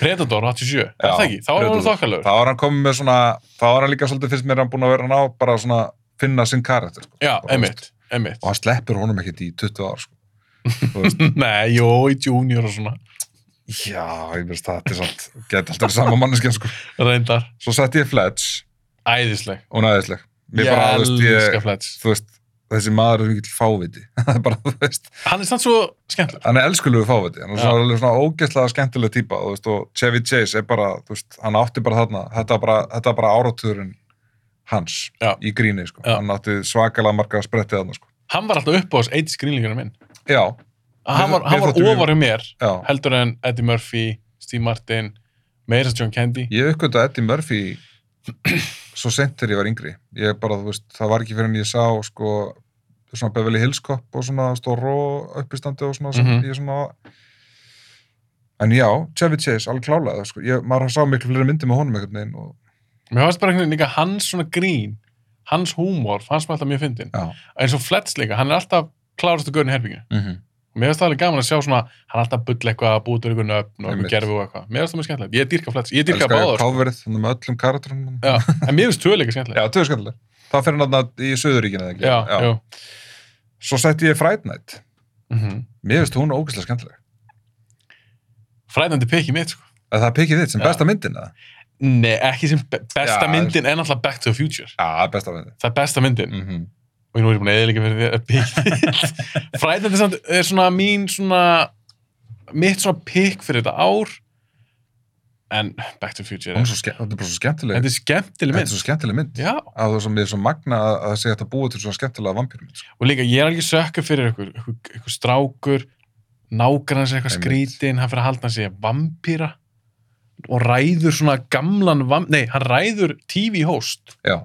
Predator 87, er það ekki? Þá er hann Predator. þokkalögur. Þá var hann komið með svona, þá var hann líka svolítið fyrst mér hann búin að vera ná bara svona finna sinn karakter, sko. Já, Bara, emitt, emitt. Og hann sleppur honum ekkert í 20 ár, sko. Þú veist, Nei, jó, í junior og svona, já, ég veist það, þetta er samt, geta alltaf sama manneskja, sko. reyndar. Svo setti ég Fletch, Æðisleg. og næðisleg. Mér Ég bara, þú veist, elska ég, Fletch. þú veist, þessi maður er mikill fáviti. Það er bara, þú veist, Hann er samt svo skemmtileg. hann er elskulegu fáviti. Hann er Já. svona, alveg svona ógeðslega skemmtileg típa, þú veist, og Chevy Chase er bara, þú veist, hann átti bara þarna, þetta var bara, þetta var bara áratugurinn hans Já. í gríni, sko. Já. Hann átti svakalega marga sprettið þarna, sko. Hann var alltaf upp á þess eitt skrýnlingur minn. Já, Hann var, hann Mér var þótti mjög- ofar hjá mér, já. heldur en Eddie Murphy, Steve Martin, meira John Candy. Ég uppgönda Eddie Murphy svo sent þegar ég var yngri. Ég bara, þú veist, það var ekki fyrir en ég sá, sko, svona Beverly Hills Cop og svona stóru uppistandi og svona sem Mhm. ég svona... En já, Chevy Chase, alveg klálega, sko. Ég, maður sá miklu fleiri myndir með honum einhvern veginn og... Mér fannst bara einhvern veginn líka hans svona grín. hans húmor fannst mér alltaf mjög fyndin Já. eins og Flets líka, hann er alltaf klárastu gaurinn í herbygginu Mhm. og mér finnst það alveg gaman að sjá svona hann er alltaf að bulla eitthvað, að búið til eitthvað nöfn og Einmitt. eitthvað gerfi og eitthvað, mér finnst það mjög skemmtilegt ég dýrka Flets, ég dýrka Elskar ég báður coverið, þannig með öllum karakterum Já, en mér finnst tvö líka skemmtilegt Já, þau er skemmtilega. Það fyrir náttúrulega í Suðuríkina eða ekki. já, já. Svo setti ég Fright Night. Mm Mér finnst hún ógeðslega skemmtileg. fræðandi peki mitt sko. Að það pikið þitt sem Já. besta myndin eða? Nei, ekki sem be besta Já, myndin en alltaf Back to the Future Já, besta myndin. það er besta myndin Mm -hmm. og nú er ég búin að eða líka fyrir því að byggja fræðandi samt er svona mín svona mitt svona pikk fyrir þetta ár en Back to the Future Hún er er, svo, ske þetta er bara svo skemmtileg. þetta er skemmtileg Þetta er mynd svo skemmtileg mynd. já, Að það sem er svo magna að að það sé hægt að búa til svona skemmtilega vampýrum. Sko. og líka ég er alveg sökkur fyrir ykkur, ykkur, ykkur strákur nágrann sér eitthvað Einmitt. skrítinn hann fyrir að halda hann sér vampýra og ræður svona gamlan vamp nei, hann ræður TV host Já,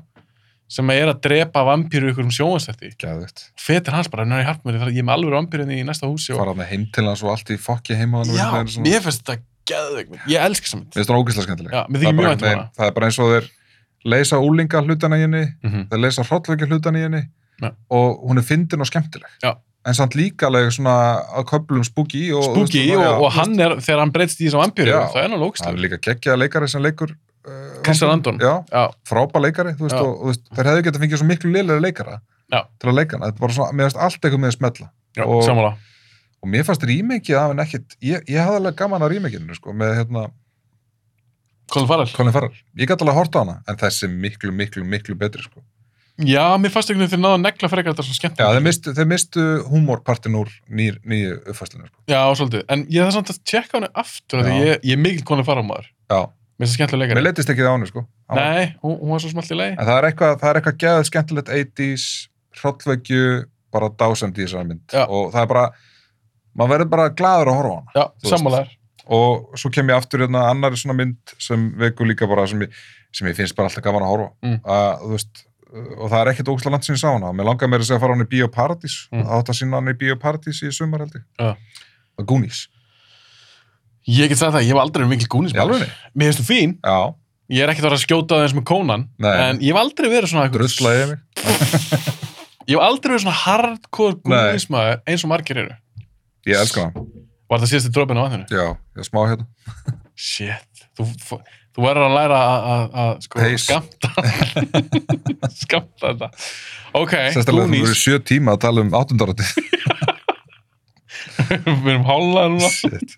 sem er að drepa vampýru ykkur um sjónastætti gæðvitt. og fetir hans bara, hann er í hartmöri ég er með alveg vampýrinni í næsta húsi og Fara með heim til hans og allt í fokki heima. hann og Já, eitthvað svona. mér finnst þetta geðveik mynd. Ég elska þessa mynd. Mér finnst hún ógeðslega skemmtileg. Já, mér það, er þykir bara mjög einhvern vænt um veginn- hana. það er bara eins og þeir leysa úlinga hlutana í henni, Mhm. þeir leysa hrollvekja hlutana í henni Já. og hún er fyndin og skemmtileg. Já. En samt líka alveg svona að köplum spooky og... Spooky þú veist, og, já, og hann er, þegar hann breytst í þessum vampýru, Já. það er náttúrulega Það er ógstæður. líka geggjaða leikari sem leikur uh, Kristján Vampíru. Andon. Já, Já, frábæ leikari, þú veist, Já. og, og þú veist, þeir hefðu getað fengið svo miklu liðlega leikara Já. til að leika hana, þetta er bara svona, mér finnst allt eitthvað með að smetla já Og- sammála. og mér fannst rímeki af en ekkit ég, ég hafði alveg gaman að rímekinu, sko, með hérna Colin Farrell. Colin Farrell, ég gæti alveg að horta á hana en þessi er miklu, miklu, miklu betri, sko Já, mér fannst einhvern veginn þegar náða að negla frekar þetta svona skemmt. Já, þeir mistu, þeir mistu húmorpartin úr nýr, nýju uppfæslinu, sko Já, svolítið. En ég þarf samt að tjekka hann aftur, af því Já. ég, ég er mikil Colin Farrell maður. Já, Mér finnst það skemmtilega mér leikari. leittist ekki það á henni, sko Á- Nei, hún, hún var svo smalt í lei. En það er eitthvað, það er eitthvað geðað skemmtilegt 80s, hrollvekju, bara dásandi í þessari mynd. Já. Og það er bara, maður verður bara gladur að horfa á hana. Já, Þú veist. sammálaður. Og svo kem ég aftur hérna annari svona mynd sem veku líka bara sem ég, sem ég finnst bara alltaf gaman að horfa. á. Mm. Að, þú veist, og það er ekkert ógslag langt sinni sá hana. Mér langar meira að segja að fara á hana í Bíóparadís. Mm. Mm. Átt að sína hana í Bíóparadís í sumar held ég. Já. Og Goonies. Ég get sagt það, ég hef aldrei verið mikil Í alveg? gúnismæður. Mér finnst þú fín. Já, Ég er ekkert að vera að skjóta þess með kónan, Nei. en ég hef aldrei verið svona einhver- druslaði mig. Ég hef aldrei verið svona hardcore Nei. gúnismæður eins og margir eru. Ég elska hana. Var þetta síðasti dropin á vatninu? Já, ég er smá hérna. Shit, þú, þú- þú verður að læra að- að- að sko, Pace. skamta skamta þetta Ok, Sérstaklega þú verður Goonies sjö tíma að tala um áttundaröndi. Við erum hálfað núna Shit.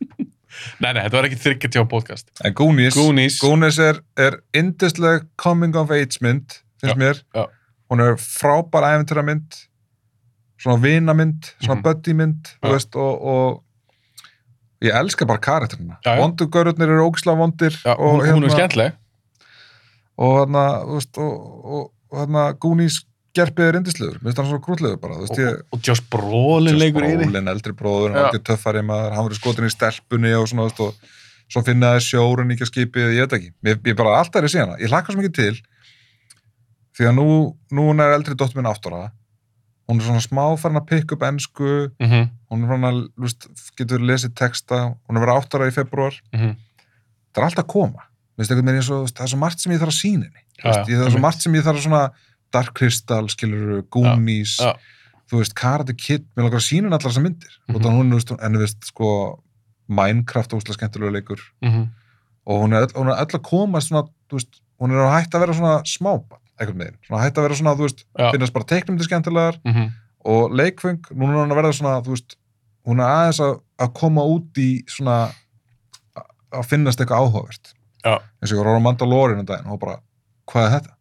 Nei, nei, þetta var ekki þryggja tjá podcast En Goonies, Goonies, Gónes er, er yndisleg coming of age mynd, Já, finnst mér. já. Hún er frábær æventyra mynd, svona vinamynd, svona Mhm. buddy mynd, þú Já. veist, og, og ég elska bara karakterina. Já, já. Vondugörðurnir eru ógislega vondir já, og hérna, hún, hún er skemmtileg og hérna, þú veist, og, og, og hérna Gónis gerpið er yndislegur, minnst hann svona grútlegur bara, þú veist, og, ég... og Josh Brolin leikur í því Brolin, eldri bróður, hann Já. var ekki töffari maður, hann verið skotin í stelpunni og svona, þú veist, og svo finna það sjórun ekki að skipið, ég veit ekki. Mér, ég bara alltaf er að sé hana, ég hlakka svo mikið til, því að nú, núna er eldri dóttur minn áttúra, hún er svona smá farin að pikka upp ensku, mm -hmm, hún er svona, þú veist, getur lesið texta, hún er verið áttúra í februar, Mhm. það er alltaf að koma. Þú veist, einhvern veginn, er svo, þú veist, það er svo margt sem ég þarf að sína henni. Þú veist, ég- það er Mhm. svo margt sem ég þarf að svona Dark Crystal, skilur, Goonies, Já, já. þú veist, Karate Kid, mér langar að sína henni allar þessar myndir. Mm Mhm. -hmm. hún, þú veist, hún- en þú veist, sko, Minecraft óslega skemmtilega leikur Mhm. og hún er, öll- hún er öll að koma svona, þú veist, hún er að hætta að vera svona smábann, einhvern veginn. Svona hætta að vera svona, þú veist, Já. finnast bara teiknumdir skemmtilegar Mhm. og leikfeng, núna er hún að verða svona, þú veist, hún er aðeins að, að koma út í svona að- að finnast eitthvað áhugavert. Já. Eins og ég var á Mandalorian um daginn og bara, hvað er þetta?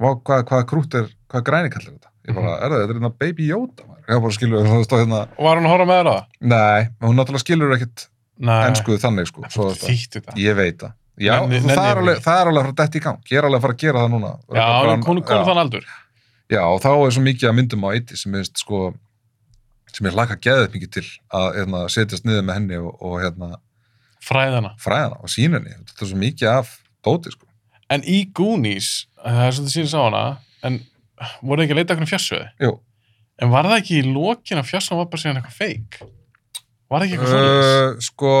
Vá, hvað, hvað krútt er, hvað græni kallir þetta? Ég bara, Mhm. er það, þetta er hérna Baby Yoda, maður. Ég bara skilur, þú veist, og hérna, Og var hún að horfa með þér á það? nei, hún náttúrulega skilur ekkit Nei, enskuðu þannig, sko. Svo þetta. þýtti þetta Ég veit það. Já, Nenni- þú- það, nenni er ég alveg, ekki. það er alveg að fara dætt í gang. Ég er alveg að fara að gera það núna. Já, hún hún er Já. komin þann aldur Já, og þá er svo mikið að myndum á eiti sem er sko sem ég laka geðið mikið til að hérna, setjast niður með henni og, og hérna, Fræðana fræðana og sína henni þetta er svo mikið af dóti sko. En í Goonies, það er svolítið síðan sá hana En voru þið ekki að leita okkur um fjarsöðu? Jú, En var það ekki í lokin að fjassan var bara síðan eitthvað feik? Var það ekki eitthvað uh, uh, Eh, sko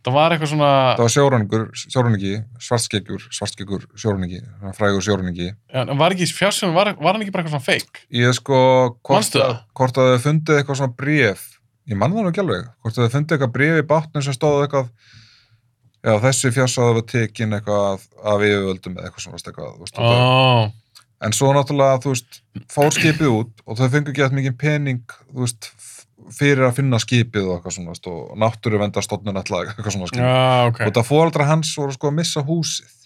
það var eitthvað svona það var sjóruningur, sjóruningi, svartskeggur svartskeggur, sjóruningi, frægur sjóruningi Já, en var, ekki, fjársjónum, var, var hann ekki bara eitthvað svona fake ég er sko hvort, Manstu það? að- hvort að þau fundið eitthvað svona bréf ég mann það nú ekki alveg, hvort að þau fundið eitthvað bréf í bátnum sem stóð eitthvað já, þessi fjársáða var tekin eitthvað af yfirvöldum eða eitthvað svona veist, eitthvað, þú veist, Ó, oh. Ah, en svo náttúrulega, þú veist, fór skipið út og þau fengu ekki eitthvað mikið pening þú veist, f- fyrir að finna skipið og eitthvað svona, þú veist, og náttúruvendarstofnun ætlaði eitthvað svona, skilur. já, ok út af fóreldra hans voru sko að missa húsið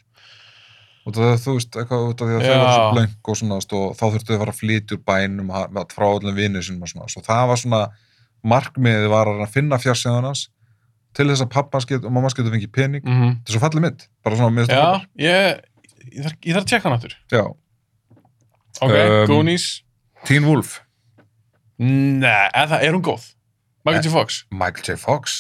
út af því að þú veist eitthvað út af því að þau Já. voru svo blöng og svona veist, og þá þurftu þau að fara að flytja úr bænum ha- með- frá öllum vinnir sínum og svona svo það var svona markmiðið var að reyna að finna fjarsíðan hans til þess að pappas get og mamma getur fengið pening mm þetta er svo fallið mitt, bara svona mér finnst Já, það fallegt. ég, ég, þarf, ég þarf að tjekka hann aftur Já. Ok, Um, Goonies Teen Wolf, Nei, eða er hún góð? Michael J. Fox Michael J. Fox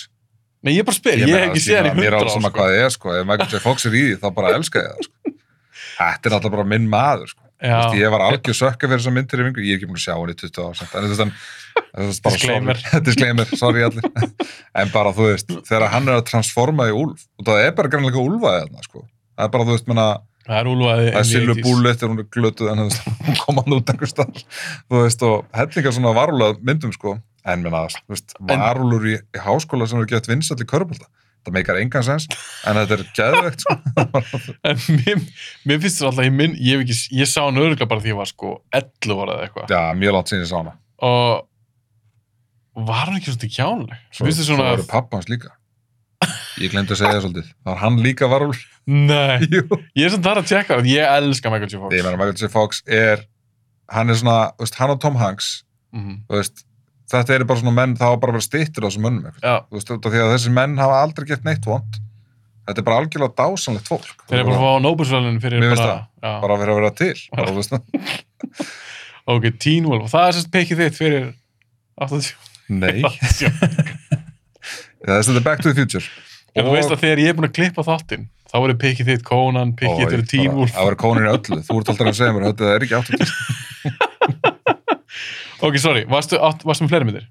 Nei, ég bara spyr, ég, hef meina, ekki séð hann í Mér er hundra alveg sama hvað það er, sko. Ef Michael J. Fox er í því, þá bara elska ég það, sko. Þetta er alltaf bara minn maður, sko. Já. Vist, ég var algjör sökka fyrir þessar myndir í vingu. Ég er ekki búin að sjá hann í 20 ár, samt. En þú veist, hann... þú veist, bara Disclaimer. sorry. Disclaimer, sorry allir. en bara, þú veist, þegar hann er að transforma í úlf, og það er bara grannlega úlfaðið þarna, sko. Það er bara, þú veist, menna, Það er úlfaði það er sillu búlet þegar hún er glötuð, en þú veist, hún kom hann út einhver starf. Þú veist, og hellingar svona varúlega myndum, sko. En minna, þú veist, En- varúlur í, í háskóla sem eru gett vinsall í körbólta. Það meikar engan sens, en þetta er geðvegt, sko. En mér, mér finnst það alltaf, ég, minn, ég, hef ekki, ég sá hann örgulega bara því ég var sko 11 ára eða eitthvað Já, mjög langt sinni sá hana. og var hann ekki svolítið kjánuleg? Svo, finnst þið svona Svo eru pappa hans líka. Ég glemdi að segja það svolítið. Það var hann líka varúlur. Nei, Jú. ég er svona þar að tjekka það, ég elska Michael J. Fox Ég meina, Michael J. Fox er, hann er svona, þú veist, hann og Tom Hanks, Mhm. þú veist, þetta eru bara svona menn, það var bara að vera stýttir á þessum mönnum, eitthvað. Já, þú veist, út af því að þessir menn hafa aldrei gett neitt vond þetta er bara algjörlega dásanlegt fólk þeir eru bara að fá Nóbelsvælun fyrir Mér finnst bara, já, bara fyrir að vera til bara, þú veist, ok, Teen Wolf og það er sérst pekið þitt fyrir 80 nei, Já, þess að þetta er Back to the Future þú veist að þegar ég er búin að klippa þáttinn þá verður pekið þitt Conan, Ó, pekið þitt ég eru Teen bara- Wolf það verður kónin í öllu, þú ert alltaf að segja mér þetta er ekki átt ok, sorry, varstu, átt- varstu með fleiri myndir?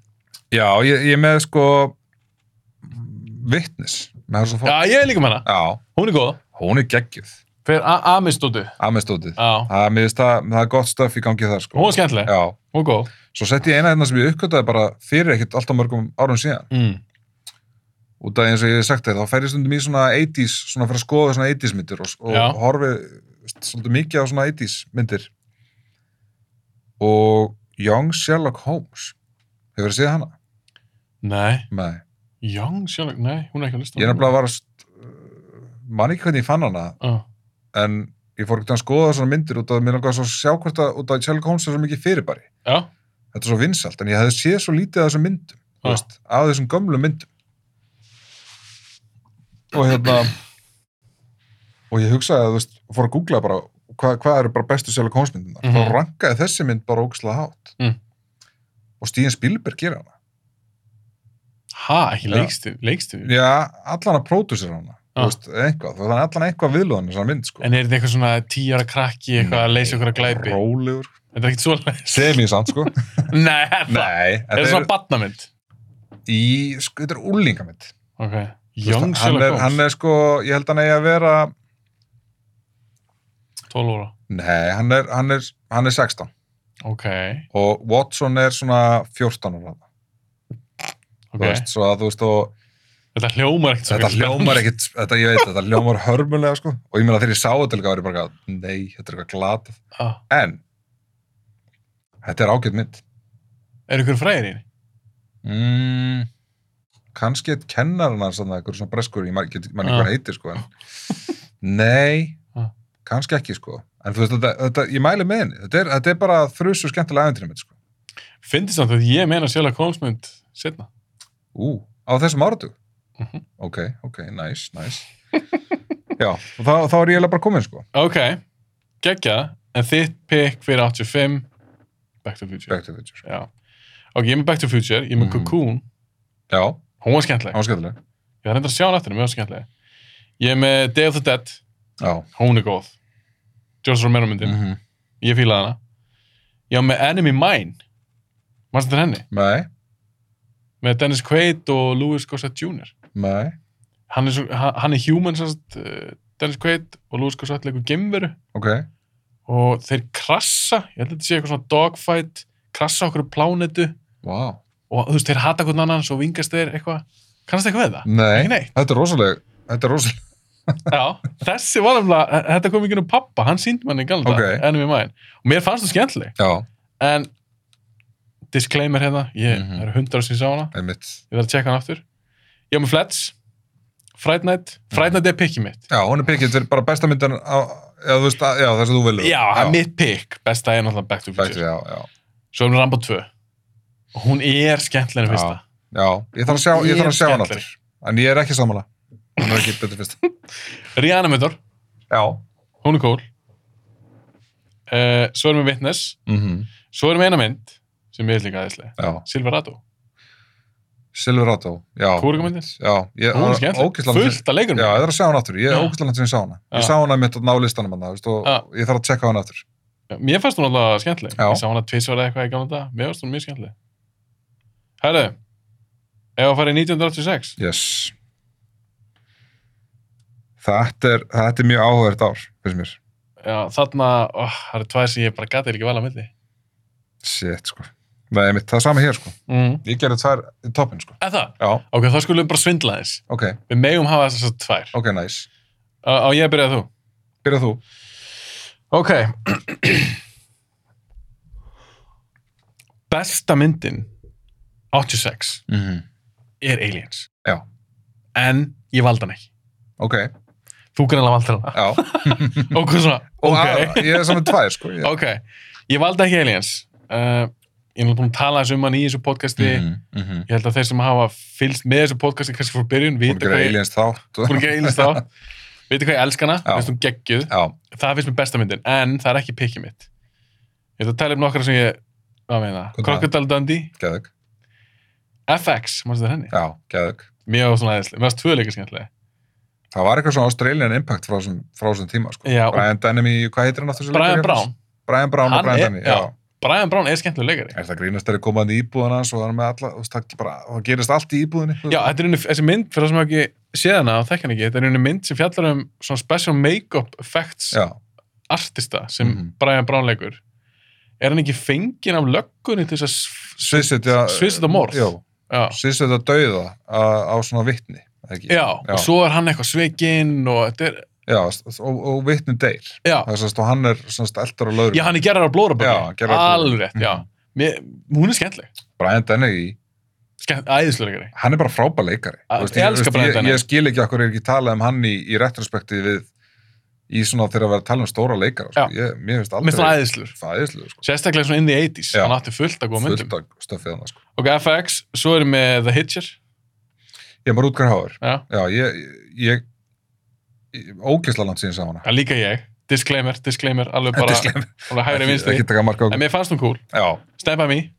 já, ég, ég er með sko vitnis með Harrison Ford Já, ég er líka með hana, já, hún er góð hún er geggjöð fyrir Amistótu aðmestótið, Já, það, mér finnst það, það er gott stöf í gangi þar sko hún var skemmtileg, já, hún var góð svo sett ég eina hérna sem ég uppkvöldaði bara fyrir ekkert alltaf mörgum árum síðan mm. út af eins og ég hef sagt þér, þá fer ég stundum í svona 80s, svona fyrir að skoða svona 80s myndir og, Já. og horfi svolítið mikið á svona 80s myndir og Young Sherlock Holmes hefur þið séð hana? Nei, Nei, Young Sherlock, nei, hún er ekki að lista ég nefnilega var að mann ekki hvernig ég fann hana uh, en ég fór ekkert að skoða svona myndir út af mér langaði svo að sjá hvort að út af Sherlock Holmes er svo mikið fyrirbæri, Já, þetta er svo vinsalt en ég hefði séð svo lítið af þessum myndum þú Já. veist, af þessum gömlu myndum og hérna og ég hugsaði að þú veist, fór að googla bara hvað hva eru bara bestu Sherlock Holmes myndina mm Mhm. þá rankaði þessi mynd bara ógislega hátt Mm. og Stíðin Spielberg gerir hana ha, ekki Já. leikstir, leikstir já, allan að pródusir hana Já. þú veist, eitthvað, þannig allan eitthvað viðlóðan þessar mynd sko En er þetta eitthvað svona tíu ára krakki eitthvað að leysa okkur að glæpi? rólegur, Þetta er ekkert svona semisamt sko Nei, er það Er nei, þetta þetta er, svona batnamynd? í, sko, þetta er úlingamynd Ok Þú veist, Young hann, er, Sherlock hann Holmes, er sko, ég held hann eigi að vera 12 óra nei, hann er, hann er, hann er 16 Ok, og Watson er svona 14 ára þú ok veist, svo að þú veist og Þetta hljómar ekkert svo þetta mikið hljómar ekkit, þetta ég veit, þetta hljómar hörmulega sko, og ég meina þegar ég sá þetta líka var ég bara, eitthvað, nei, þetta er eitthvað glatað spennandi. Ah, en þetta er ágætt mynd Er ykkur fræðir í henni? mm. kannski eitt kennarinn hans þannig að eitthvað svona breskur, ég man ekki man ekki Ah. hvað hann heitir sko, en nei, Ah. kannski ekki sko en þú veist, þetta, þetta, ég mæli með henni þetta er, þetta er bara þrjusu skemmtilega aðeintrið mitt sko, Fyndist samt að ég meina Sherlock Holmes mynd setna ú, á þessum áratug Mhm. ok, ok, nice, nice já, og þá, þá er ég eiginlega bara komin sko Ok, geggja En þitt pick fyrir 85 Back to the Future Back to the Future. Já Ok, ég er með Back to the Future, ég er með Mhm. Cocoon Já, Hún var skemmtileg það var skemmtileg. Ég þarf reyndar að sjá hann eftir, henni, mér var skemmtileg Ég er með Day of the Dead, Já. hún er góð George Romero myndin, -hmm. ég fílaði hana Ég var með Enemy Mine Manstu þetta henni? Nei, Með Dennis Quaid og Louis Gossett Jr. nei. hann er, svo, hann hann er human sérst, Dennis Quaid og Louis Gossett leikur gemveru ok, og þeir krassa, ég held að þetta sé eitthvað svona dogfight, krassa okkur plánetu wow og þú veist, þeir hata hvern annan, svo vingast þeir eitthvað kannast eitthvað við það? nei, Ekki neitt. þetta er rosaleg þetta er rosaleg, Já, þessi var alveg, þetta kom ekki um pappa, hann síndi manni í galda, Ok. ennum í maðin. Og mér fannst það skemmtileg, já, en disclaimer hérna, ég mm Mhm. er hundar sem ég sá hana, einmitt ég þarf að tjekka hann aftur. Ég var með Flats, Fright Night, Mhm. Fright Night er pikkið mitt. já, hún er pikkið fyrir bara besta myndan á, já, þú veist, að- já, þess að þú vilur Já, það er mitt pikk, besta er náttúrulega Back to the Bækti, Future. já, já, Svo erum við Rambo 2. Og hún er skemmtileg en Já. fyrsta. já, ég þarf að sjá, ég þarf að sjá hann Skemmtileg. aftur en ég er ekki sammála hann er ekki betur fyrst Rihanna Mötor, já, hún er cool. Uh, svo erum við Witness, mhm, svo erum við eina mynd, sem ég er líka aðeinslega, já Silverado. Silverado, já Kúrgamyndir? já, ég, Hún er skemmtileg, ógeðslega langt- fullt að leikunum. Já, ég þarf að sjá hann aftur. Ég er Já. ógæslega langt sem ég sá hana. Ég Já. sá hana mitt á listanum hann, og Já. ég þarf að tjekka hann aftur. Mér fannst hún alltaf skemmtileg. Já. Ég sá hana tvisvara eitthvað í gamla dag. Mér fannst hún mjög skemmtileg. Herru, ef að fara í 1986, Yes. Þetta er, þetta er mjög áhugavert ár, finnst mér. já, þarna, oh, það eru tvær sem ég bara gati ekki vel að milli. Shit, sko. Nei, mitt, það er sama hér, sko. Mm. Ég gerði tvær í toppin, sko. Eða, Já, ok, þá skulum við bara svindla þess. ok, Við megum hafa þess að tvær. ok, nice. Á, á ég að byrja þú. Byrja þú. Ok. Besta myndin, 86, Mm -hmm. er Aliens. Já. En ég valda hann ekki. Ok, Þú kannalega valda hana. já. Og hvað svona, Og ok. að, ég er saman tvær, sko. Ég, Ok, ég valda ekki Aliens. Uh, ég er nú búin að tala þessu um hann í þessu podcasti. mm -hmm. Ég held að þeir sem hafa fylgst með þessu podcasti kannski frá byrjun, Hún vita gerði hvað ég... aliens þá. Búin að gera Aliens þá. Vita hvað ég elska hana, Já. veist hún geggjuð. Já, Það finnst mér besta myndin, en það er ekki pikkið mitt. Ég ætla að tala um nokkra sem ég... Hvað meina? Hvað er það? Crocodile Dundee, geðug. FX, mannstu það henni? Já, geðug. Mér var svona aðeinslega, mér varst tvö leika skemmtilega. Það var eitthvað svona Australian impact frá þessum frá þessum tíma, sko. Já, og Brian Dennemy, hvað heitir hann aftur? sem Brian leikur hérna? í Brown. Brian Brown Hann og Brian er- Dennemy, já. já. Brian Brown er skemmtilega leikari. Er það grínast þegar komað í íbúðuna svo er hann með alla, þú veist, það, bara, það gerist allt í íbúðinni. þú veist. Já, þetta er einu, þessi mynd, fyrir það sem hafa ekki séð hana og þekk hann ekki, þetta er einu mynd sem fjallar um svona special make-up effects Já, artista sem Mhm. Brian Brown leikur er hann ekki fenginn af löggunni til þess að s- sviðsetja... Sviðsetja morð. Jó, já. sviðsetja dauða á, á svona vittni, eða ekki? já, og svo er hann eitthvað sveikinn og þetta er, Já, og, og vittni deyr. já, Það er sérst, og hann er svona eldur á löður. já hann er gerðar á blóraböggi Já, gerðar á blóraböggi. alveg rétt, já Mhm. Mér, hún er skemmtleg, Brian Dennemy, Skemmt, æðislega hann er bara frábær leikari. Að- Þú veist, ég elska þú veist, Brian Dennehy. Ég, ég skil ekki okkur er ekki talað um hann í, í retrospekti við í svona þegar að vera að tala um stóra leikara. Sko. Ég, mér finnst mér það aldrei... æðislur Fæðislu, sko. sérstaklega svona in the 80s, Já. hann átti fullt að góða myndum Fullt af stöfið hann, sko. ok, FX, svo erum við The Hitcher Ég er bara útgar háður. já, Já, ég, ég, ég ógeðslega langt síðan sá hana. ja, líka ég disclaimer, disclaimer, alveg Þetta bara er slemt. alveg hægri Ekki- vinstri, Ekki taka marka á. en mér fannst hún cool Já, Stand by me,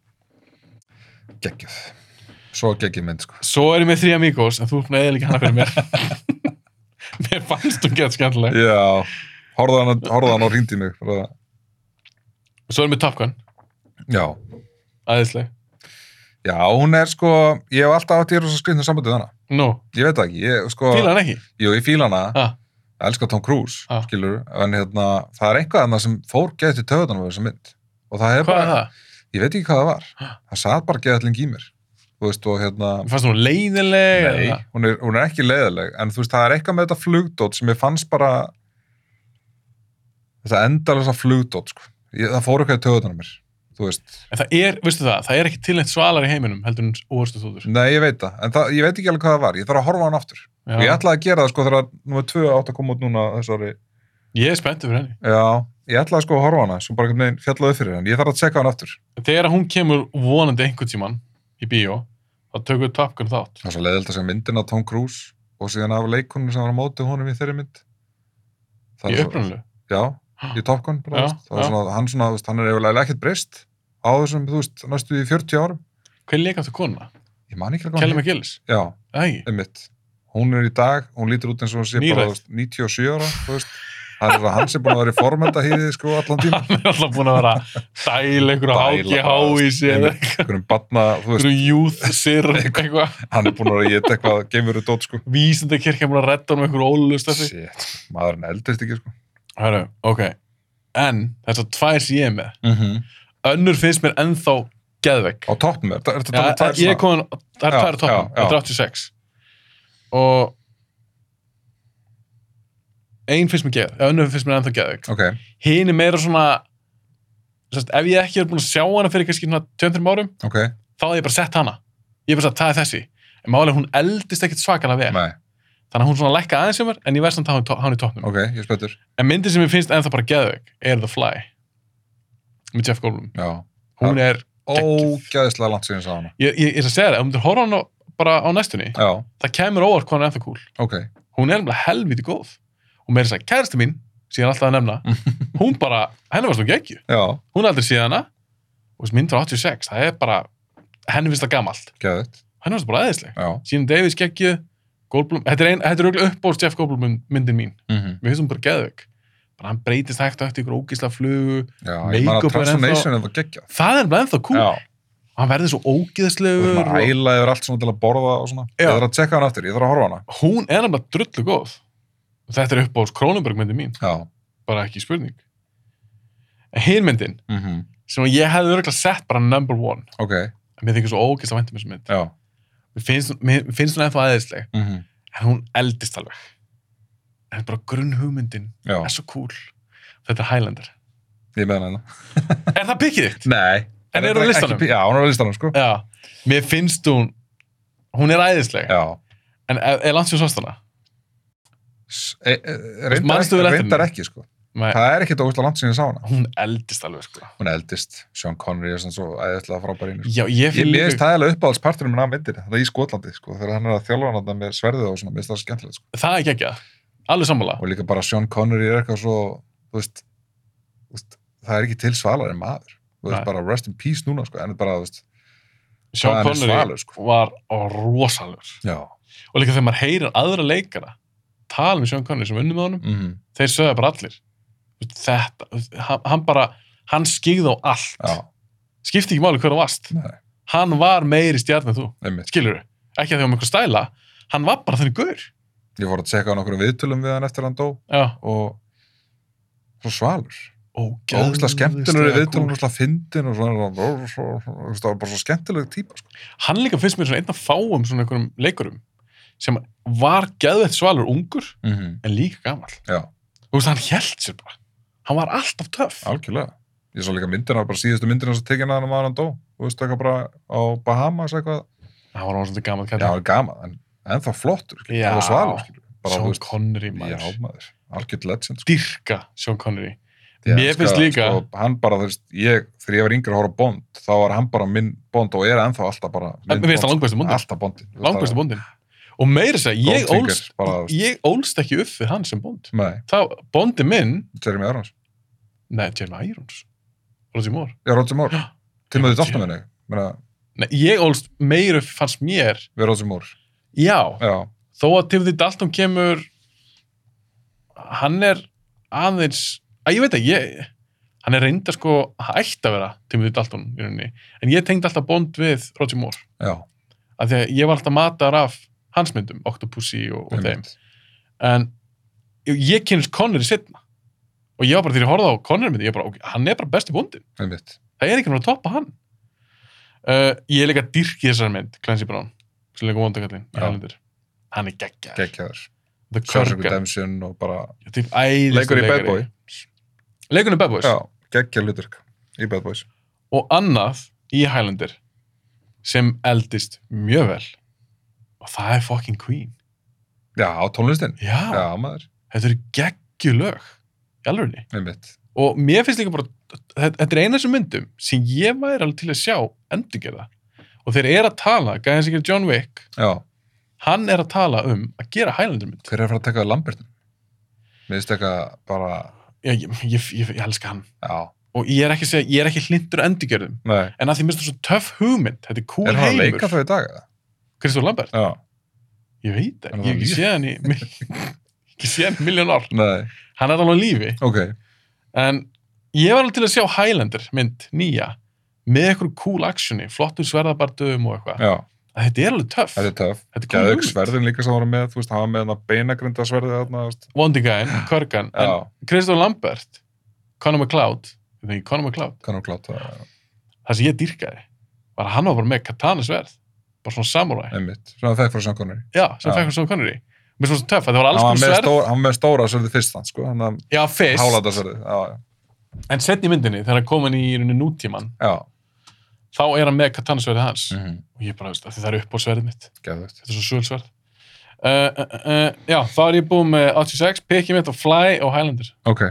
geggjöð. Svo geggjöð mynd, sko. svo erum við Three Amigos en þú er búin að eða líka hana fyrir mér mér fannst hún gett skemmtileg Já, horfða hann, horfða hann og hringdi í mig. bara- og svo erum við Top Gun, Já, aðeinsleg já, hún er sko, ég hef alltaf átt í rosa skrifnum sambandi við hana. nú, Ég veit það ekki, ég sko, fíla hann ekki jú, ég fíla hana, Ha. ég elska Tom Cruise, Ha. skilur, en hérna, það er eitthvað hana sem fór geðið til töðunum við þessa mynd. Og það hefur hvað er bara, það? ég veit ekki hvað það var, Ha. það satt bara geðið allir í mér, þú veist, og hérna, Mér fannst hún leiðileg Nei, eða- hún er, hún er ekki leiðileg en þú veist, það er eitthvað með þetta flugdót sem ég fannst bara þetta endalega flugdót sko. ég, það fór eitthvað í töðunar mér þú veist, en það er, veistu það, það er ekki til neitt svalar í heiminum heldur en úrstu þúður nei ég veit það en það, ég veit ekki alveg hvað það var, ég þarf að horfa á hann aftur og ég ég, ætlaði að gera það sko þegar nummer 2 átt að koma út núna þessari, er spenntur fyrir henni já, ég ætlaði sko að horfa á hana svo bara einhvern veginn fjallaði fyrir hann, ég þarf að tsekka hann aftur þegar hún kemur vonandi einhvern tíman í bíó, þá tökum við Top Gun þátt það er svo leiðilt að segja myndin af Tom Cruise og síðan af leikunum sem var á móti honum í þeirri mynd í Það er svo- upprunnuleg já, í Top Gun bara, Já, já, það var já. svona, hann svona, þú veist, hann er eiginlega ekkert breyst á þessum, þú veist, næstu í 40 árum hver leik aftur konuna? ég man ekki Kelly alveg hann McGillis, já, eða ekki? einmitt, hún er í dag hún lítur út eins og hún sé bara Níræð. þú veist, 97 ára þú veist, hann er að hans er búin að vera í formenda hýði sko allan tíma hann er alltaf búin að vera að dæla einhverju Dæla HGH í sig eða einhverjum batna, þú veist, einhverju youth sirr eitthvað hann er búin að vera að geta eitthvað geimveru dót sko vísindakirkja búin að redda honum einhverju ólulega stöfi Shit, maðurinn eldist ekki sko Hæru, ok en þetta tvær sem ég er með mm -hmm. önnur finnst mér ennþá geðvegg á toppnum, er þetta Já, talað tært ég er komin, það er Já, tvær toppum, já, já. þetta er 86 og ein finnst mér geð, önnur finnst mér ennþá geðvegg ok, hinn er meira svona sest, ef ég ekki er búin að sjá hana fyrir kannski svona 2-3 árum, ok, þá hef ég bara sett hana ég hef bara sagt, það er þessi en málega hún eldist ekkert svakalega vel nei, þannig að hún svona lækka aðeins hjá mér en ég verð samt að hafa hann í toppnum ok, ég er spöttur en myndin sem ég finnst ennþá bara geðveik er The Fly með Jeff Goldblum já, hún er, Geggjuð. ógæðislega langt síðan sá hana ég, ég, ég er að segja það, ef þú myndir horfa á hana bara á næstunni já, það kemur óvart hvað hún er ennþá cool ok, hún er nefnilega helviti góð og meira þess að kæristu mín, síðan alltaf að nefna hún bara, henni var svo geggju já, hún er aldrei síðan hana og þessi mynd var 86, það er bara henni finnst það gamalt, geðið henni finnst það bara aðeinsleg já, Sýnum Davis geggju, Goldblum þetta er, ein, þetta er auðvitað uppbólst Jeff Goldblum mynd- myndin mín mm -hmm. mér finnst hún bara geðveik bara hann breytist hægt og hægt í ykkur ógísla flugu já, ég man Make-up er að transformation ennþá- er það geggjað það er bara ennþá cool, já, hann verður svo þú ógíslegur veist maður að æla yfir allt svona til að borða og svona Já. ég þarf að tjekka hann aftur, ég þarf að horfa á hana hún er nefnilega drullu góð og þetta er uppbólst Kronenberg myndin mín já, bara ekki spurning en hin myndin mm sem ég hefði örgulega sett bara number one ok, en mér þykir svo ógísla væntum þessu mynd já mér finnst, mér finnst hún ennþá aðeinsleg mm en hún eldist alveg en bara grunn hugmyndin já, er svo cool þetta er Highlander ég með hana er það pikkið þitt? nei, En er hún á ekki- listanum? ekki- já, hún er á listanum sko já, mér finnst hún hún er æðisleg já, en er, er landsjón sástana? S- e- e- reyndar, Manstu vel ekki, eftir reyndar henni? ekki sko Nei, það er ekki dóðslega langt síðan ég sá hana hún eldist alveg sko hún er eldist, Sean Connery er svona svo æðislega frábær í henni, sko. já, ég ég finn mér finnst líka, það alveg uppáhaldsparturinn minn af myndinni, það er í Skotlandi sko, þegar hann er að þjálfa hann þarna með sverðið og svona, mér finnst það skemmtilegt sko. það er geggjað alveg sammála, og líka bara Sean Connery er eitthvað svo þú veist, þú veist það er ekki til svalar en maður þú veist Nei. bara rest in peace núna sko, en bara, þú veist, Sean hann er Connery svalur sko. var rosalur já, og líka þegar maður heyrir aðra leikara tala með Sean Connery sem unnum með honum mm, þeir sögðu bara allir þetta, hann, hann bara hann skigði á allt já, skipti ekki máli hver þú varst Nei. hann var meiri stjarn en þú einmitt skilur ekki að því að með eitthvað stæla hann var bara þannig gaur ég fór að tjekka á nokkrum viðtölum við hann eftir að hann dó já, og svo svalur ógeðslega ógæðslega skemmtilegur í viðtölum cool. ógæðslega fyndin og svona og svo- þú veist, það var bara svo skemmtileg típa sko. hann líka finnst mér svona einn af fáum svona einhverjum leikurum sem var geðveitt svalur ungur mm -hmm. en líka gamall já, þú veist hann held sér bara hann var alltaf töff Algjörlega. Ég sá líka myndina, bara síðustu myndina sem tekin að hann maður hann dó. Þú veist eitthvað bara á Bahamas eitthvað. hann var orðinn svolítið gamall Já, kæta hann er gaman, en ennþá flottur. skilur. Já. Það var svalur, skilur. Bara, þú Sean veist, Connery maður já, maður. Algjörð legend, sko. dyrka Sean Connery Ég Mér elska, finnst líka- Sko, hann bara, þú veist, ég, þegar ég var yngri að horfa á Bond, þá var hann bara minn Bond og er ennþá alltaf bara en mér finnst það langbæstu bóndin Alltaf Bondi. langbæstu bóndin og meira þess að segja, ég Goldfinger, ólst bara, þú veist. ég ólst ekki upp við hann sem bónd Nei, þá bóndi minn Jeremy Irons. Nei, Jeremy Irons Roger Moore Já, Roger Moore. Já. Timothy Já, Dalton, minni. Meina, Nei, ég ólst meira upp fannst mér við Roger Moore. Já, Já, þó að Timothy Dalton kemur hann er aðeins að ég veit ekki, ég hann er reynda sko, hann ætti að vera Timothy Dalton í rauninni, en ég tengdi alltaf bond við Roger Moore, já. af því að ég var alltaf matar af hans myndum, Octopussy og, og þeim, einmitt. en ég- ég kynst Connery setna og ég var bara til að horfa á Connery myndi, ég bara, ok, hann er bara besti bondin Einmitt. það er ekki náttúrulega að toppa hann uh, ég er líka dyrk í þessari mynd Clancy Brown, sem leikur vondakallin Já. hann er geggjaður Gekkjaður. The Shawshank Körgar, Redemption og bara typ æðislega leikur í Bad Boy leikur í Bad Boys Já, geggja hluturk í Bad Boys og annað í Highlander sem eldist mjög vel og það er fucking Queen Já, á tónlistin já, Já, maður, þetta eru geggjulög í alvegni einmitt og mér finnst líka bara þetta þetta er eina af þessum myndum sem ég væri alveg til að sjá endurgerða og þeir eru að tala, gæðan sem gerir John Wick Já, hann er að tala um að gera Highlander mynd hver er að fara að taka við Lambertin? Mér finnst eitthvað bara ég, ég, ég, ég, ég elska hann Já, og ég er ekki, að segja, ég er ekki hlindur endurgerðum nei en að því minnst það svo töff hugmynd þetta er cool Er hann að heimur leika þau í dag? eða? Kristóf Lambert, Já, ég veit það, ég Er hef ekki það líf? séð hann í mik- ekki síðan miljón ár Nei, hann er alveg á lífi ok. en ég var alveg til að sjá Highlander mynd nýja með eitthvað cool actioni flottum sverðabartum og eitthvað Já, þetta er alveg töff þetta er töf. þetta er cool Gæðug hugmynd. sverðin líka sem voru með, þú veist, hafa með hana beinagrinda sverðið þarna, þú veist. Wondigine, Körgan Já, en Kristofur Lambert Conor McCloud þetta er ekki Conor McCloud kannum klátt það, það sem ég dýrkaði var að hann var bara með katana sverð bara svona samurai einmitt. Svona þekk frá Sjöngkonur. já, sem Já. fekk hann svona Connery mér finnst það svo töff að það var Hann alls var konar með sverð stóra, hann var með stóra sverðið fyrst hann, sko. Hann já, fyrst hálata sverðið, já, en setni myndinni þegar hann kom inn í rauninni nútíman já. þá er hann með katana sverðið hans Mm -hmm. og ég bara veist að það er upp á sverðið mitt Gæðugt. þetta er svo svölsverð uh, uh, uh, já, þá er ég búið með 86 Picky mitt og Fly og Highlander Ok,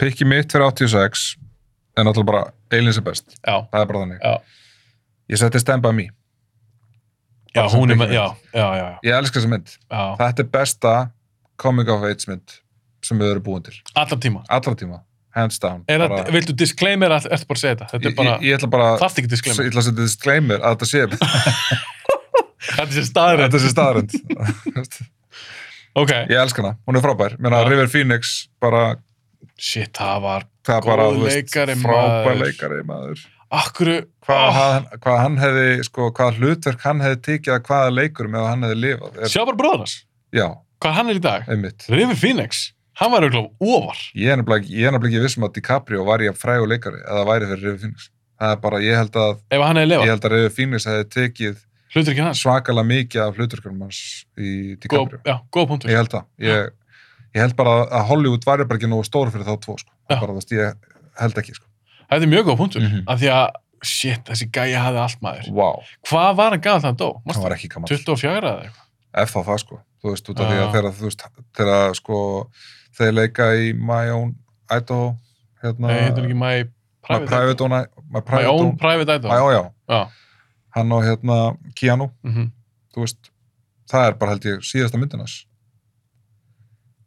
pikki mitt fyrir 86 en náttúrulega bara Aliens er best, já, það er bara þannig Já. Ég seti Stand By Me, já Bara sem hún er með Picky já, Mitt. já, já, já, ég elska þessa mynd já. Þetta er besta Comic of Age mynd sem við erum búin til, allar tíma allra tíma hands down er Bara- það, viltu disclaimer að ertu bara að segja þetta þetta er bara, ég, ég, ég ætla bara þarft ekki ég disclaimer ætla að setja disclaimer að þetta sé þetta sé staðrætt, þetta sé staðarind ok Ég elska hana, hún er frábær Meina, Já. River Phoenix, bara shit, það var, það er Góð bara, þú veist, leikari, frábær maður. leikari maður akkur Hvað, Ah. hann, hvað hann hefði, sko, hvað hlutverk hann hefði tekið að hvaða leikurum ef hann hefði lifað er, sjá bara bróðarnas, Já, hvað hann er í dag einmitt River Phoenix, hann var auðvitað ofar Ég er nefnilega ekki- ég er nefnilega ekki vissum að DiCaprio var ég frægur leikari eða væri fyrir River Phoenix. Það er bara, ég held að, ef hann hefði ég lefað, held að River Phoenix hefði tekið hlutur ekki hans svakalega mikið af hluturkjörnum hans í góð, DiCaprio. já, góð punktur Ég held það. Ég, ég held bara að Hollywood væri bara ekki nógu stór fyrir þá tvo, sko. Það Já. er bara, þú veist, ég held ekki, sko. þetta er mjög góð punktur, Mhm. af því að shit, þessi gæja hafði allt maður Vá. hvað var hann gaf þann dó? Manstu Það var ekki gaman. 24 eða eitthvað Ef þá það, sko. Þú veist, út af því Já. að þeirra, þú veist, þeirra, sko, þeir leika í My Own Idaho, hérna, Nei, heitir ekki My My Private, Private Own, My My Private Own Own, Private Idaho My Own, já. Já, Hann og, hérna, Keanu. mm þú veist, það er bara held ég síðasta myndinans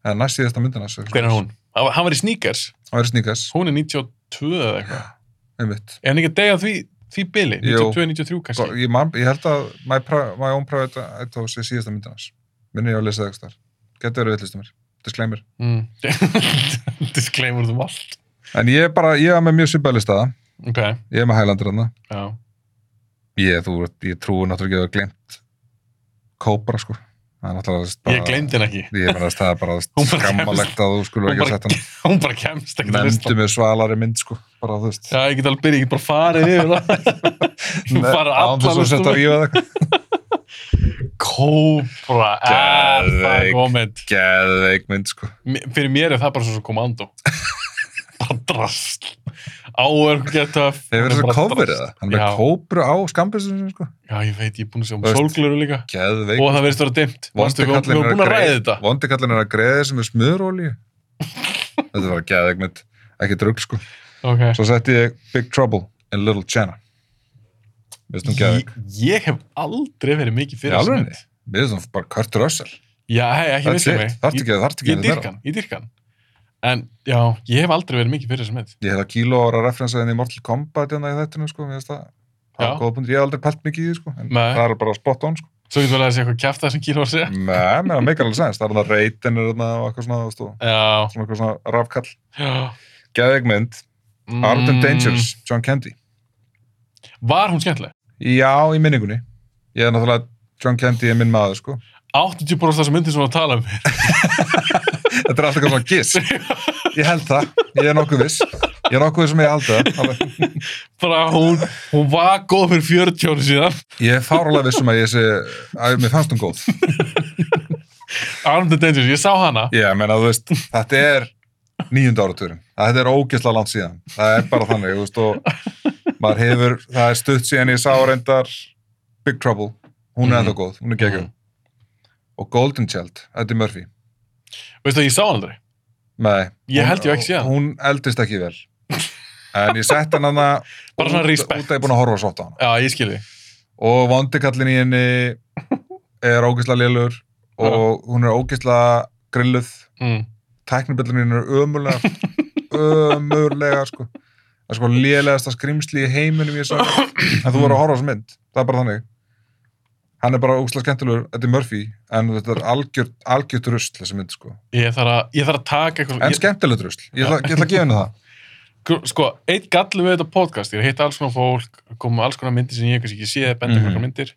eða næst síðasta myndinans hver er hún? Hann var- hann var í Sneakers, Hún er sníkas, hún er 92 eða eitthvað einmitt er hann ekki að deyja því, því bili? Jú. Sko- 92-93 kannski ég, man, ég held að My, Pri- my Own Private Idaho sé síðasta myndinans minni ég að lesa það eitthvað getur verið villistumir, disclaimer mm. disclaimer um allt en ég er bara, ég er með mjög svipaði listaða ok, ég er með Highlander hann já ég, þú, ég trúi náttúrulega ekki að hafa glemt Cobra sko það er náttúrulega þú veist, bara, ég gleymdi henn ekki, ég meina, það er bara þú Hún veist, bara skammalegt að þú skulur Hún ekki að bara setja hann hún bara kemst ekkert að lista nefndu með svalari mynd sko bara þú veist já, ég get alveg byrja, ég get bara farið yfir það Þú Nei, farið án alla þess að listum. setja rífa það sko. Kóbra, er það Geðveik. komið geðveik mynd sko Mér- fyrir mér er það bara svo svo komando bara drast áörg geta þeir verður svo kofrið það, hann er Já. með kópru á skambistunum sko, já ég veit ég er búin að sjá um Þú veist, sólglöru líka geðveik og það verðist að vera dimmt Manstu, Vondi við kallinn erum búin að er ræða að þetta greið- vondi kallinn er að greiði sem er smurolíu þetta var geðveik mynd ekki drugg sko, okay. svo setti ég Big Trouble in Little China við veistum geðveik, ég, ég hef aldrei verið mikið um Í fyrir þessu alvörunni? mynd. við veistum bara Kurt Russell já hei ekki that's vissið it, mig þarf Ég- ekki þarf ekki ég að vera dyrkan, ég dyrkan en já, ég hef aldrei verið mikið fyrir þessu mynd ég hef að kíló ára referensa henni í Mortal Kombat hérna í þetta sko, mér finnst það það Já. er góða punkt, ég hef aldrei pælt mikið í því sko en Nei. það er bara spot on sko svo getur verið að segja eitthvað kjæfta sem Kíló var að segja Nei, mér er meikar alveg sens, það er hann að reytin er þarna og eitthvað svona, þú veist, og já, svona eitthvað svona rafkall. já. Geðveik mynd, Mm. Armed and Dangerous, John Candy. var hún skemmtileg? Já, í minningunni. Ég er náttúrulega, John Candy er minn maður, sko. 80% þessu myndin sem við varum að tala um Þetta er alltaf eitthvað svona giss. Ég held það, ég er nokkuð viss. Ég er nokkuð viss sem ég held það. alveg. bara hún, hún var góð fyrir 40 ári síðan Ég er fárulega viss um að ég sé, að mér fannst hún góð. Armed and Dangerous, ég sá hana Ég meina, þú veist, þetta er nýjunda áratúrin. Þetta er ógeðslega langt síðan. Það er bara þannig, þú veist, og maður hefur, það er stutt síðan ég sá reyndar Big Trouble. Hún er Mhm. ennþá góð, hún er geggjum. Og Golden Child, Eddie Murphy. veistu að ég sá hana aldrei Nei. Ég hún- held ég ekki séð hana. Hún eldist ekki vel. En ég sett hann hana Bara svona út- respect. Út að ég er búin að horfa sátt á hana. já, ég skilði Og vondikallin í henni er ógeðslega lélur og hún er ógeðslega grilluð mm. tæknibillinu er ömurlega ömurlega sko það er sko lélegasta skrimsli í heiminum ég sá en þú voru að horfa á þessu mynd það er bara þannig hann er bara ógslag skemmtilegur Eddie Murphy en þetta er algjör, algjört rusl þessi mynd sko Ég þarf að, ég þarf að taka eitthvað... en skemmtilegt rusl, ég ætla, ég ætla að gefa henni það Gr- sko, eitt gallum við þetta podcast ég er að hitta alls konar fólk, koma alls konar myndir sem ég kannski ekki séð, benda mm Mhm. -hmm. myndir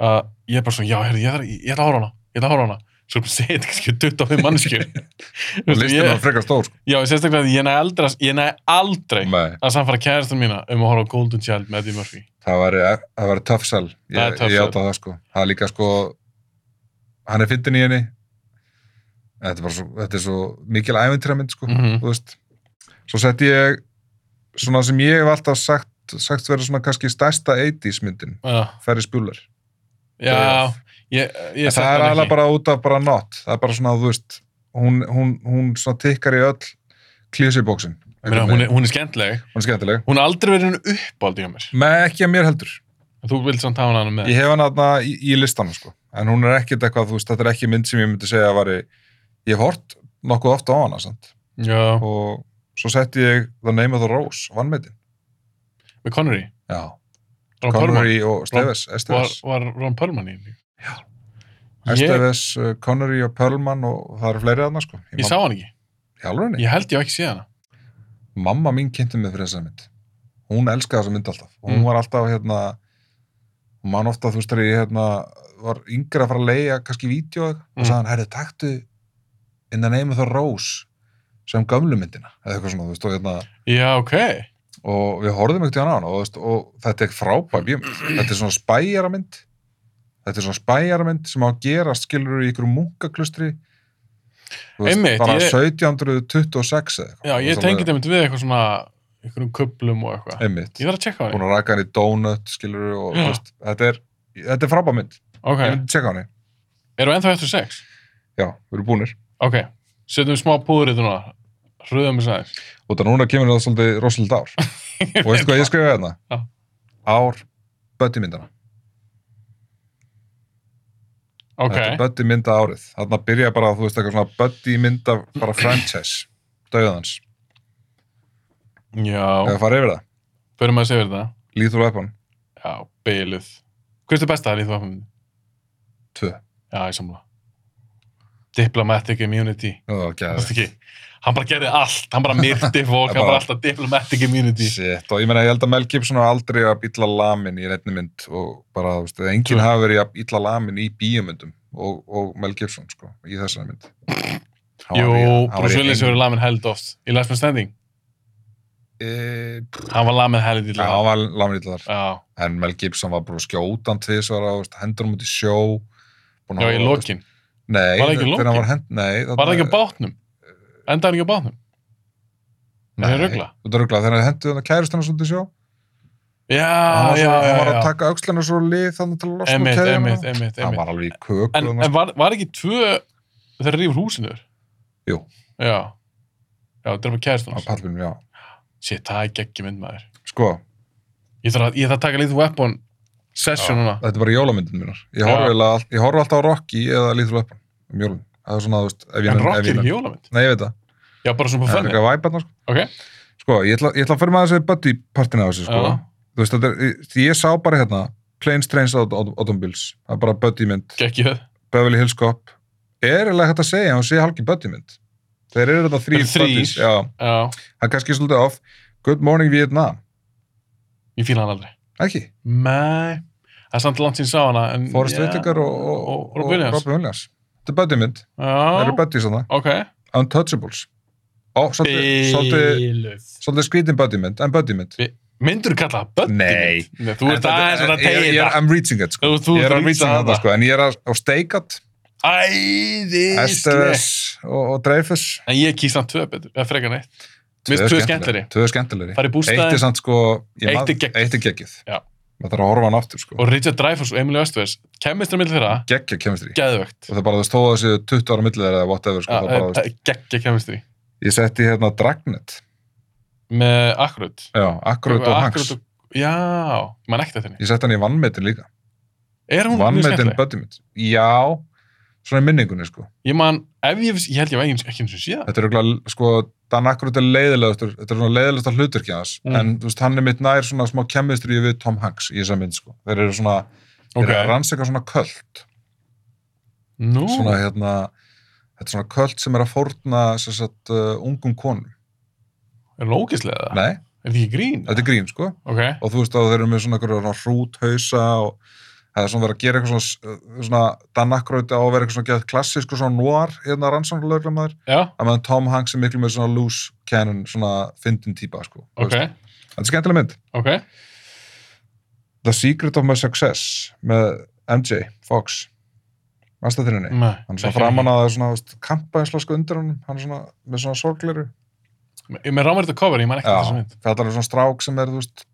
uh, ég er bara svona, já, heyrðu, ég þarf ég ætla að ára hana, ég ætla að ára hana svo erum við segið kannski 25 manneskjur Þú og veist, listin var ég- frekar stór sko já, ég sérstaklega að ég næ aldrei ég næ aldrei Nei, að samfara kærastan mína um að horfa á Golden Child með Eddie Murphy það væri, það væri tough sell ég, Það er tough ég sell. átta það sko það er líka sko hann er fyndin í henni þetta er bara svo, þetta er svo mikil ævintýramynd sko Mhm. þú veist svo sett ég svona sem ég hef alltaf sagt sagt vera svona kannski stærsta 80s myndin uh, Ferris Bueller já, ég, ég En setti það er hana alveg ekki. bara út af bara not það er bara svona, þú veist hún, hún, hún svona tikkar í öll klísibóksin Ég meina, hún, er, hún er skemmtileg, hún er skemmtileg hún er aldrei verið hún uppáldi hjá mér með ekki að mér heldur En þú vilt samt hafa hana með ég hef hann aðna í, í listanum sko. en hún er ekkert eitthvað, þú veist, þetta er ekki mynd sem ég myndi segja að væri ég hef hort nokkuð ofta á hana sant? já, og svo setti ég The Name of the Rose vannmeitin með Connery, Já, Ron Perlman Connery og Steves var, Esteves, var Ron Perlman í henni ég, Esteves uh, Connery og Perlman og það eru fleiri aðna sko. ég sá hann ekki hann Ég held ég á ekki séð hana. mamma mín kynnti mig fyrir þessa mynd hún elskaði þessa mynd alltaf hún Mm. var alltaf hérna hún man ofta þú veist þegar ég hérna var yngri að fara að leia kannski vídeo mm. Mm. og sagði hann, herri, taktu innan neymi þá Rós sem gömlu myndina eða eitthvað svona, þú veist, og hérna Já, ok. og við horfðum ekkert í hana á hana og, þú veist, og þetta er frábær bíum þetta er svona spæjaramynd þetta er svona spæjaramynd sem á að gera skilur í ykkur munkaklustri þú Einmitt, bara ég- 1726 eða eitthvað Já, ég Þú veist, tengi alveg- þetta mynd við eitthvað svona, einhverjum köplum og eitthvað. einmitt Ég þarf að tjekka hann. búin að raka hann í donut, skilur og Já. þú veist, þetta er, þetta er frábær mynd Ok. ég myndi tjekka hann í, Erum við ennþá eftir sex? já, við erum búnir Ok. Setjum smá púður í þetta núna. Hröðum við sæðis. og það núna kemur það svolítið rosalega ár og veistu hvað ég skrifaði hérna Já. ár Buddy-myndana Ok. þetta er Buddy-mynda árið þarna byrja bara, þú veist, eitthvað svona Buddy-mynda bara franchise, döðans Já. eða fara yfir það, Förum að segja þetta. Lethal Weapon Já, beiluð. Hvað er þetta besta að líða það? 2 Já, ég samla. Diplomatic immunity. Ó, Þú veist okay. ekki? Hann bara gerði allt. Hann bara myrti fólk. Bara- hann bara alltaf diplomatic immunity. Shit, og ég meina, ég held að Mel Gibson hafa aldrei að illa lamin í reyndni mynd og bara, þú veist, enginn True. hafa verið að illa lamin í bíumyndum og, og Mel Gibson, sko, í þessari mynd Hann Jú, var í- hann var í Bruce Willis engu- verið lamin held oft. Í Last Man Standing. E, Hann var lamin held í Já, hann var lamin illa þar Já, en Mel Gibson var bara skjótan tvisvar og hendur hann út í sjó búinn já, að í hafa- lokin. Nei, Var það ekki í þegar lokin? hann var hend Nei, Var það ekki á bátnum? Endaði hann ekki á bátnum? Nei, það er rugla. Þetta er rugla, þegar hann hendur hann kærist hann svolítið í sjó Já, hann var já, svo- já, hann var já. að taka öxlina svo lið þannig til að losna úr Emitt, keðjunum. emitt, emitt, hann emitt. var alveg í köku En, þarna, sko, en var, var ekki tvö þegar rífur húsinuður? Jú. Já. Já, drepa kærist á hans. pallinum, já Shit, það er geggjum mynd maður. sko, Ég þarf að, ég þarf að taka lítið weapon session núna. þetta er bara jólamyndin mínar ég Já. horfi, eiginlega all, ég horfi alltaf á Rocky eða Lethal Weapon um jólun það er svona, þú veist, ef ég En nenni- ef Rocky ég er nenni- ekki jólamynd. nei, ég veit það, Já, bara svona på það er fenni. eitthvað væparna sko. Ok. sko, ég ætla, ég ætla að fyrir maður þessi buddy partina á þessu, sko Já. þú veist, þetta er, ég- ég sá bara hérna Planes, Trains, Aut- Aut- Automobiles það er bara buddy mynd, Geggjuð. Beverly Hills Cop er eiginlega hægt að segja, að hún sé halki buddy mynd þeir eru þetta þrýr Þetta er þrír. buddies, já, Já. það er kannski svolítið off Good Morning Vietnam, Ég fíla hann aldrei. ekki? Nei. Það er samt langt sín sá hana. en- Forrest Mm, Já. Whitaker og, og, og, Robin Williams. Robin Williams þetta er buddy mynd, það eru Já. buddy svona Ok. Untouchables ó, svolítið- svolítið Bíluð. svolítið skrítin buddy mynd, en buddy mynd Myndur þú kalla það buddy Nei. mynd? Nei. Þú ert En aðeins þetta- svona ég- ég- tegið ég- það. I'm reaching it sko Þú- þú ég er ert að að reaching reacha it þarna. sko, en ég er að, á Steikat, Æðislega. Esteves og, og Dreyfus En ég kýs hann tvö betur, eða frekar neitt. Mér finnst tvö skemmtleri. tvö skemmtilegri Fari í bústaðinn. eitt er samt sko ég Eitt man- er geggjuð. eitt er geggjuð Já. maður þarf að horfa hann aftur sko Og Richard Dreyfuss og Emilio Östvers, kemistra millir þeirra, geggja kemistri geðvögt. og það er bara þú stóða þessi 20 ára millið eða whatever sko, það er eh, bara, þú veist, Ah, Geggja kemistri. ég setti hérna Dragnet Með Akkurut. já, akkurat og Hanks og... Já, mann ekkert eftir henni. ég setti hann í vannmetin líka Er hún mjög vannmetin skemmtileg? buddy mitt já, svona í minningunni sko Ég man, ef ég, ég held ég var ekki eins og síðan. þetta er örugglega, sko, Dan Akkurut er leiðilegastur þetta er svona leiðilegastar hluturkja hans Mm. en þú veist, hann er mitt nær svona smá kemmistri við Tom Hanks í þessa mynd sko. þeir eru svona okay. Ok. er að rannsaka svona köld Nú. svona hérna þetta er svona köld sem er að fórna sem sagt, uh, ungum konum Er lókislega það? nei, Er þetta ekki grín? þetta er grín sko Ok. og þú veist að þeir eru með svona, einhverja svona hrúthausa og það er svona verið að gera eitthvað svona, uh, svona dannakrauti á að vera eitthvað svona gett klassísku svona noir hérna rannsóknarlögrum að Já, að meðan Tom Hanks er miklu með svona loose cannon svona fyndin típa sko Þú ok. veist, þetta er skemmtileg mynd Ok. The Secret of My Success með MJ Fox mannstættirinni Nei. hann er svona framan að það er svona þú veist, kampaðinslasku undir honum hann er svona með svona sorgleiru Ég með rámar þetta cover, ég man ekki Já, þessu mynd. fjallar um svona strák sem er, þú veist,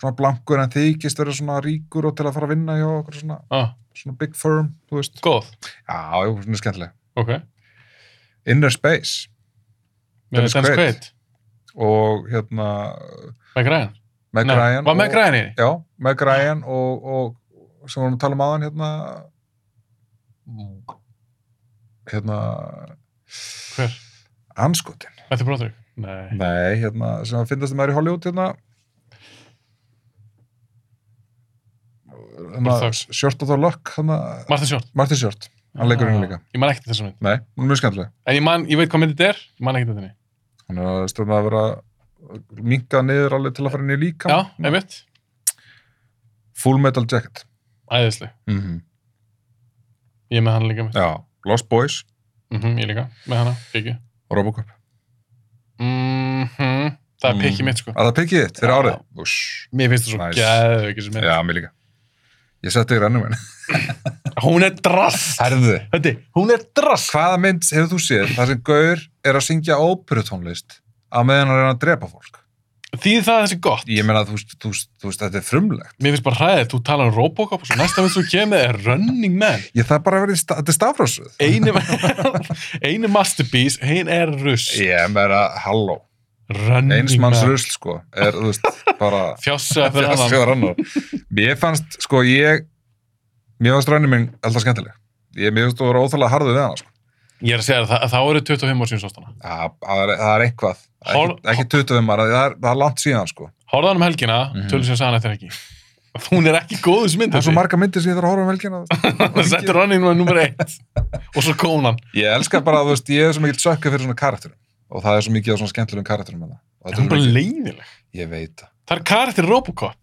svona blankur en þykist verið svona ríkur og til að fara að vinna hjá okkur svona, Ah, svona big firm, þú veist. góð. Já, jú, svona skemmtileg. Ok. Inner Space Með Dennis Dennis Quaid. Quaid. og hérna Meg Ryan. Meg Nei, Ryan. Var Meg og- Ryan í? því? Já, Meg Ryan og, og sem vorum að tala um aðan hérna, Mm. hérna, Hver? anskotin. Matthew Broderick? Nei. Nei, hérna, sem að finnast maður í Hollywood, hérna, Bara hérna, þögn. Short of the Luck, hérna, Martin Short. Martin Short, hann leikur Ah. henni líka. Ég man ekki þessu mynd. Nei, hún er mjög skemmtileg. En ég, man, ég veit hvað mynd þetta er, ég man ekki þetta henni. Hún er að stjórna að vera minka niður alveg til að fara inn í líka. Já, einmitt. Full Metal Jacket. Æðisleg. Mm -hmm. Ég er með hann líka mynd. Já, Lost Boys, Mm ég líka. Með hana, Piggy. Robocop. Mm Það er Piggy Mhm. mitt, sko. Að það pikkið þitt fyrir Já. árið. Úss. Mér finnst það svo Nice. gæðveik þessu mynd. Já, mér líka. Ég setti í rennum henni. Hún er drast. Herðu. Þetta, hún er drast. Hvaða mynd hefur þú séð þar sem Gaur er að syngja óperutónlist að meðan hann er að drepa fólk? Þýð það þessi gott? Ég meina, þú veist, þú veist, þú veist þetta er frumlegt. Mér finnst bara hræðið, þú tala um Robocop og svo næsta mynd sem þú kemur með er Running Man. Ég það bara verið, þetta er stafrásuð. Einu, einu masterpiece, hinn er russ. Ég meina, halló. Running Eins manns Man. rusl, sko, er, þú veist, bara... Fjássa fyrir Þessi annan. var annar. Mér fannst, sko, ég mér fannst rænum minn alltaf skemmtileg. Ég mér fannst þú vera óþálega harðið við hana, sko. Ég er að segja þér, það, það eru 25 ár síðan sást hana. Það, það, er, það er eitthvað. Ekki, Hol- ekki 25 um maður, það er, það er langt síðan, sko. Horðan um helgina, Mhm. tölum sem sagði hann eftir ekki. Hún er ekki góðu smynd. Það er svo marga myndir sem ég þarf að horfa um helgina. Það settur running man nummer eitt. og svo konan. Ég elska bara, þú veist, ég er svo mikið sökka fyrir svona karakterum. Og það er svo mikið af svona skemmtilegum karakterum með það. Og Er þetta hún er bara svo mikið- leiðileg? Ég veit það. Það er karakter í Robocop.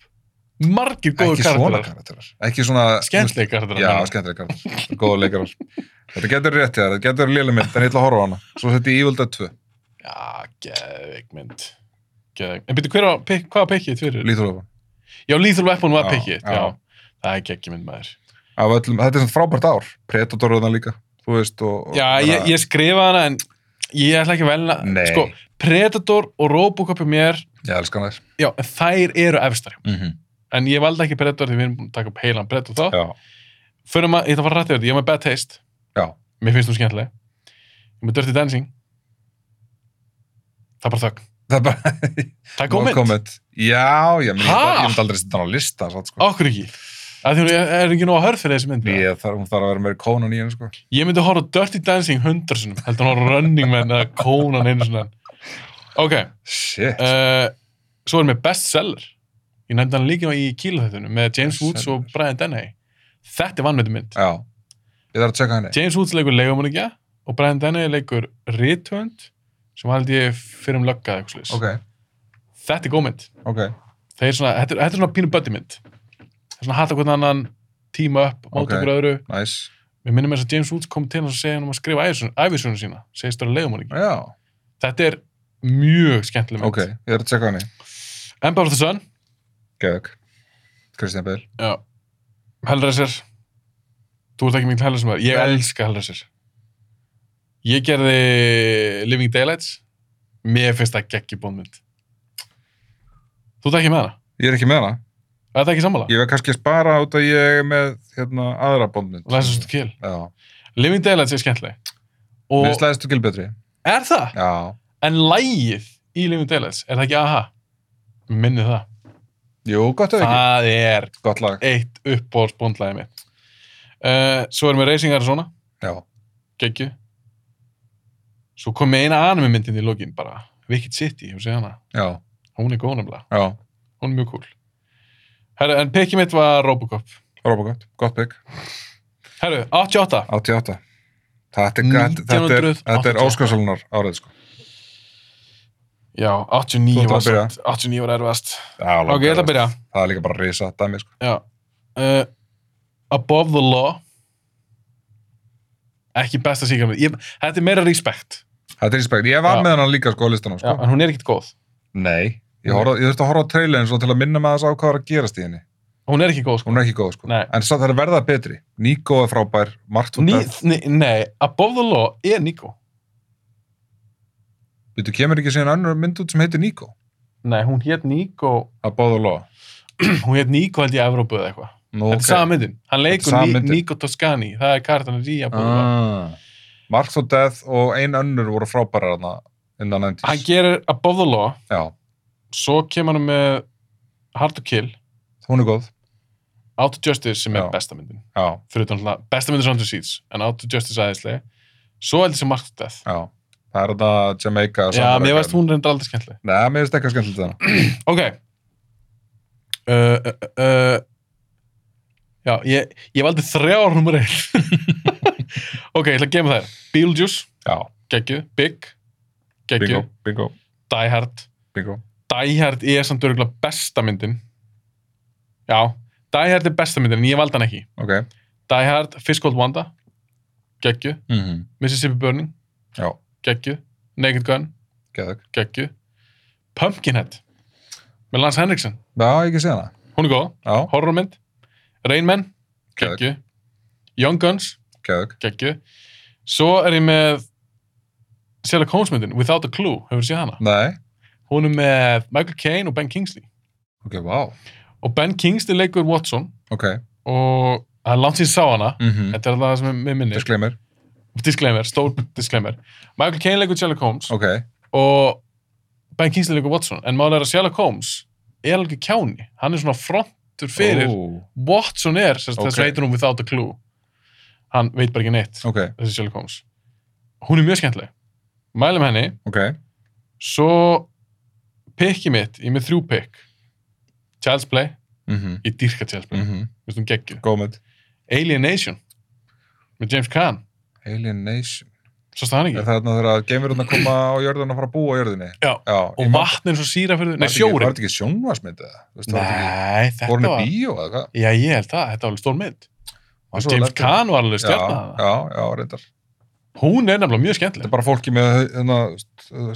Margir góðu Ekki svona karakterar. karakterar. Ekki svona... Skemmtileg karakterar. Já, meina. skemmtileg karakterar. Góða leikarar. Þetta getur rétt hjá þér, þetta getur léleg mynd, en ég ætla að horfa á hana. Svo sett ég Evil Dead 2, Já, geðveik mynd. Geðveik. En byrju, hver var, pick, hvað var pikkið fyrir? Lethal Weapon. já, Lethal Weapon var Já, pikkið, já. já. Það er geggjum mynd maður. af öllum, þetta er svona frábært ár Predatorðan líka, þú veist og, og- Já, ég, ég skrifa hana en ég ætla ekki að velna. Nei. Sko, Predator og Robocop er mér, ég elska hann þér já, en þær eru efstari. mm -hmm. En ég valdi ekki Predator því við erum búin að taka upp heilan Predator þá. já, Fyrir maður, ég ætla að fara rætt yfir þetta, ég er með Bad Taste. já, Mér finnst þú skemmtileg. Ég er með Dirty Dancing. Það er bara þögn. það er bara Það er góð no mynd. comment. já, ég myndi Ha? ég myndi aldrei setja hann á lista satt, sko. Okkur ekki. Það er ekki nóg að hörð fyrir þessi mynd. eða? ég, þar, hún þarf að vera meiri kónun í henni sko. Ég myndi horfa á Dirty Dancing hundar sinum, heldur hann horfa á Running Man eða Conan einu sinna. Ok, shit, uh, svo erum við bestseller. Ég nefndi hann líka í kílaþættunum með James Woods Bestseller. og Brian Dennehy. Þetta er vannmyndu mynd. já ég þarf að tjekka henni James Woods leikur leigumannikja og Brian Dennehy leikur rithönd sem held ég fyrir um lögga eða eitthvað slis. ok, Þetta er góð mynd. ok, Þetta er svona, þetta er, þetta er svona pínu buddy mynd. Það er svona hata hvernig annan tíma upp, móta Ok. okkur öðru. nice Mér minnum þess að James Woods kom til hans og segja hann um að skrifa æfisjónu sína, segist það að leigumannikja. já, Þetta er mjög skemmtileg mynd. ok, ég þarf að tjekka henni Empire of the Sun. Geðug. Kristján Bell Já. Hellraiser. Þú ert ekki mikil Hellraiser maður. Ég Nei. elska Hellraiser. Ég gerði Living Daylights. Mér finnst það geggi bónmynd. Þú ert ekki með hana? ég er ekki með hana, Er það ekki sammála? ég verð kannski að spara út að ég er með hérna, aðra bóndmynd Læsast þú kil. já, Living Daylights er skemmtileg. mér Og slæðist þú gil betri er það? já, En lægið í Living Daylights, er það ekki aha? Minni það. jú, gott eða ekki Það er gott lag, eitt uppbóðsbóndlæði mitt. Uh, svo erum við Racing Arizona. já, geggju svo kom ég eina anime myndin í lokin bara Wicked City, ég sé hana já, hún er góð nefnilega, já hún er mjög cool Herra, en pekið mitt var Robocop Robocop, gott pick, Herru, 88. 88 Þetta er, þetta, þetta er, þetta er 1988. Óskarsalunar árið sko Já, Þú 89 ætlar var, að byrja. samt- 89 var erfast. Já, langar Ok, ég ætla að byrja. Það er líka bara risa dæmi sko Já. Uh, above the law. Ekki besta síkjum. Þetta er meira respect. Þetta er respekt, ég var Já. með hennar líka sko á listanum Já, sko en hún er ekkit góð. Nei, ég, horf, ég þurfti að horfa á trailerin svo til að minna með þess á hvað er að gerast í henni Hún er ekki góð, sko. Hún er ekki góð sko, Nei. en samt það er verða betri Nico er frábær, Markt og Ný, Death nei, nei, Above the Law er Nico. Við kemur ekki síðan önnur mynd út sem heitir Nico Nei, hún hétt Nico, að báða lofa hún hétt Nico held ég Evrópu eða eitthvað. Nú, Þetta er sama myndin. Hann leikur sama Ni, myndin. Nico Toscani. Það er kartan í Above the Law. ah. Mark for Death og ein önnur voru frábærar hana innan Hann 90s gerir Above the Law, Já, svo kemur hann með Hard to Kill, hún er góð Out of Justice sem er Já. besta myndin. Já, Fyrir utan alltaf, besta myndin er Sound of Seeds, en Out of Justice aðeinslega. Svo held ég sem Mark to Death. já Það er þetta Jamaica Já, mér veist hún hún reyndar aldrei skemmtileg. Nei, mér veist ekki skemmtilegt það Ok. Uh, uh, uh, uh, já, ég, ég valdi þrjár nummer einn. ok, ég ætla að gema þær. Beetlejuice, Já, geggju. Big, geggju. bingo, bingo, Die Hard. bingo Die Hard er samt örgulega besta myndin. Já, Die Hard er besta myndin, en ég valdi hann ekki. Ok Die Hard, Fish Called Wanda, geggju. mm -hmm. Mississippi Burning, Já, geggju. Naked Gun, geðug geggju. Pumpkinhead, með Lance Henriksen. Já, ég ekki séð hana Hún er góð. Já, horrormynd Rain Man, Geðveikt. geggju Young Guns, geðug geggju svo er ég með Sherlock Holmes myndin, Without a Clue hefur séð hana, Nei, hún er með Michael Caine og Ben Kingsley ok, vá og Ben Kingsley leikur Watson Ok, og það er langt síðan ég sá hana mm -hmm. þetta er það sem er minni, disclaimer disclaimer stór disclaimer, Michael Caine leikur Sherlock Holmes Ok, og Ben Kingsley leikur Watson en málega er að Sherlock Holmes er alveg kjáni, hann er svona frontur fyrir Ó, Watson er, þess Ok. okay. veitur hún without a clue hann veit bara ekki neitt Ok, þessi Sherlock Holmes hún er mjög skemmtileg mælum henni, ok svo pikki mitt, ég er með þrjú pikk Child's Play, mm -hmm. ég dýrka Child's Play Mm mm. veist hún geggju, Góð mynd Alienation með James Caan, Alienation svo stað hann Er ekki það þarna þegar geimurinn að koma á jörðun og fara að búa á jörðinni? Já. Já ég og man- vatn eins og síra fyrir, Var nei þetta ekki- Var sjórin þetta ekki sjónvarsmynd eða? Þú veist, var þetta ekki- nei, þetta Voru hann í var bíó eða hvað? já, ég held það, þetta var alveg stór mynd og Var svo James lent- Caan var alveg Já, stjarnar já, já, reyndar. hún er nefnilega mjög Þetta skemmtileg er bara fólki með, hérna,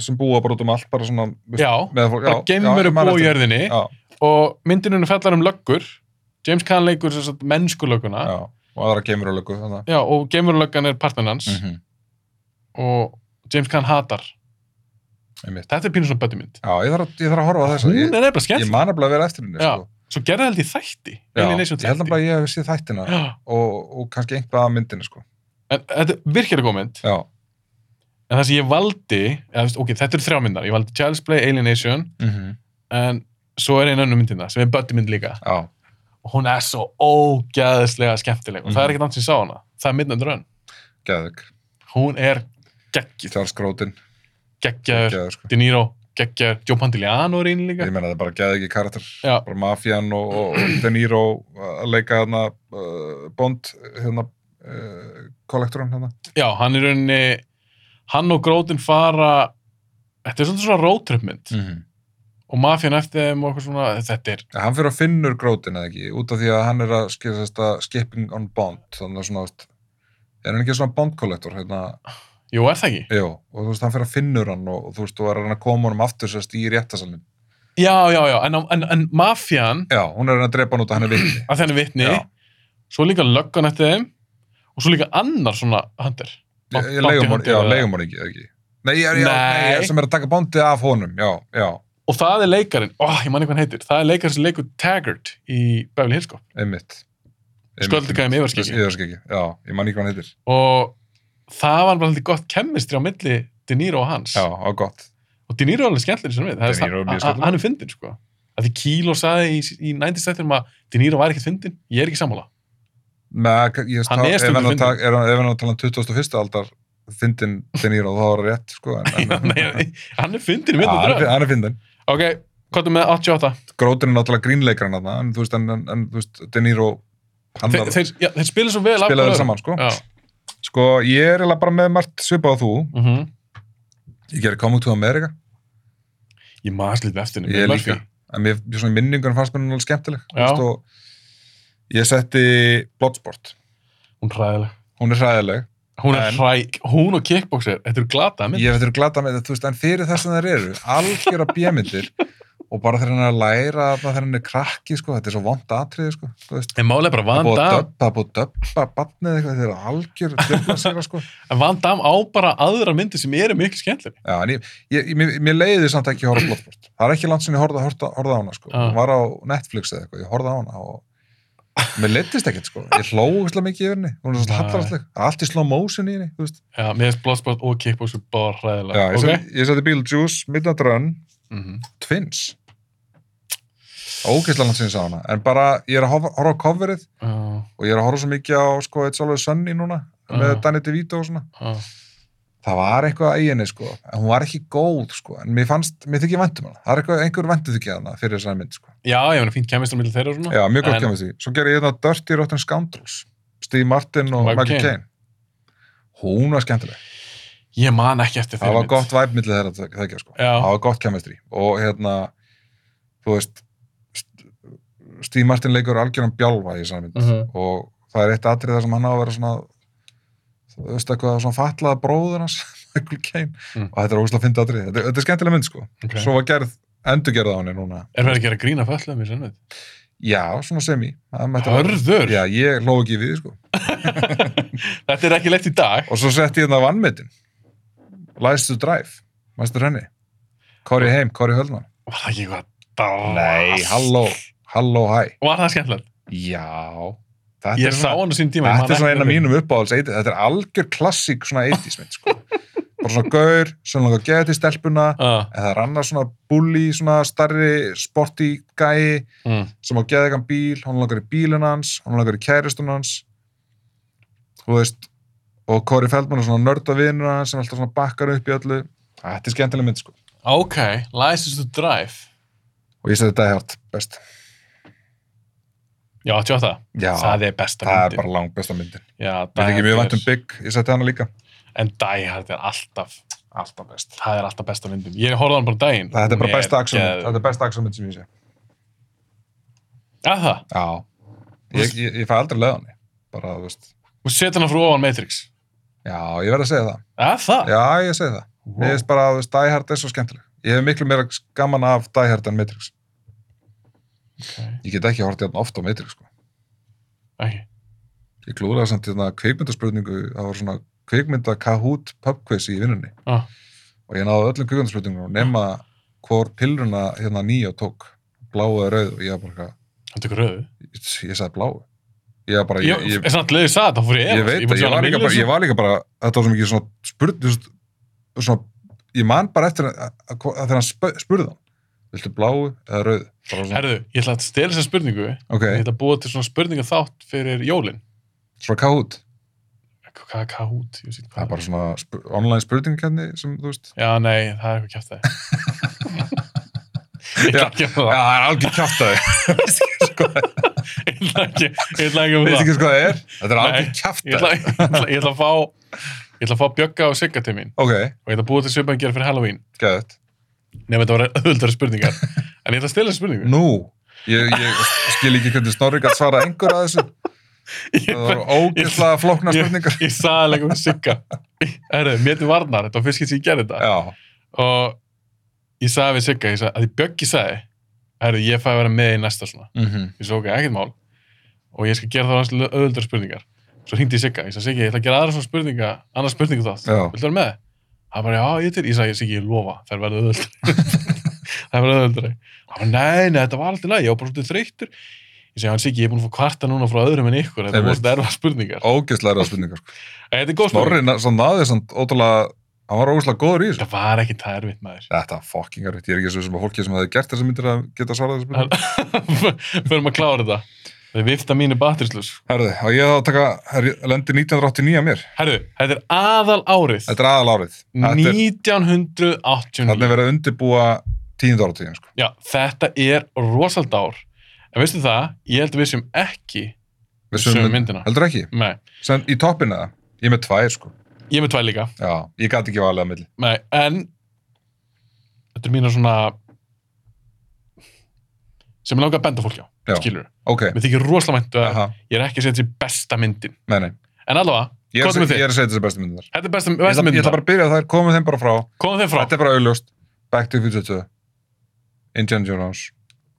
sem búa bara út um allt, bara svona, veist, já, með fólk, já. bara geimur ég man upp á eftir- jörðinni Já, og myndinunum fellar um löggur James Caan leikur sem sagt mennskulögguna já, og aðra geimur og löggu, þannig. Já, og geimurlöggan er partnerinn hans -hmm. og James Caan hatar Einmitt. þetta er pínu svona böttumynd Já, ég þarf, að- ég þarf að horfa á þess hún að er ég, nefnilega skemmt ég man nefnilega að vera eftir henni, Já, sko. svo gerði held í þætti Já, ég Alienation held nefnilega þætti að ég hef séð þættina Já, og, og kannski einhvað að myndinni, sko. en þetta er virkilega góð mynd Já. en það sem ég valdi eða, þú veist, ok, þetta eru þrjá myndar, ég valdi Child's Play, Alienation Mm -hmm. en svo er einu önnum myndina hérna sem er böttumynd líka Já, og hún er svo ógæðislega skemmtileg og það Mhm. er ekkert annars sem ég sá hana það er Midnight Run, geðug. hún er geggjur, Charles Grodin, geggjur geðug, sko. De Niro, geggjar, Joe Pantoliano er einu líka. Ég meina, það er bara geðug í karakter. Já, bara mafian og, og De Niro að leika hérna uh, Bond hérna uh, kollektorinn hérna já, hann er rauninni, hann og Grótin fara, þetta er svona svona roadtripmynd mm -hmm. og mafian eftir þeim og eitthvað svona, þetta er, hann fyrir að finnur grótin eða ekki út af því að hann er að skilja þetta skipping on Bond þannig að svona veist, er hann ekki svona Bond kollektor hérna, jú, er það ekki? jú, og þú veist hann fyrir að finnur hann og, og þú veist þú er hann að koma honum aftur sérst í réttasalinn Já, já, já, en, en, en mafian, já, hún er að reyna að drepa hann út að hann er vitni að þenni vitni, Já. svo líka löggan eftir þeim og svo líka annar svona hundir. ég, ég leigum hann, já, leigum hann ekki, eða ekki. Nei, ég, já, nei, Nei. ég sem er að taka bondið af honum, já, já, Og það er leikarinn, ó, ég man ekki hvað hann heitir, það er leikarinn sem leikur Taggart í Beverly Hills Cop einmitt. Sköldugæðum yfirskeggi. Yfirskeggi, já, ég man ekki hvað hann heitir. og það var bara haldið gott kemmistri á milli De Niro og hans. Já, á gott. og De Niro er alveg skemmtileg sem við De Niro er mjög skemmtilegur. hann er fyndin sko að því Kíló saði í, í 90s þættinum að De Niro var ekkert fyndin, ég er ekki sammála Með, ég, Hann hann er er stundum stundum fyndinn. fyndin. Ef hann er að tala um 21. aldar fyndin De Niro, þá er rétt, sko. En, Já, en, nei, hann er fyndin, Já, við hann, er, þetta fi- hann er fyndin. ok, hvað er með 88 Grótin er náttúrulega grínleikar hann, en þú veist, en, en, en þú veist, De Niro hann þeir, var þeir, já, þeir spila svo vel af spilaður hvoru saman sko. öðru. sko, ég er eiginlega bara með margt svipað á þú já, mm -hmm. ég gerir Coming to America ég maður slítið eftir henni Ég með líka. Murphy. en mér, mér svona minningun fannst mér hún alveg skemmtileg þú Já. veist, og ég setti Bloodsport, hún er hræðileg hún er hræðileg hún, er En- hræ, hún og kickboxer, þetta eru glata mynd. ég veit þurfa glata með þetta, þú veist, en fyrir þess að þær eru algjör að bjömyndir og bara þegar hann er að læra, þarna, þegar hann er krakki sko, þetta er svo vond atriði, sko þú veist, en málega bara það er Van búið að Damme döbba, það er búið að döbba barnið eitthvað, þetta er algjör döbba sér, sko en Van Damme á bara aðra myndi sem eru mikil skemmtileg Já, en ég, ég, ég, mér- mér leiði samt ekki að horfa á Bloodsport. Það er ekki langt sem ég horfði horfði- horfði á hana, sko. Já. Hún var á Netflix eða eitthvað, ég horfði á hana og mér leittist ekkert, sko. Ég hló úrslega mikið yfir henni. Hún er svona Nei. hallarastleg. Allt í slow motion í henni, þú veist. já, með þess Bloodsport og kickboxer bara Já, hræðilega ég, ok? okay. ég seti Beetlejuice, Midnight Run, Mhm. Twins. Ógeðslega langt sem ég sá hana. En bara, ég er að horfa, horfa á coverið Já, og ég er að horfa svo mikið á, sko, It's Always Sunny núna, með Já. Danny DeVito og svona. já. það var eitthvað í henni sko en hún var ekki góð sko en mér fannst, mér þykir væntum hana það er eitthvað, einhver væntum þykja hana fyrir þessari mynd sko já, ég meina fínt kemist á milli þeirra og svona já, mjög gott En- kemur því svo gerði ég þetta Dirty Rotten Scoundrels Steve Martin og Michael Michael Caine. Caine hún var skemmtileg ég man ekki eftir þeirra það var mynd. gott væp millir þeirra þe- þekkja sko. Já. það var gott kemestri og hérna þú veist St- Steve Martin leikur algjörum bjálfa í þessari mynd Mhm. og það er eitt atrið þar sem hann á að vera svona þú veist eitthvað svona fatlaða bróður hans Michael Caine Mm. og þetta er óslega fyndið atrið þetta, þetta er skemmtilega mynd sko Ok. svo var gerð endurgerð á henni núna er verið að gera grína föllum í svona mynd? já, svona semi Það mætti- Hörður! já, ég hló ekki við því, sko Þetta er ekki leitt í dag. og svo setti ég þetta vannmyndin Lies to Drive, mæstu henni Kori Heim, Kori Höllmann Var það ekki eitthvað drast? Nei, halló, halló, hæ. Var það skemmtilegt? Já. Þetta Ég er sá svona, hann á sín tíma. ég man þetta er svona ekki um. eina eftir mínum uppáhalds 80s. Þetta er algjör klassík svona 80s mynd, sko. Bara svona gaur, sem langar að geða til stelpuna, því. Ah, en það er annar svona bully, svona starri, sporty gæi, mm. sem á geða eitthvað bíl, hann langar í bílinn hans, hann langar í kæristun hans, þú veist, og Corey Feldman er svona nörda vinnur hans, sem alltaf svona bakkar upp í öllu. Þetta er skemmtileg mynd, sko. Ok, License to Drive. Og ég seti þetta hægt best. Já, 28. Já, það er besta það er myndin. bara langt besta myndin. Já, Die Mér þykir mjög Hard vænt um er- Big, ég seti hana líka. En Die Hard er alltaf, Alltaf best. það er alltaf besta myndin. Ég horfði á hann bara um daginn. Þetta er bara Hún besta axelmynd, geð- þetta er besta axelmynd sem ég sé. Er það? Já. Ég, ég, ég fæ aldrei leið á henni, bara, þú veist. Þú setur hann frá ofan Matrix. Já, ég verð að segja það. Er það? Já, ég segi það. Vá. Mér finnst bara að þú veist, Die Hard er svo skemmtileg. Ég hef miklu meira gaman af Die Hard en Matrix. Ok, Ég get ekki hortið hérna oft á Matrix, sko. ekki. Ég klúraði samt hérna kveikmyndaspurningu, það var svona kveikmynda Kahoot pub quiz í vinnunni Ah, og ég náði öllum kveikmyndaspurningunum nema hvor pillruna hérna nýja tók, bláu eða rauð og ég var bara, eitthvað, Hann tekur röðu. ég sagði bláu. Ég var bara, Ég, ég, samt leiði það, þá fór ég ég efast. veit búin að að ég sjá var hana líka bara, ég var líka bara þetta var svo mikið svona spurning svona, ég man bara eftir að, að, að þegar hann spö- spurði hann viltu bláu eða rauðu Bara svona, Herðu, ég ætla að stela þessa spurningu. ok, Ég ætla að búa til svona spurninga þátt fyrir jólin. svona kátt Hvað er Kahoot? Ég sé það er hvað. bara svona sp online spurningkenni sem þú veist Já, nei, það er eitthvað kæft það. Ég ætla ekki að Já, það. það er algjör kjaftaði. Ég ætla ekki, ég ætla ekki að Veist það. ekki hvað það er? Þetta er algjör Nei, Ég ætla, kjaftaði. ég, ætla, ég ætla að fá, ég ætla að fá Bjögga og Sigga til mín Ok, og ég ætla að búa til svipaðan gera fyrir Halloween. gæðið. Nei, þetta voru öðuldara spurningar. En ég ætla að stela þessa spurningu. Nú, ég, ég skil ekki hvernig Snorri gætt svara einhver að þessu. Ég, Það voru ógeðslega flókna ég, spurningar. ég sagði alveg um Sigga. Herru, mér til varnar, þetta var fyrst skipt sem ég gerði þetta. Já, Og ég sagði við Sigga, ég sagði, að því Bjöggi sagði, herru, ég fæ að vera með í næsta svona. Mhm. ég svo ok, ekkert mál og ég skal gera það hans öðuldar spurningar svo hringdi ég Sigga, ég sagði Siggi, ég ætla að gera aðra svona spurninga annars spurningu þátt, Já. viltu vera með? hann bara, já, ég til, ég sagði Siggi, ég lofa þær verða öðuldar þær verða öðuldar hann bara, nei, nei, þetta var alltaf læg, ég var bara svolítið þreyttur ég segi, hann Siggi, ég er búin að fá kvarta núna frá öðrum en ykkur, þetta Einmitt. voru þetta erfa spurningar ógeðslega erða spurningar. sko. en Eh, þetta er góð spurning, Snorri na- svo náði samt ótrúlega, hann var ógeðslega góður í þessu. þetta var ekki það erfitt maður Þetta er fucking erfitt, ég er ekki svo sem að fólki sem hefði gert þessar myndir að geta svarað þessu spurningu. förum að klára þetta þau vifta mínu batterislus Herðu, á ég þá að taka, herri, lendi 1989 að mér. herru, þetta er aðal árið Þetta er aðal árið. Þetta er, 1989 þannig er verið að undirbúa tíund áratíðin, sko. Já, þetta er rosald ár. En veistu það, ég held að við séum ekki Við sömu sögum mynd. myndina. Heldur ekki? Nei, Sem í toppinu það? Ég er með tvær, sko. ég er með tvær líka. Já, ég gæti ekki valið að milli. Nei, en þetta er mínar svona sem ég langar að benda fólk á, Já. skilur. Ok, Mér þykir rosalega mænt að aha, ég er ekki að setja sér besta myndin. nei, nei. En allavega, Ég er, Hvað að er seg- þitt? ég er að segja þessi bestu myndin þar. þetta er besta, Ég besta ætla, ég myndin. ætla bara að byrja þær, komum þeim bara frá. Komum þeim frá. Þetta er bara auðljóst. Back to the Future 2. Indiana Jones.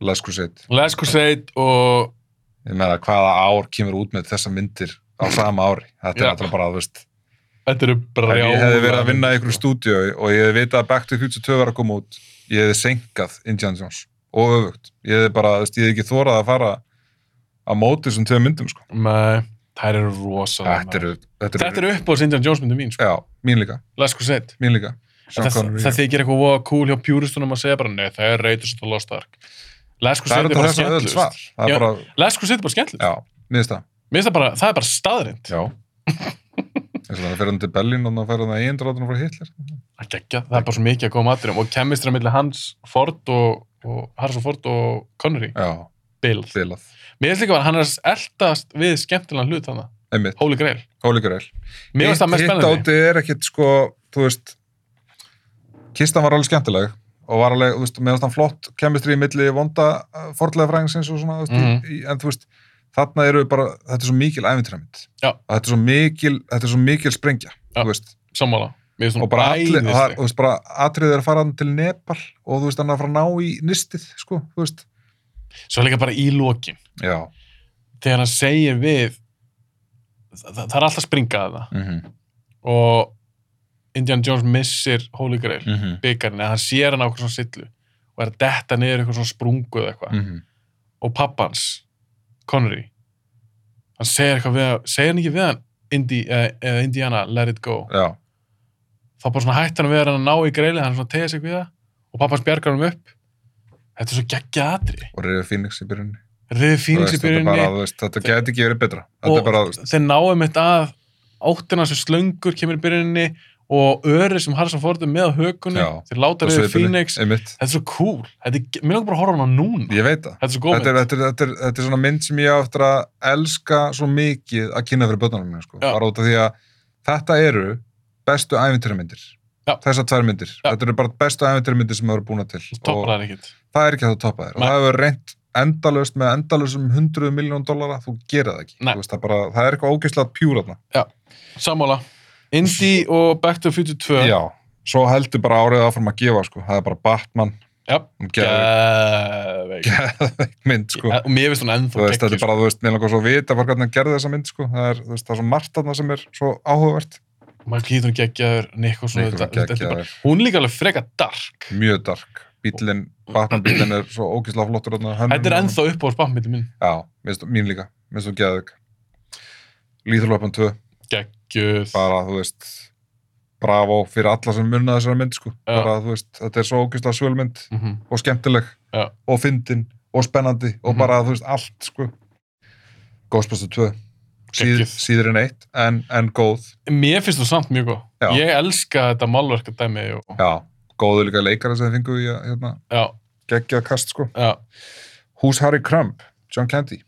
Last Crusade. Last Crusade og Ég meina, hvaða ár kemur út með þessa myndir á sama ári? Þetta Já. er náttúrulega bara, þú veist, þetta eru ef brjála. ég hefði verið að vinna í einhverju stúdíu og ég hefði vitað að Back to the Future 2 var að koma út, ég hefði senkað Indiana Jones og öfugt. Ég hefði bara, þú veist, ég hefði ekki þórað að fara á móti þessum tvei myndum, sko. Nei, þær eru rosalega. Þetta eru, þetta Þetta eru, eru upp á Indiana Jones myndin mín, sko. já, mín líka, Last Crusade. mín líika. Sean Það, Connery. það þykir eitthvað voða cool hjá pjúristunum að segja bara, nei, það er reytur svo lost ark. Last Það Crusade eru er þetta bara þess að öðru svar. skemmtlust. Það Já. er bara, Last Crusade er bara skemmtlust. já, miðst það. Mér finnst það bara, það er bara staðrind. Já. Þess að það fer hann til Berlín og það fer hann að eigindraðunum frá Hitler. Það geggja, það er bara svo mikið að koma aðdurum og kemistra millir Hans Ford og, og Harrison Ford og Connery Já, Bill. fylað. Mér finnst líka að hann er að eldast við skemmtilegan hlut þannig, Einmitt, Holy Grail. hólíkur eil. Mér finnst það mest Hitt spennandi. áti er ekkit sko, þú veist, kistan var alveg skemmtileg og var alveg, þú veist, meðan hann flott kemistri í milli vonda fordlega fræðingsins og svona, þú veist, Mhm. í, en þú veist, þarna eru bara, þetta er svo mikil æfintræmynd. Já. Þetta er svo mikil, þetta er svo mikil sprengja, Já. þú veist. Sammála. Mér finnst Og hún bara allir, og það, æðisleg. þú veist, bara atriðið er að fara hann til Nepal og þú veist, hann er að fara að ná í nistið, sko, þú veist. Svo líka bara í lokin. Já. Þegar hann segir við, það, það er alltaf að springa að það. Mm -hmm. Og Indiana Jones missir Holy Grail, Mm -hmm. byggarinn, eða hann sér hann á eitthvað svona sillu og er að detta niður eitthvað svona sprungu eða eitthvað. Mm -hmm. og pappans, Connery hann segir eitthvað við hann segir hann ekki við hann Indi, uh, Indiana, let it go Já. þá bara svona hætti hann við hann að ná í greili hann svona tegja sig við það og pappans bjargar hann upp þetta er svo geggja atri og Reyður Phoenix í byrjunni riði Þú veist, fínings í þetta er bara, byrjunni þú veist, þetta gæti ekki verið betra þetta er bara, þú veist, þeir náum mitt að áttina sem slöngur kemur í byrjunni og öri sem Harrison Ford er með á hökunni Já, þeir láta riði svipurinn, fínings einmitt. þetta er svo cool þetta er, ge- mér langar bara að horfa á hana núna ég veit það þetta er svo góð þetta er, mynd þetta, er, þetta, er, þetta er svona mynd sem ég á eftir að elska svo mikið að kynna fyrir börnunum mínu sko. Já. bara út af því að þetta eru bestu æfintyramyndir Já. þessar tvær myndir, Já. þetta eru bara bestu æfintyramyndir sem eru búna til toppar og það ekkert það er ekki hægt að toppa þér og Nei. það hefur reynt endalaust með endalausum 100 miljón dollara, þú gerir það ekki Nei. Þú veist, það, bara, það er eitthvað ógeðslega pjúratna sammála Indy og Back to the Future 2 Já, svo heldur bara árið áfram að gefa sko. það er bara Batman Já. um Geðveik. geðveik mynd sko. og mér finnst hún þú ennþá veist, þetta geggjur er bara, þú veist, mér langar svo að vita bara hvernig hann gerði þessa mynd, sko, það er, þú veist, það er svo margt þarna sem er svo áhugavert maður kýtur hún geggjaður, Nicholson Nicholson þetta- þetta er bara- geggjaður, hún er líka alveg freka dark mjög dark bílinn, Batman bílinn er svo ógislega flottur þarna, hönnun þetta er honum. ennþá upp á spammiði minn já, minnst, mín líka, minnst þú geðveik Lethal Weapon 2 geggjuð bara, þú veist bravo fyrir alla sem munna þessara mynd, sko Já. bara, þú veist, þetta er svo ógislega svölmynd Mhm. og skemmtileg Já. og fyndin og spennandi og Mhm. bara, þú veist, allt, sko Ghostbusters 2 síð, Geggjuð. síður en eitt, en, en góð mér finnst þú samt mjög góð Já. ég elska þetta málverkadæmi og... Já, góðu líka leikara sem þeir fengu í að hérna, já, geggja kast sko. já. Hús Harry Crumb, John Candy.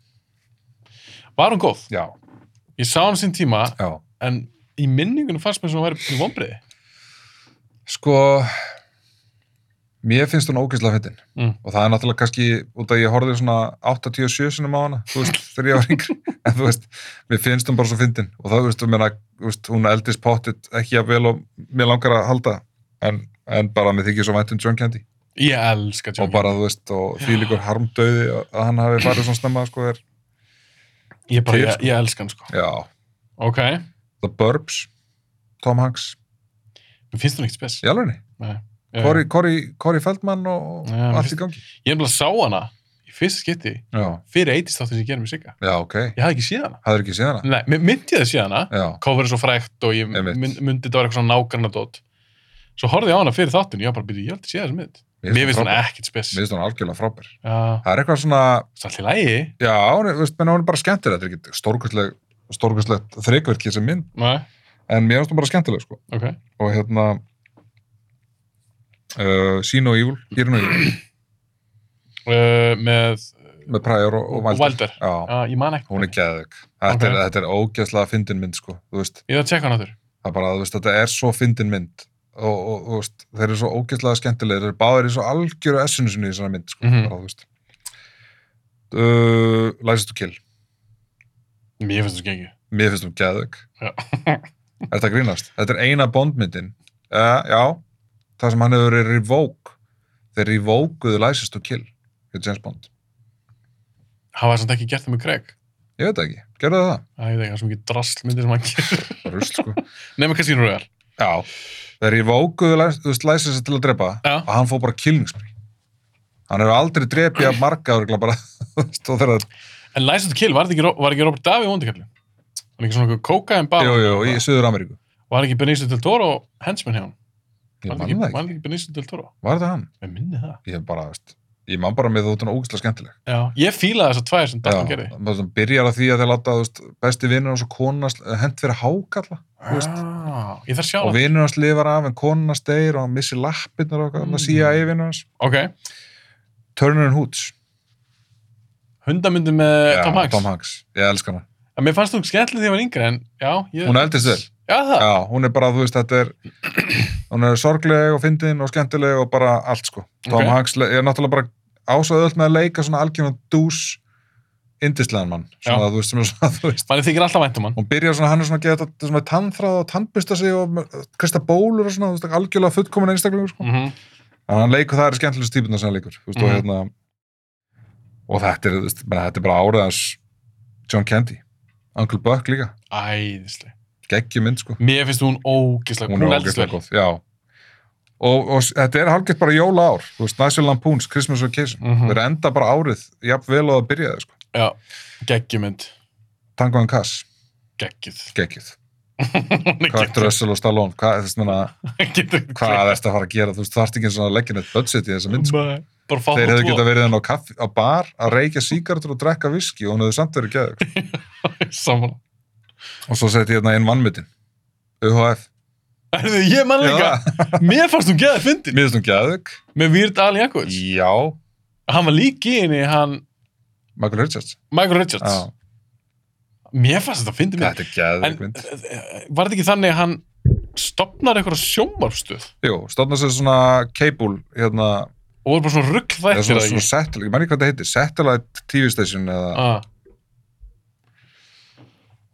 var hún góð? Já, ég sá hann sín tíma já. en í minningunum fannst mér sem hún væri pínu vonbreiði Sko, mér finnst hún ógeðslega fyndin Mm. og það er náttúrulega kannski út að ég horfði svona 87 sinum á hana, þú veist, þegar ég var yngri, en þú veist, mér finnst hún bara svo fyndin og það, þú veist, þú meina, þú veist, hún eldist pottit ekki að vel og mér langar að halda, en, en bara mér þykir svo vænt um John Candy ég elska og John bara, þú veist, og því líkur harmdauði að að hann hafi farið svona snemma, sko, er, Candy. ég, bara, til, ég, sko. ég elska hann sko já, ok, The Burbs, Tom Hanks mér finnst hún ekkert spes í alvegni, Corey, Corey, Corey Feldman og og Já, mér allt í finnst- gangi Eh, ég er bara sá hana í fyrsta skipti já, fyrir 80s þáttin sem ég gerði með Sigga já, ok, ég hafði ekki séð hana það er ekki síðan hana Nei, mér myndi ég það síðan að já, coverið svo frækt og ég Einmitt. mynd, myndi þetta var eitthvað svona nágrannadót Svo horfði ég á hana fyrir þáttun og ég var bara byrja, ég held að sé þessa mynd Mér finnst hún frábær. ekkert spes mér Já, finnst hún algjörlega frábær það það er eitthvað svona, er allir lægi já, hún er, veist, menn, hún er bara skemmtileg þetta er ekki stórkustleg, stórkustlegt þreikverki sem mynd, Nei, en mér finnst hún bara skemmtileg sko. ok og hérna uh, Sino Evil, Hero No Evil uh, Með uh, með Pryor og, og og Wilder. Wilder. Já, Já, ég man ekki. hún er geðug. Þetta, Ok. okay. þetta er ógeðslega fyndin mynd, sko. Þú veist, Ég þarf að tjekka hann áttur. það er bara, þú veist, þetta er svo fyndin mynd og, og, og þú veist, þeir eru svo ógeðslega skemmtilegir. Þeir eru báðir í svo algjöru essinu sinni í þessari mynd, sko. Mhm. bara, þú veist. Uh, Læsist og kill. Mér finnst þessu gengið. Mér finnst hún geðug. Já. er þetta að grínast? Þetta er eina bondmyndin. Uh, já, það sem hann hefur verið revoke. Þeir revokuðu Læsist og kill. Þetta er James Bond. Hafa þess að ekki gert það með Craig. Ég veit það ekki. Gerðu það það? Æ, ég veit ekki, það er svo mikið draslmyndir sem hann gerir. Bara Rusl, sko. Nei, með Casino Royale. Já, þegar ég vókuðu læsins til að drepa Já. og hann fór bara killingspree. Hann hefur aldrei drepið að marga örgla bara, þú veist, og þegar það, En License to Kill, var, þetta ekki, Ro- var ekki Robert Davi vondikallin? Var ekki svona eitthvað kóka en bara? jú, jú, í Suður Ameríku. Var ekki Benicio del Toro hensmenn hjá hann? Ég Var man ekki, það var ekki. ekki Benicio del Toro? Var þetta hann? Ég minni það. Ég bara, þú veist, ég man bara með þú út hann ógeðslega skemmtileg. Já, ég fílaði þess að tvær sem Dalton gerði. maður svona byrjar að því að þeir láta, þú veist, besti vinnur hans og konunast, hent fyrir hákalla þú veist. Ah, ég þarf að sjá og það. vinnur hans lifar af en konunast deyr og hann missir lappirnar og hvað, Mm. mm. CIA vinnur hans. Ok, Turner and Hoots. hundamyndi með Já, Eh, Tom Hanks. Tom Hanks, ég elska hana. En Mér fannst þú skellið þegar ég var yngri, en já. Ég... Hún eldist vel. Já, það. Já, hún er bara, þú veist, þetta er hún er sorgleg og fyndin og skemmtileg og bara allt, sko. Tom Ok. Hanks le- er náttúrulega bara ásæðu öll með að leika svona algjörnum dús indislegan mann, svona, Já. þú veist, sem er svona, þú veist Manni þykir alltaf væntum hann. hún byrjar svona, hann er svona að gera þetta svona tannþráð og tannbusta sig og krista bólur og svona, þú veist, algjörlega fullkomin einstaklingur, sko. Mm -hmm. En hann leikur, það er skemmtilegst típunar sem hann leikur, þú veist, og Mhm. hérna og þetta er, þú veist, bara- þetta er bara áraðans John Candy, Uncle Buck líka, Æðislega. geggjum mynd, sko. Mér finnst hún ógislega, hún er eldist ógeðslega vel. góð já. og, og s- þetta er hálfgett bara jóla ár þú veist, National Lampoon's Christmas Vacation mm Mhm. þeir enda bara árið jafnvel og það byrjaði sko. Já, geggjumynd, Tango and Cash, geggjuð. geggjuð Hún er Kurt Russell og Stallone, hvað, þú veist, meina, geggjuð. hvað ertu að fara að gera þú veist, þú þarft ekki eins og að leggja neitt budget í þessa mynd sko. Nei, Bara fá þeir þá hefðu tvo. getað verið hann á, kaffi, á bar að reykja sígartur og drekka viski og hún hefðu samt verið geðið sko. Sammála. og svo setti ég hérna inn vannmyndin UHF Erðu, ég man líka, Já, mér fannst hún geða fyndin. mér finnst hún geðið Með Weird Al Jankovic. já, Hann var lík í henni, hann, Michael Richards Michael Richards. já, Mér fannst þetta fyndin mér. þetta er geðið En mynd eh, var þetta ekki þannig að hann stopnar eitthvað sjómarfstöð Jú, stofna sér svona cable hérna, og voru bara svona rugg eða þættir svona, að svona ekki? satellite, ég mær ekki hvað þetta heitir, satellite TV station eða, Ah,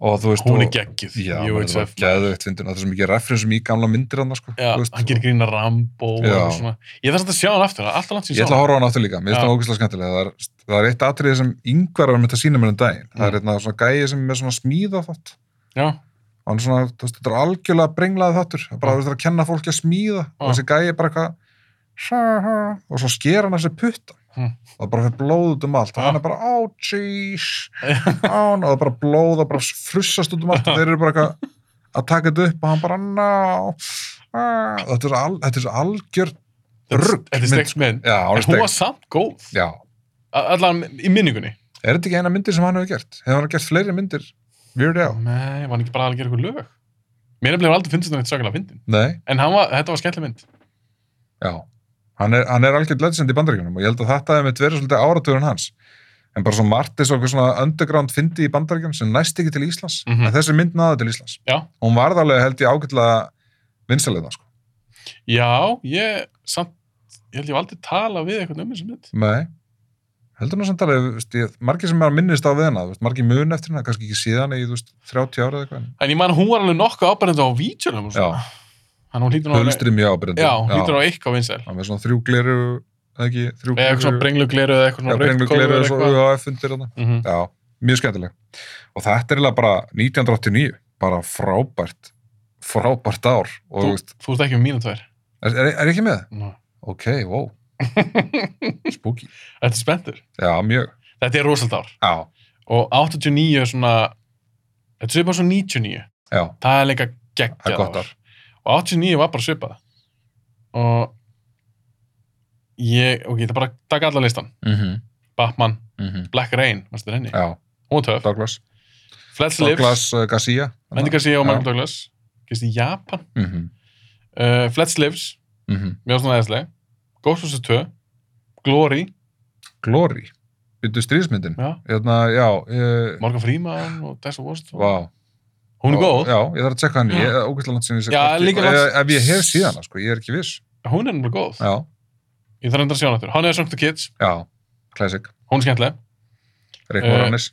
og þú veist, Hún er og, geggjuð. já, Ég menn, veit það það. var geðveitt fyndin, það er svo mikið referensum í gamla myndir hann, sko, Já, þú veist, hann gerir grína Rambo og Já. eitthvað svona. Ég þarf samt að sjá hann aftur, það er alltaf langt sem ég ætla að horfa á hann áttur líka, mér finnst Já. það ógæslega skemmtilega, það er, það er eitt atriði sem yngvar var mynd að sína mér um daginn, það Mm. er hérna svona gæi sem er með svona smíða þátt, Já, og hann er svona, þú veist, þetta er algjörlega brenglaði þáttur, það er bara, Já. þú veist, það er að kenna fólki að smíða, Já. og þessi gæi er bara eitthvað, og svo sker hann þessi putta, Mm. Ah. og það bara fyrir blóð út um allt, og Já. hann er bara, á, jeez, án og það bara blóð og bara frussast út um allt og þeir eru bara eitthvað að taka þetta upp og hann bara ná ah." þetta er, al, þetta er svo algjör Rugl þetta er mynd, sko. steikt mynd. já, hún En er hún var steg samt góð. já. A- Allan í minningunni. er þetta ekki eina myndir sem hann hefur gert hefur hann gert fleiri myndir Weird Al Nei, var hann ekki bara að gera eitthvað lög? Mér hefði aldrei finnst þetta neitt svakalega fyndin. nei En hann var, þetta var skemmtileg mynd. já hann er, hann er algjörð legend í bandaríkjunum og ég held að þetta hefur mitt verið svolítið áratugurinn hans en bara svo margt eins og eitthvað svona underground fyndi í bandaríkjunum sem næst ekki til Íslands Mhm. en þessi mynd náði til Íslands Já. hún varð alveg held ég ágætlega vinsalegna sko Já, ég samt, ég held ég hef aldrei talað við eitthvað um þessu mynd. Nei, heldur nú samt alveg, veist, ég, margir sem er minnist á við hana, veist, margir mun eftir hana, kannski ekki síðan í þú veist, 30 ára eða eitthvað. en- En ég man hún var alveg nokkuð ábærandi á vítjölum og svona. Já, Hann hún hlýtur nú alveg- hulstrið mjög ábyrjandi. Já, hún hlýtur á eitthvað vinsæl. Hann með svona þrjú gleru, eða ekki, þrjú Eða eitthvað svona brenglugliru eða eitthvað svona brenglu rautt gleru og gólf svo eða UAF undir hana. Mhm. Já, mjög skemmtileg. Og þetta er eiginlega bara 1989, bara frábært, frábært ár. Og þú veist, Þú ert ekki með mínu tvær. er, er, er ég ekki með? Nú. Ok, wow. Spooky. Þetta er spenntur. Já, mjög. Þetta er rosald ár. Já, Og 89 er svona, þetta er bara svona 99. já, Það er líka það er geggjað gott ár. ár. og 89 var bara svipað og ég, ok, ég ætla bara að taka allan listan Mm Mhm, -hmm. Batman, Mm -hmm. Black Rain, mannstu þér henni Já, hún var töf, Douglas. Fletch Lives, Douglas uh, Garcia Andy Garcia og Já. Michael Douglas gerist í Japan, mm -hmm. uh, Fletch Lives mm -hmm. mjög svona eðisleg, Ghostbusters 2 Glory, Glory Býttu stríðismyndin. já, Hérna, já, ég... Morgan Freeman og Tessa Wallstone Vá. hún er Já, góð, Já, ég þarf að tjekka hann. Já. Ég er ógæslega langt sinni. Já, líka langt. langt- Ef ég hef síðan, sko, ég er ekki viss. hún er nefnilega góð Já, ég þarf endur að sjá hann aftur, hann er Sunk the Kids já, classic. hún er skemmtileg, Rick Eh, Moranis.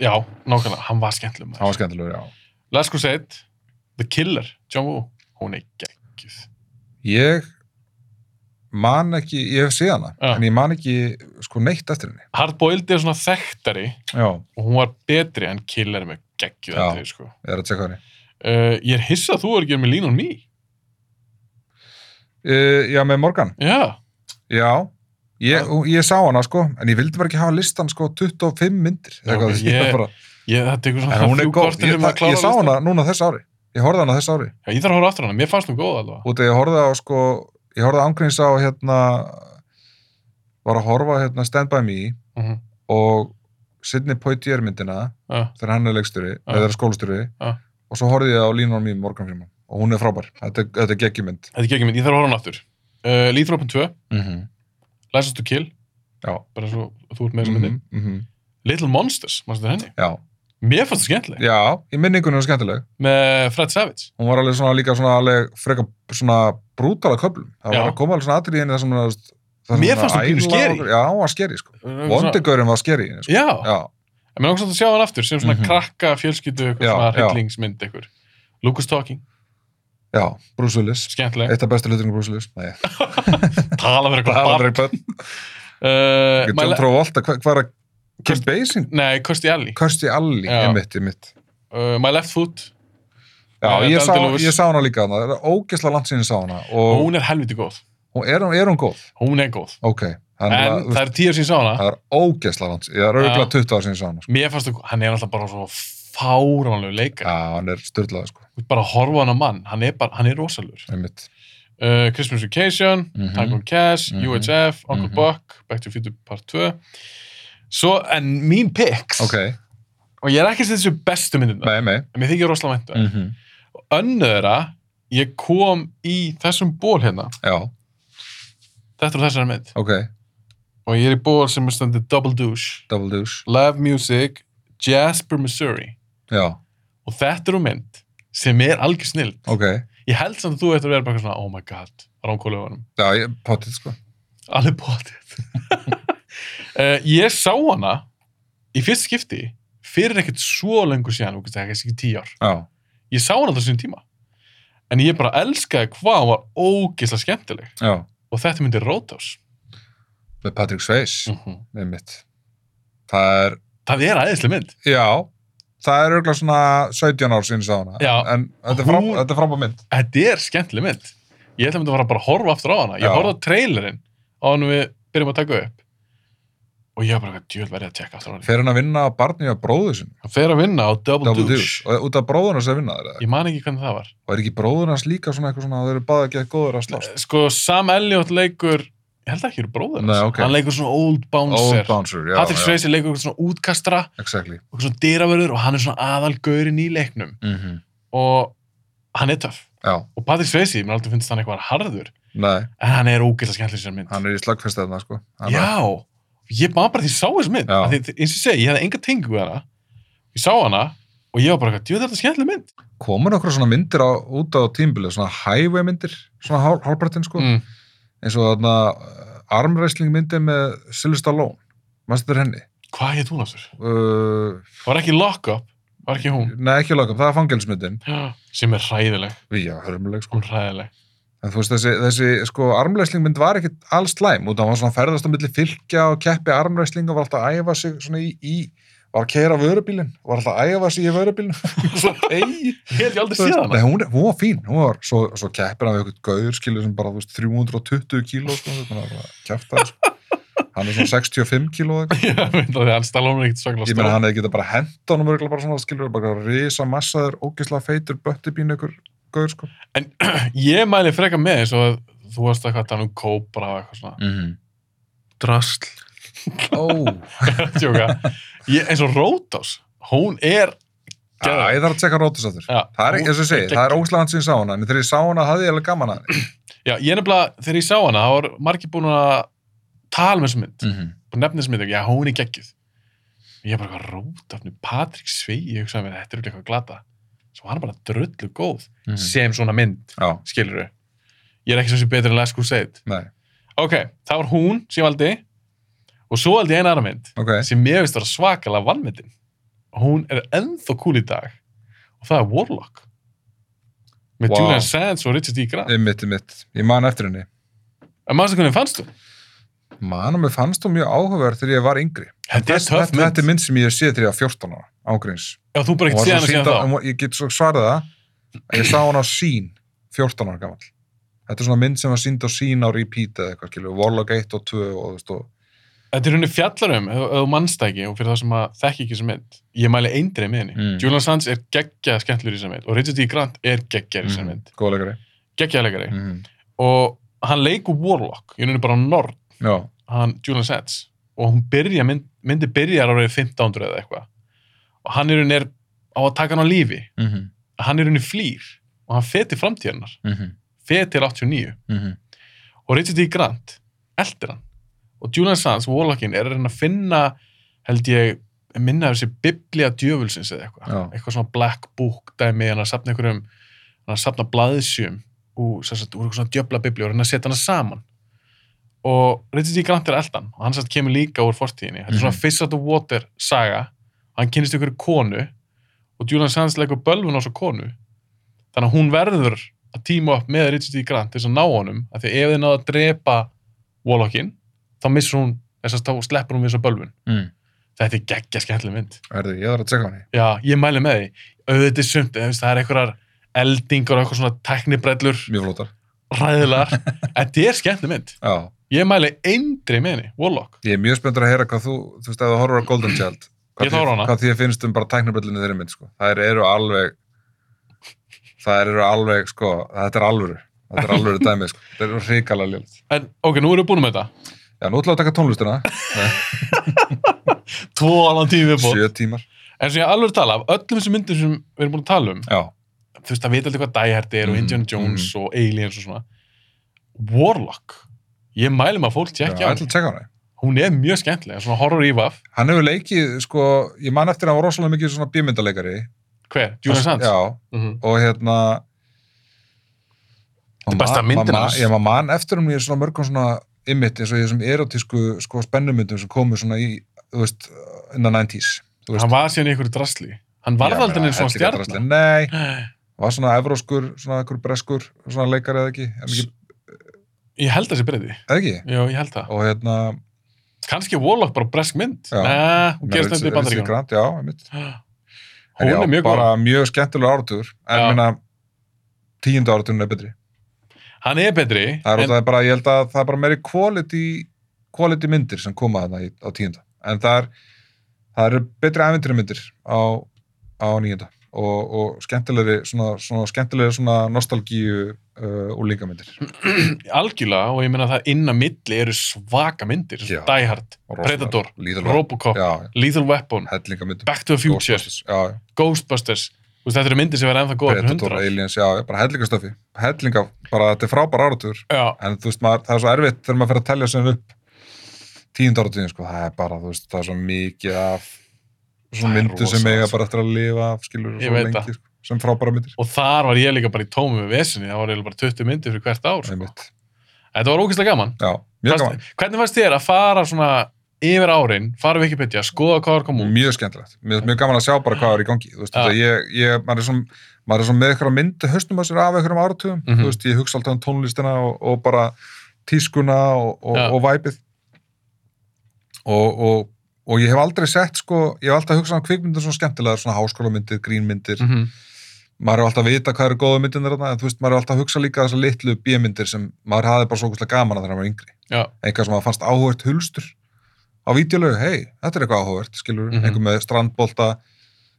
já, nákvæmlega hann var skemmtileg Hann var maður skemmtilegur, já. Last Crusade, The Killer John Woo, hún er geggjuð Ég man ekki, ég hef síðan hana, Já. en ég man ekki, sko, neitt eftir henni. Hard Boiled er svona þekktari Já, og hún var betri en Killer er með geggjuð Já. atriði, sko. ég er að tjekka henni. uh, ég er hissað þú er ekki með Lean on Me Uh, já, með Morgan. já, Já, ég, Já. hún- ég sá hana sko, en ég vildi bara ekki hafa listan sko 25 myndir. Já, eða eitthvað, ok, ég ég- bara, ég, þetta er eitthvað en svona hún er þrjú góð, korter ég, um að ég, klára ég sá listann. hana núna þess ári, ég horfði á hana þess ári. Já, ég þarf að horfa aftur á hana, mér fannst hún góð alveg. Út af ég horfði á sko, ég horfði ángríns á hérna, var að horfa á, hérna Stand By Me Mm -hmm. og Sidney Poitier myndina, uh, þegar hann er leikstjóri, Já. eða þegar skólastjóri, Já. og svo horfði ég á Línu og mér Morgan Freeman og hún er frábær, þetta, er- þetta er geggjumynd. þetta er ekki ekki mynd, ég þarf að horfa á hana aftur. Uh, Lýþrópin 2, Mm -hmm. License to Kill, Já. bara svo þú ert með þessum Mm myndi. Little Monsters, mannstu henni? Já. Mér fannst það skemmtileg. Já, í minningunum er skemmtileg. Með Fred Savage. hún var alveg svona líka svona alveg frekar svona brútala köflum það Já. var að koma alveg svona atrið henni það sem hún var, það sem Mér hún fannst hún var pínu æla skeri. og- já, hún var skeri sko Svona- vondigurinn var skeri sko. Eh, Já, já, en mér langsamt að sjá hann aftur sem svona Mhm. krakka fjölskyldu, eitthvað Já, svona já. hryllingsmynd eitthvað. Lucas Talking, já, Bruce Willis skemmtileg. eitt af bestu hlutunum Bruce Willis nei, Tala fyrir það eitthvað var barn. ekki bönn Uh, John my la- Travolta, hvað hva er að Kim Kirst- Basing, Nei, Kirstie Alley. Kirsti Alli Já. ég mitt, ég mitt Uh, my Left Foot, já, Eh, ég Dan sá, DeLuise. ég sá hana líka hana, það er ógeðslega langt síðan ég sá hana og hún er helviti góð. hún, er, hún, er hún góð? Hún er góð. ok, þannig að En þú það veist, er tíu sín sá hana. það er ógeðslega langt síðan, ég er auðvitað 20 ára síðan ég sá hana sko. Mér fannst það, hann er alltaf bara svo fáránlegu já, leikar. hann er styrlaði sko, Ja. Bara að horfa á hann að mann, hann er, bara, hann er rosalur. ég mitt Uh, Christmas Vacation, Mhm. Tango and Cash, Mhm. UHF, Uncle Mhm. Buck, Back to the Future Part 2. Svo, en mín picks, ok, og ég er ekki að setja þessu bestu myndina, mei, mei en mér þykir rosalega mæntu. Mm. mm -hmm. Önnöðra, ég kom í þessum ból hérna, Já, þetta er þessari mynd, ok, og ég er í ból sem er stendur Double Douche, Double Deuce Live Music, Jasper, Missouri, Já, og þetta eru mynd sem er algjör snild. ok Ég held samt að þú ættir að vera bara eitthvað svona, oh my god, ránkóluðunum. Já, ég potið sko Alveg bótið. uh, ég sá hana í fyrst skipti fyrir ekkert svo lengur síðan, þú veist, það er kannski ekki tíu ár. Já, Ég sá hana alltaf síðan tíma. En ég bara elskaði hvað hún var ógeðslega skemmtileg. já Og þetta myndi Roadhouse. Með Patrick Swayze, Mm -hmm. mm. mitt Það er, Það er aðeinslega mynd. já Það er auðvitað svona 17 ár síðan ég sá hana Já. En þetta er, fram, Hún- þetta er frábæð mynd Þetta er skemmtileg mynd. Ég ætla að myndi að fara bara að horfa aftur á hana. Ég Já. horfði á trailerinn á hann við byrjum að taka upp. Og ég var bara eitthvað djöl verið að tjekka aftur á hana. Fyrir hann að vinna að barni á bróðu sinu Hann fer að vinna á Double, Double Douche. Deuce Og út af bróðun hans að vinna þeirra Ég man ekki hvernig það var. Og er ekki bróðun hans líka svona eitthvað svona Þau eru báði ekki góður að slást sko Sam Elliot leikur ég held ekki eru bróður hans. Nei, ok. hann leikur svona old bouncer Old Bouncer, já, Patrick já, Swayze leikur einhvern svona útkastra exactly og svona dyravörður og hann er svona aðalgörin í leiknum mm -hmm. og hann er töff Já, og Patrick Swayze, mér aldrei finnst hann eitthvað harður nei, en hann er ógeðslega skemmtileg sér mynd hann er í slagfest þarna sko Hann er- já, ég maður bara því ég sá þess mynd Já. Af því, eins og ég segi, ég hefði enga tengu við hana ég sá hana og ég var bara eitthvað, djú þetta er skemmtileg mynd Sko. komur okkur svona myndir á, út á tímbilið, svona highway myndir svona hál, hálpartin sko, mm. eins og þarna uh, armræsling myndir með Sylvester Stallone, mannstu þetta henni hvað heit hún aftur? uh, var ekki Lock Up, var ekki hún nei ekki lokum, það er fangelsmyndin sem er hræðileg, já, hörmuleg sko, hún er hræðileg en þú veist þessi, þessi sko, armræsling mynd var ekki alls slæm út af hann var svona ferðast á milli fylgja og keppi armræsling og var alltaf að æfa sig svona í, í var að keira vörubílinn, var alltaf að æfa sig í vörubílinn svo eigi ég held ég aldrei Þú séð veist, hana Nei, hún, er- hún var fín, hún var svo, svo keppir hann við eitthvað gauður skilur sem bara, þú veist, 320 kíló sko, hann er bara kæftar sko. hann er svona 65 kíló eða eitthvað. Ég veit að því hann Stallone er ekkert svaklega ég meina stór. hann hefði geta bara hent honum örugglega bara svona, skilur, bara risa massaður, ógeðslega feitur böttibín ykkur gauður sko Ég mæli freka með eins og að þú varst eitthvað að tala um kópra og eitthvað svona. mm -hmm. Drasl. ó, Tjóka. Ég, eins og Rótás, hún er Já, ég þarf að tjekka rótus aftur Já, það er, eins og ég segi, það er ógeðslega hann sem ég sá hana en þegar ég sá hana hafði ég alveg gaman að henni Já, ég nefnilega, þegar ég sá hana, þá var margir búin að tala með þessu mynd. mm -hmm. bara nefnir sem þetta, já, hún er geggjuð. Ég er bara eitthvað rótafnu, Patrik Svei, ég hugsaði með þetta er örugglega eitthvað glata. Svo hann er bara drullu góð, Mhm. sem svona mynd, Já, skilur við. Ég er ekki svo sem betur en Last Crusade. nei, Ok, það var hún sem ég valdi og svo valdi ég eina aðra mynd ok. sem mér finnst vera svakalega vannmyndin. Hún er ennþá cool í dag og það er Warlock. Með Vá. Eh. Julian Sands og Richard E. Grant. Einmitt, einmitt. Ég man eftir henni. En maður sem hvernig fannst þú? Man, og mér fannst þú mjög áhugaverð þegar ég var yngri. Þetta er Þess- töff þetta- Þetta mynd. er mynd sem ég sé þegar ég var 14 ára, ángríns. Já, þú bara Hún ekkert var séð svo hana síðan sýnd á- þá. hún var- Ég get svo svarað það. að Ég sá hana á sín, 14 ára gammal. Þetta er svona mynd sem var sínd á sín á repeat eða eitthvað, skilju, Warlock 1 og 2 og, þú veist, og Þetta er henni fjallarum, ef ef þú mannst það ekki og fyrir það sem að þekki ekki þessu mynd. Ég mæli eindreið með henni. Mm. Julian Sands er geggja skemmtlur í þessu mynd og Richard E. Grant er geggja í þessu Mhm, mynd. góð leikari. Geggjaðlegari. Mhm. Og hann leikur Warlock, ég er henni bara norn Já, hann Julian Sands og hún byrja, mynd, myndi byrjar árið 1500 eða eitthvað og hann er, er á að taka hann á lífi mhm, hann er henni flýr og hann feti framtíðarnar mhm, feti er 89 mhm, og Richard D. Grant eldir hann og Julian Sands, Warlockin, er að reyna að finna held ég, minna þessi biblía djöfulsins eða eitthvað Já. eitthvað svona black book dæmi hann er að safna einhverjum hann er að safna blaðsjum úr, sem sagt, úr eitthvað svona djöfla biblíu og reyna að setja hana saman og Richard D. Grant er eldan og hann satt kemur líka úr fortíðinni þetta er svona Mhm. Fish Out of Water saga hann kynist ykkur konu og Julian Sands leggur bölvun á svo konu þannig að hún verður að tíma upp með Richard D. Grant til þess að ná honum af því að ef þið náðu að drepa Warlockin þá missur hún, þess að þá sleppur hún við svo bölvun mhm. þetta er geggja skemmtileg mynd Herði, ég þarf að tjekka hann í. já, ég mæli með því, auðvitað er sumt eða, þú veist, það er einhverjar eldingar og eitthvað svona teknibrellur, Mjög flótar. ræðilar þetta er skemmtileg mynd, Já, ég mæli eindri með henni, Warlock ég er mjög spenntur að heyra hvað þú, þú veist, ef þú horfur á Golden Child, Ég hvað, horfi á hana. hvað því að finnst um bara tæknaböllinu þeirri mynd, sko. Það eru alveg, það eru alveg, sko, þetta er alvöru. Þetta er alvöru dæmið, sko. Þetta eru hrikalega ljótt. en ok, nú erum við búin með þetta Já, nú ætlum við að taka tónlistina, tvo alveg tími viðbót, sjö tímar. en sem ég alveg tala af öllum þessum myndum sem við erum búin að tala um Já, þú veist, það vita aldrei hvað Die Hard er og Mhm, Indiana Jones og Aliens og svona Warlock ég mælum að fólk já, tjekkja ég á henni ætlum að tjekka hann í. hún er mjög skemmtileg, svona horror ívaf Hann hefur leikið, sko, ég man eftir að hann var rosalega mikið svona bímyndaleikari. hver, Julian Sands Já, Mhm. og hérna er besta myndin hans. hans ég maður man eftir um ég svona mörgum svona ymmit eins og ég sem erotísku sko, spennumyndum sem komu svona í þú veist, innan 90s þú veist. hann var síðan í einhverju drasli hann Ég varð aldrei meina, neins svona þetta er ekki stjarnar drasli. nei, Nei, var svona evróskur svona einhver breskur, svona leikari eða ekki eða ekki, ég held það sé breyði eða ekki? já, ég held það, og hérna kannski er Warlock bara bresk mynd Já. næ, hún gerist þetta í Richard bandaríkjum Grant, já, einmitt. En hún já, er mjög góð, bara mjög skemmtilega áratugur en Já. minna tíundu áratugin er betri hann er betri Það er, en, en, það er bara, ég held að það er bara meiri quality, quality myndir sem koma þarna í- á tíunda. En það, er, það eru betri æventyri myndir á, á nýjunda og, og skemmtilegri, svona, svona, skemmtilegri svona nostalgíu uh, og líkamyndir. algjörlega og ég meina það inn að milli eru svaka myndir, Já. Die Hard, Hm, Predator, Robocop Já, Lethal Weapon, hellingamyndir. Back to the Future Já, já, Ghostbusters þú veist, þetta eru myndir sem verða ennþá góðar Predator, Aliens, já, já, bara hellingastöfi. Hellinga, bara þetta er frábær áratugur. Já, en þú veist maður, það er svo erfitt þegar maður fer að telja sem upp tíund áratíðin sko, það er bara, þú veist, það er svo mikið af svo Það er myndu sem rosalega, eiga sko. bara eftir að lifa af skilur og Ég svo veit það. lengi, sko, sem frábæra myndir og þar var ég líka bara í tómi með vesinni, það var eiginlega bara 20 myndir fyrir hvert ár sko. einmitt, Þetta var ógeðslega gaman. já, mjög gaman, Fannst- Hvernig fannst þér að fara svona yfir árin, fara á Wikipedia, skoða hvað var komið út? mjög skemmtilegt mjög, mjög gaman að sjá bara hvað er í gangi þú veist, Já. þetta, ég, ég, maður er svona maður er svona með eitthvað mynd haustum að sér af einhverjum áratugum Mhm. þú veist, ég hugsa alltaf um tónlistina og, og bara tískuna og, og, Já. og væpið og, og, og ég hef aldrei sett sko, ég hef alltaf hugsað um kvikmyndir svona skemmtilega, svona háskólamyndir, grínmyndir Mm -hmm. maður er alltaf að vita hvað eru góða myndirnir þarna, en þú veist, maður er alltaf að hugsa líka þessar litlu bímyndir sem maður hafði bara svo okkurslega gaman að þegar maður var yngri Já, eitthvað sem maður fannst áhugert hulstur á vídeolögu, hei, þetta er eitthvað áhugert skilur, Mhm. einhver með strandbolta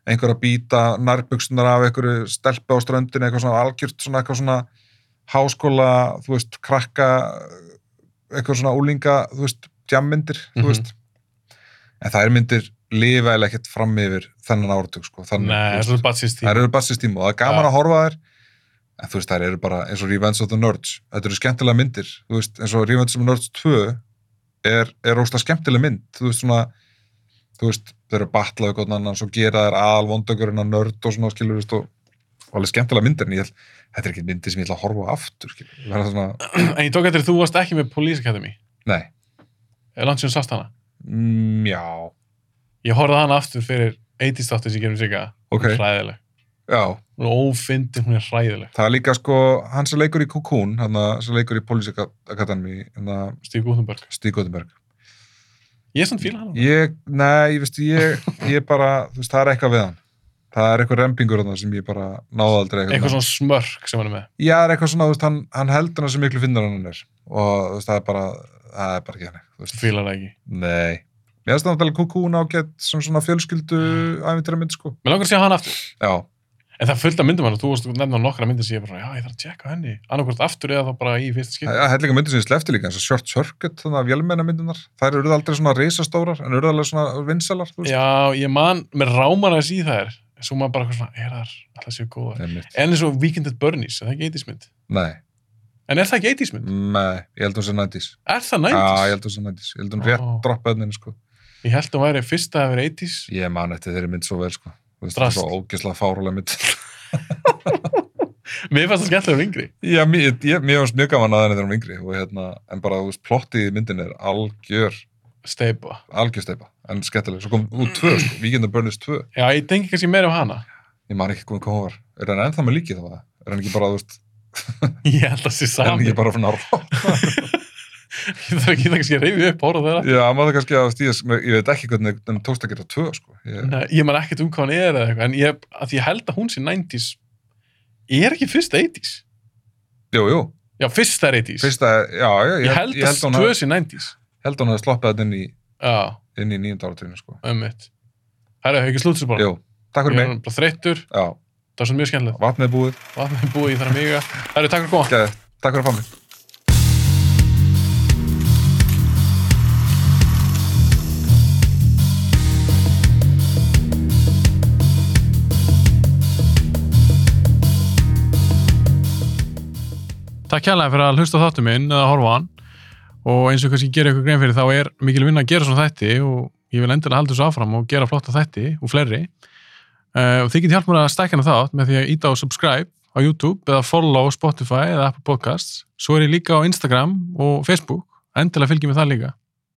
einhver að býta nærbuksunar af einhverju stelpu á ströndinu, eitthvað svona algjört svona eitthvað svona háskóla þú veist, krakka eitthvað svona úlinga, þú veist, jammyndir Mhm. þú veist en það er myndir lifa eða ekkert fram yfir þennan áratug, sko, þannig Nei, þú veist. það er bara síst tíma. Það eru bassistíma og það er gaman Já. að horfa á þær en þú veist, þær eru bara eins og Revenge of the Nerds þetta eru skemmtilega myndir, þú veist, eins og Revenge of the Nerds 2 er, er ósla skemmtileg mynd þú veist svona þú veist, þeir eru batlaðu gott annan svo gera þær aðal vondökurinn að nörd og svona skilur veist, og, og alveg skemmtilega myndir en ég held, þetta er ekki myndi sem ég ætla að horfa á aftur skilur, við. verða svona, En ég tók eftir að þú varst ekki með Police Academy. nei Eða landsjón sást hana. mm, já, Ég horfði á hana aftur fyrir 80s þáttu sem ég gerum sigga. Ok. Hræðileg. já, Hún er ófindin, hún er hræðileg. það er líka sko hann sem leikur í Cocoon, hann að- sem leikur í Police Academy, hérna, hann að Steve Gutenberg. Stíg Gottenberg Ég er svona fíla hana. ég, nei, ég veist, ég, ég bara, þú veist, það er eitthvað við hann það er eitthvað rempingur hann sem ég bara náði aldrei Eitthvað svona smörk sem hann er með. Já, það er eitthvað svona, þú veist, hann, hann heldur hann sem miklu finnar en hann er og þú veist, það er bara, það er bara ekki hann þú veist, Fíla hana ekki. nei Mér finnst það náttúrulega kúkún ágætt sem svona fjölskyldu æfintýra mynd, sko. Mér langar að sjá hana aftur. Já, En það er fullt af myndum hann og þú varst nefna nokkra myndir sem ég bara, já, ég þarf að tjekka henni. Annarkvort aftur eða þá bara í fyrsta skipt. það er líka myndir sem ég slefti líka, eins og Short Circuit, þannig að vélmenna myndunar, þær eru aldrei svona risastórar, en eru alveg svona vinsalar, þú veist. Já, ég man, með ráman að í þær. En Svo maður bara eitthvað svona, er þar, alltaf séu góðar. Einmitt. En eins og Weekend at Bernie's, er það ekki 80s mynd? Nei, En er það ekki 80s mynd? nei, ég held hún sem nættis. Er það Já, 90s? ég held hún sem nættis. Ég held hún rétt Ó. droppaði henni, sko. Ég held að hún væri fyrsta að vera 80s. Ég man eftir þeirri mynd svo vel, sko. Þú veist, það er Drast. svo ógeðslega fárulega mynd. Mér fannst það skemmtilega um yngri. Já, mér, ég, mér finnst mjög gaman að henni þegar hún yngri og hérna, en bara, þú veist, plottið í myndin er algjör, Steipa. algjör steipa, en skemmtileg. Svo kom út tvö, sko, Víkinda Börnist tvö, Já, ég tengi kannski meira á hana. ég man ekki hvað hvað hún var. Er hann ennþá með líkið þá það? Er hann ekki bara, þú veist, Ég held að það sé er hann sami. ekki bara svona rá? Ég þarf ekki það kannski að reyfi upp orða þeirra. Já, maður það kannski að stíðast, ég veit ekki hvernig hann tókst að gera tvö, sko. Ég, Nei, ég man ekkert um hvað hann er eða eitthvað, en ég, að ég held að hún sé 90s. Ég er ekki fyrst 80s. jú, jú, Já, fyrst er 80s. fyrsta, já, já, ég, held ég að held hún tvö hafði- sé 90s. held hún að sloppið þetta inn í, Já, inn í nýjum dáratunni, sko. um mitt. Herra, hefur ekki slútsur bara. Jú, takk Ég fyrir er mig. bara þreyttur. Já, Það var svona mjög skemmtilegt. vatnið er búið, Vatnið er búið, ég þarf að míga. Herra, takk fyrir að koma. Geðveikt. takk fyrir að fá mig. Takk hérlega fyrir að hlusta á þáttu minn eða horfa á hann og eins og kannski gera ykkur grein fyrir þá er mikil vinna að gera svona þætti og ég vil endilega halda þessu áfram og gera flotta þætti og fleiri uh, og þið getið hjálp mér að stækja hana þátt með því að íta á subscribe á YouTube eða follow á Spotify eða Apple Podcasts svo er ég líka á Instagram og Facebook endilega fylgjum við það líka